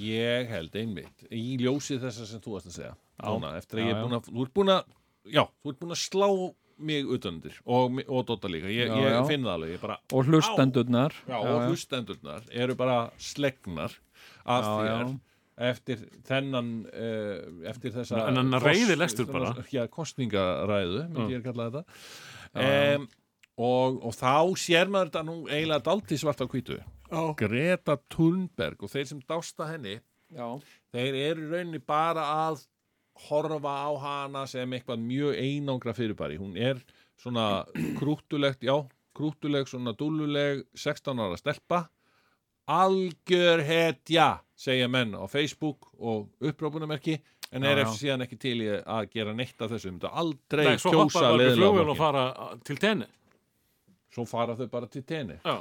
S1: ég held einmitt, í ljósi þessa sem þú varst að segja, ána, eftir að
S4: Já,
S1: ég er
S4: já.
S1: búin að, þú ert búin að, já, þú ert búin að slá mig utanundir og, mi- og Dota líka, ég,
S4: Já,
S1: ég
S4: já.
S1: finn það alveg, ég bara,
S4: Og hlustendurnar
S1: já, og hlustendurnar eru bara slegnar af
S4: Já, já.
S1: þér eftir þennan uh, eftir þessa
S2: En hann
S1: kos-
S2: reiðilestur bara.
S1: þennan- já, kostningaræðu, myndi ég kalla þetta um, og, og þá sér maður þetta nú eiginlega dalti svart á hvítu oh. Greta Thunberg og þeir sem dásta henni
S4: já.
S1: þeir eru í rauninni bara að horfa á hana sem eitthvað mjög einangra fyrirbæri hún er svona krúttulegt já, krúttuleg, svona dúluleg 16 ára stelpa algjör hetja segja menn á Facebook og upprópunamerki en
S4: Já,
S1: er
S4: já.
S1: eftir síðan ekki til í að gera neitt af þessu, mynda aldrei
S2: Nei, svo hoppar
S1: kjósa
S2: bara við
S1: leðilega
S2: flugvél og fara uh, til tenni
S1: svo fara þau bara til tenni
S2: Já,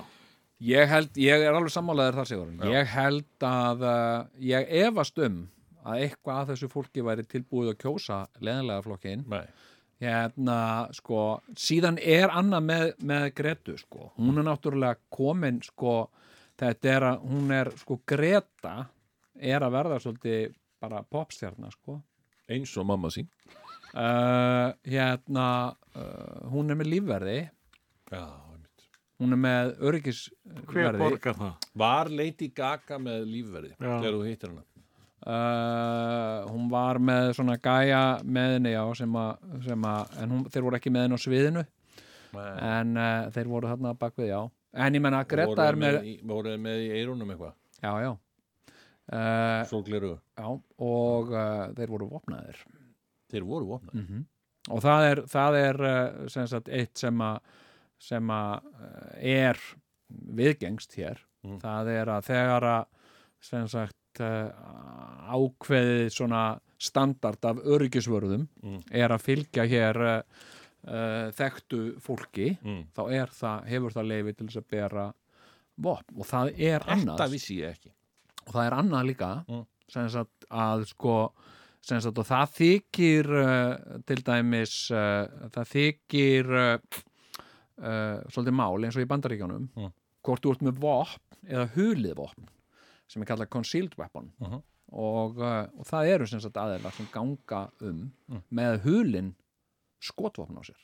S4: Ég held, ég er alveg sammálaður þar Sigurinn
S1: Já.
S4: Ég held að uh, Ég efast um að eitthvað að þessu fólki væri tilbúið að kjósa leðanlega flokkin
S1: Nei.
S4: hérna, sko, síðan er annað með, með Gretu, sko hún er náttúrulega komin, sko þetta er að, hún er, sko, Greta er að verða svolítið bara popstjarnar, sko
S1: eins og mamma sín
S4: uh, hérna uh, hún er með lífverði
S1: já, einmitt.
S4: hún er með
S2: hver
S4: öryggisverði
S2: borgar það?
S1: var Lady Gaga með lífverði
S2: Já.
S1: þegar þú hittir hana
S4: Uh, hún var með svona gæja með henni já sem að, sem að en hún, þeir voru ekki með henni á sviðinu
S1: Nei.
S4: en uh, þeir voru þarna bakvið já en ég menna að
S1: voru
S4: Greta er með
S1: í- voru þeir með í eirunum eitthvað
S4: já já uh,
S1: Sólgleru,
S4: Já, og uh, þeir voru vopnaðir
S1: þeir voru vopnað
S4: Mhm. og það er, það er uh, sem sagt, eitt sem að sem að uh, er viðgengst hér
S1: Mm.
S4: það er að þegar að sem sagt uh, ákveðið svona standard af öryggisvörðum
S1: Mm.
S4: er að fylgja hér uh, uh, þekktu fólki
S1: mm.
S4: þá er það, hefur það leifi til þess að bera vopn og það er
S1: Þetta
S4: annars
S1: vissi ég ekki
S4: og það er annað líka
S1: Mm.
S4: sem sagt að sko sem sagt og það þykir uh, til dæmis uh, það þykir uh, uh, svolítið mál eins og í bandaríkjánum
S1: Mm.
S4: hvort þú ert með vopn eða hulið vopn sem er kallað concealed weapon
S1: Mhm.
S4: og, uh, og það eru sem sagt aðeila sem ganga um með hulin skotvopn á sér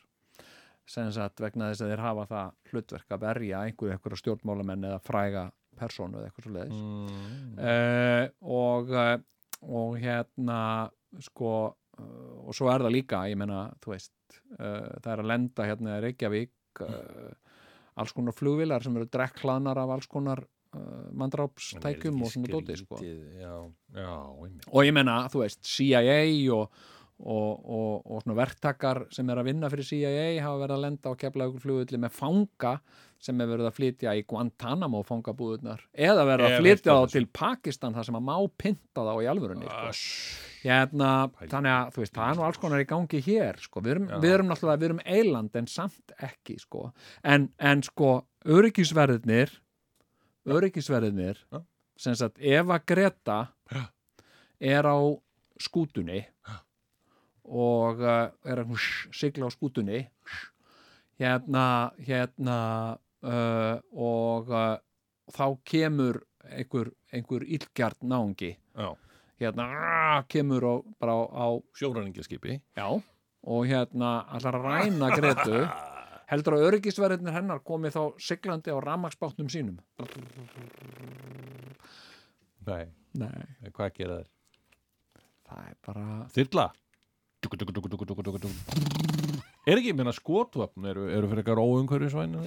S4: sem sagt vegna þess að þeir hafa það hlutverk að verja einhverju einhverja stjórnmálamenn eða fræga persónu eða eitthvað svo leiðis uh, og, eh, og hérna sko uh, og svo er það líka, ég meina, þú veist uh, það er að lenda hérna í Reykjavík uh, alls konar flugvilar sem eru drekklaðnar af alls konar uh, mandrápstækjum og svona dóti sko.
S1: Já, já, einmitt
S4: og ég meina, þú veist, CIA og, og, og, og svona verktakar sem er að vinna fyrir CIA hafa verið að lenda á keflaugum flugulli með fanga sem er verið að flytja í Guantanamo fangabúðunar eða verið
S1: Ég veit
S4: að flytja
S1: það, Ah,
S4: þá til Pakistan þar sem að má pynta þá í alvörunni sko. hérna, þannig að þú veist, það er nú alls konar í gangi hér sko. við, erum, við erum náttúrulega, við erum eiland en samt ekki sko. En, en sko, öryggisverðinir öryggisverðinir
S1: Já.
S4: sem sagt, ef að Greta
S1: Já.
S4: er á skútunni og uh, er að húsh, sigla á skútunni húsh, hérna, hérna uh, og uh, þá kemur einhver, einhver illgjart náungi
S1: Já.
S4: hérna "Ah", kemur og, bara á, á
S1: Sjóræningaskipi.
S4: já. og hérna allar að ræna Gretu heldur að öryggisverðinir hennar komi þá siglandi á ramaksbátnum sínum
S1: Nei,
S4: Nei,
S1: hvað gera þær?
S4: það er bara
S1: Þyrla. Tuku, tuku, tuku, tuku, tuku, tuku, tuku. Er ekki, ég meina skotvapn eru, eru fyrir eitthvað róumhverjusvæn?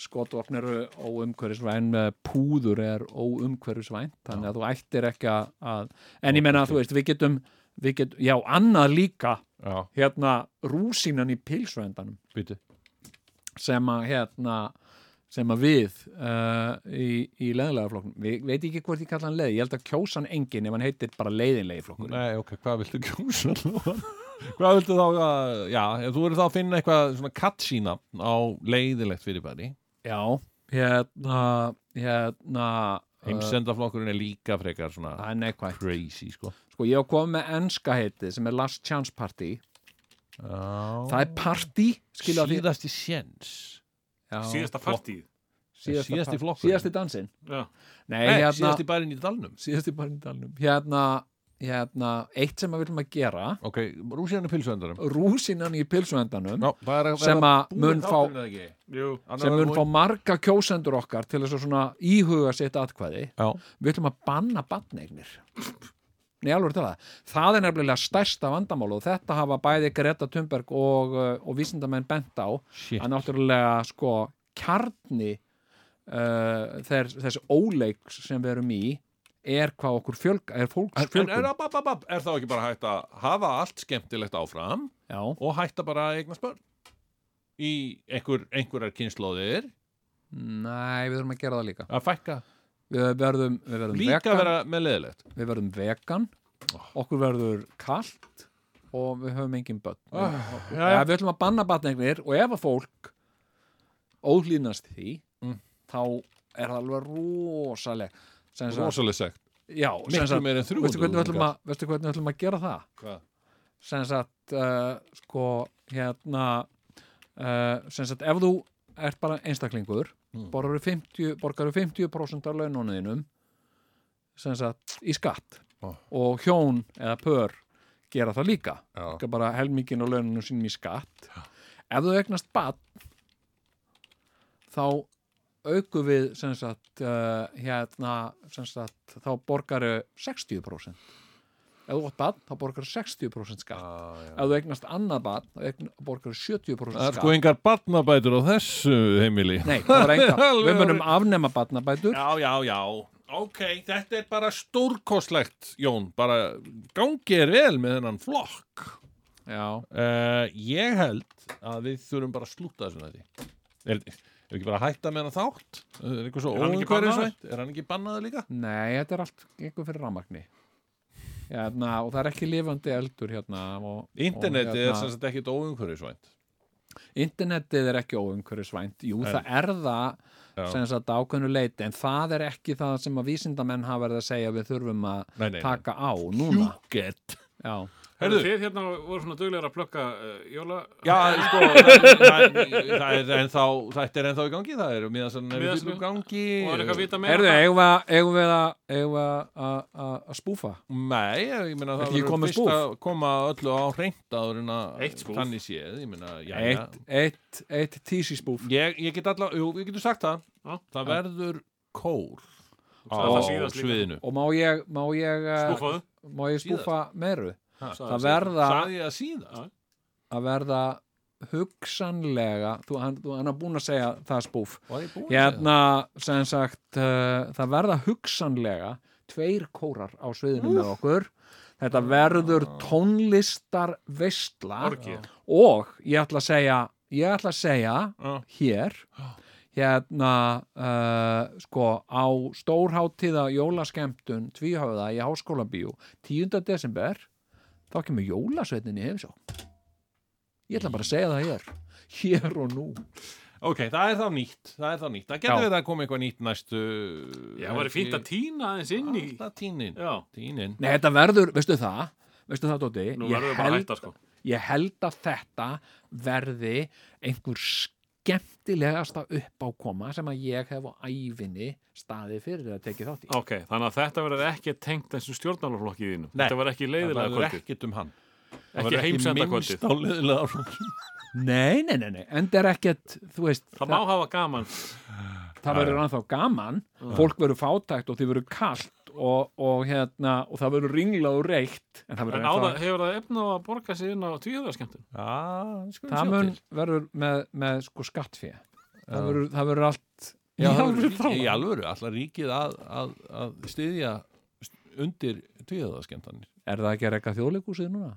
S4: skotvopn eru óumhverfisvæn eh, púður er óumhverfisvæn þannig að þú ættir ekki að- að en ég menna að þú veist, við getum, við getum já, annað líka
S1: Já,
S4: hérna rúsínan í pilsvendanum
S1: býtu.
S4: sem að hérna sem að við uh, í, í leðinlega flokknum, við veit ekki hvort ég kalla hann leði, ég held að kjósa hann engin ef hann heitir bara leiðinlegi flokkur
S1: Nei, ok, hvað viltu kjósa? allavega? hvað viltu þá að, já, ef þú verður þá að finna eitthvað svona katsína á leiðilegt fyrirbæri.
S4: já, hérna hérna uh,
S1: Heimsendaflokkurinn er líka frekar svona
S4: það er neikvægt,
S1: crazy, sko.
S4: sko ég hef komið með enska heitið sem er Last Chance Party
S1: Já.
S4: það er party skilja því
S1: Síðasti sjens.
S4: Já,
S2: Síðasta partíð.
S4: síðasta
S1: síðasti
S4: part-
S1: flokkurinn.
S4: síðasti dansin
S2: Já.
S4: nei,
S1: Nei,
S4: hérna,
S1: síðasti bærin í dalnum.
S4: síðasti bara í dalnum hérna, hérna, eitt sem að viljum að gera
S1: Ok, rúsínan er pilsvendarum.
S4: rúsinan í pilsuendanum
S1: Já, það er að
S4: Sem
S1: vera
S4: að
S1: búinn
S4: mun
S1: þátturinn,
S4: fá-
S1: eða ekki?
S2: Jú.
S1: Annars
S4: sem
S1: er
S4: mun fá marga kjósendur okkar til þess að svona íhuga sitt atkvæði
S1: Já.
S4: við ætlum að banna bannegnir Nei, alveg tala. Það er nefnilega stærsta vandamál og þetta hafa bæði Greta Thunberg og, uh, og vísindamenn bent á
S1: Shit.
S4: að náttúrulega sko kjarni uh, þess, þess óleik sem við erum í er hvað okkur fjölg er fólks
S1: En, en,
S4: fjölgun
S1: en, ab, ab, ab, ab, er þá ekki bara hægt að hafa allt skemmtilegt áfram
S4: já,
S1: og hætta bara að eigna spörn í einhver, einhverjar kynnslóðir
S4: nei við þurfum að gera það líka
S1: að fækka
S4: við verðum, við verðum
S1: líka
S4: vegan
S1: vera með leðilegt
S4: við verðum vegan
S1: Oh.
S4: okkur verður kalt og við höfum engin börn oh, ja,
S1: Ah, já.
S4: við ætlum að banna batnegnir og ef að fólk óhlýnast því
S1: Mm.
S4: þá er það alveg rosaleg sem sagt-
S1: rosalega segt,
S4: já, sem
S1: miklu
S4: sagt-
S1: meir en
S4: veistu
S1: 300
S4: hvernig, við ætlum að, veistu hvernig við ætlum að gera það
S1: Hvað?
S4: sem sagt uh, sko hérna uh, sem sagt ef þú ert bara einstaklingur mm.
S1: Hmm.
S4: borgaru 50%, borgaru 50 af launónuðinum sem sagt í skatt
S1: Ó.
S4: og hjón eða pör gera það líka
S1: Já.
S4: Borga bara helmingin og laununum sínum í skatt ef þú egnast bat þá auku við sem sagt uh, hérna sem sagt þá borgaru 60% ef þú átt barn, þá borgar 60% skatt ef þú eignast annað barn, þá eign- borgar
S1: Ah,
S4: 70%
S1: það er
S4: skatt
S1: sko engar barnabætur á þessu heimili
S4: Nei, það var enga,
S1: Alveg
S4: við munum
S1: árið.
S4: afnema barnabætur
S1: já, já, já ok, þetta er bara stórkostlegt Jón, bara gangi er vel með þennan flokk
S4: Já,
S1: uh, ég held að við þurfum bara að slúta þessum þetta er, er ekki bara að hætta með hann þátt er eitthvað svo
S2: Er hann ekki
S1: óumhverfisvænt? er hann ekki bannaður líka
S4: nei, þetta er allt einhver fyrir rafmagni hérna, og það er ekki lifandi eldur hérna og,
S1: Internetið
S4: og,
S1: er
S2: hérna.
S1: sem sagt ekkit óumhverfisvænt
S4: Internetið er ekki óumhverfisvænt Jú,
S1: En-
S4: það er það
S1: Já.
S4: sem sagt ákveðnu leiti, en það er ekki það sem að vísindamenn hafa verið að segja að við þurfum að
S1: Nei, nei, nei.
S4: taka á núna
S1: Júkett
S4: Já,
S1: Heyrðu.
S2: Þið hérna voru svona duglegar að plugga uh, jóla...
S1: Já, sko, það, það, það er ennþá, þetta er ennþá í gangi, það er miðasann er
S2: Miðasala.
S1: í gangi
S2: Og er eitthvað að vita meira?
S4: Herðu, eigum við að- eigum við að- eigum við að- að að- að spúfa
S1: Nei, ég meina það
S4: Ekki komið
S1: fyrst
S4: spúf?
S1: að koma öllu á hreint áður en að
S2: Eitt spúf.
S1: þannig séð, ég meina, já,
S4: eitt, eitt, eitt tísi spúf
S1: Ég, ég get allavega, jú, ég getur sagt það,
S2: Já.
S1: það verður kór
S2: sagði það
S1: á
S2: síðast líka.
S1: sviðinu.
S4: og má ég, má ég, eh,
S2: Spúfaðu.
S4: má ég spúfa meiru það
S2: Sagði-
S4: verða,
S1: Sagði ég það síðast?
S4: að verða hugsanlega þú, hann, þú, hann er búin að segja það er spúf
S1: Var ég búin að segja það?
S4: hérna sem sagt uh, það verða hugsanlega tveir kórar á sviðinu með okkur þetta verður tónlistar veistla
S2: Orgið.
S4: og ég ætla að segja ég ætla að segja
S1: Já.
S4: hér hérna uh, sko á stórháttíða jólaskemtun tvíhöfða í háskólabíu 10. desember þá kemur jólasveitin í heimsó ég ætla bara að segja það hér hér og nú
S1: Ok, það er þá nýtt, það er þá nýtt. Það getur
S4: Já.
S1: verið að koma eitthvað nýtt næstu...
S2: Já, það var fínt að tína aðeins inn í...
S1: Alltaf tínin,
S2: Já.
S1: tínin.
S4: Nei, þetta verður, veistu það veistu það Dóti
S2: Nú
S4: ég
S2: verðum við bara að
S4: held-
S2: hætta, sko.
S4: ég held að þetta verði einhver skemmtilegasta uppákoma sem að ég hef á ævinni staði fyrir að tekið þátt í
S2: Ok, þannig að þetta verður ekki tengt þessu stjórnálaflokki þínu.
S1: Nei.
S2: Þetta verður ekki leiðilega
S1: verður
S2: kvöldið.
S1: ekkert um hann Það
S2: Ekki
S1: verður minnst
S2: heimsendakvöldið.
S1: á leiðilega
S4: Nei, nei, nei, nei, en það er ekkert þú veist,
S2: Það má hafa gaman.
S4: það verður anþá gaman fólk verður fátækt og þið verður kalt og, og hérna, og það verður ringla og reitt en það
S2: En
S4: verður
S2: á það,
S4: ennþá-
S2: hefur það efna á að borga sig inn á tvíhjóðarskemmtun?
S4: það mun verður með, með sko skattfé það verður, það verður allt Já, það verður
S1: í, í
S4: þá-
S1: alvöru, allar ríkið að, að, að styðja st- undir tvíðaðaskemtanir
S4: er það ekki að rekka þjóðleikúsið núna?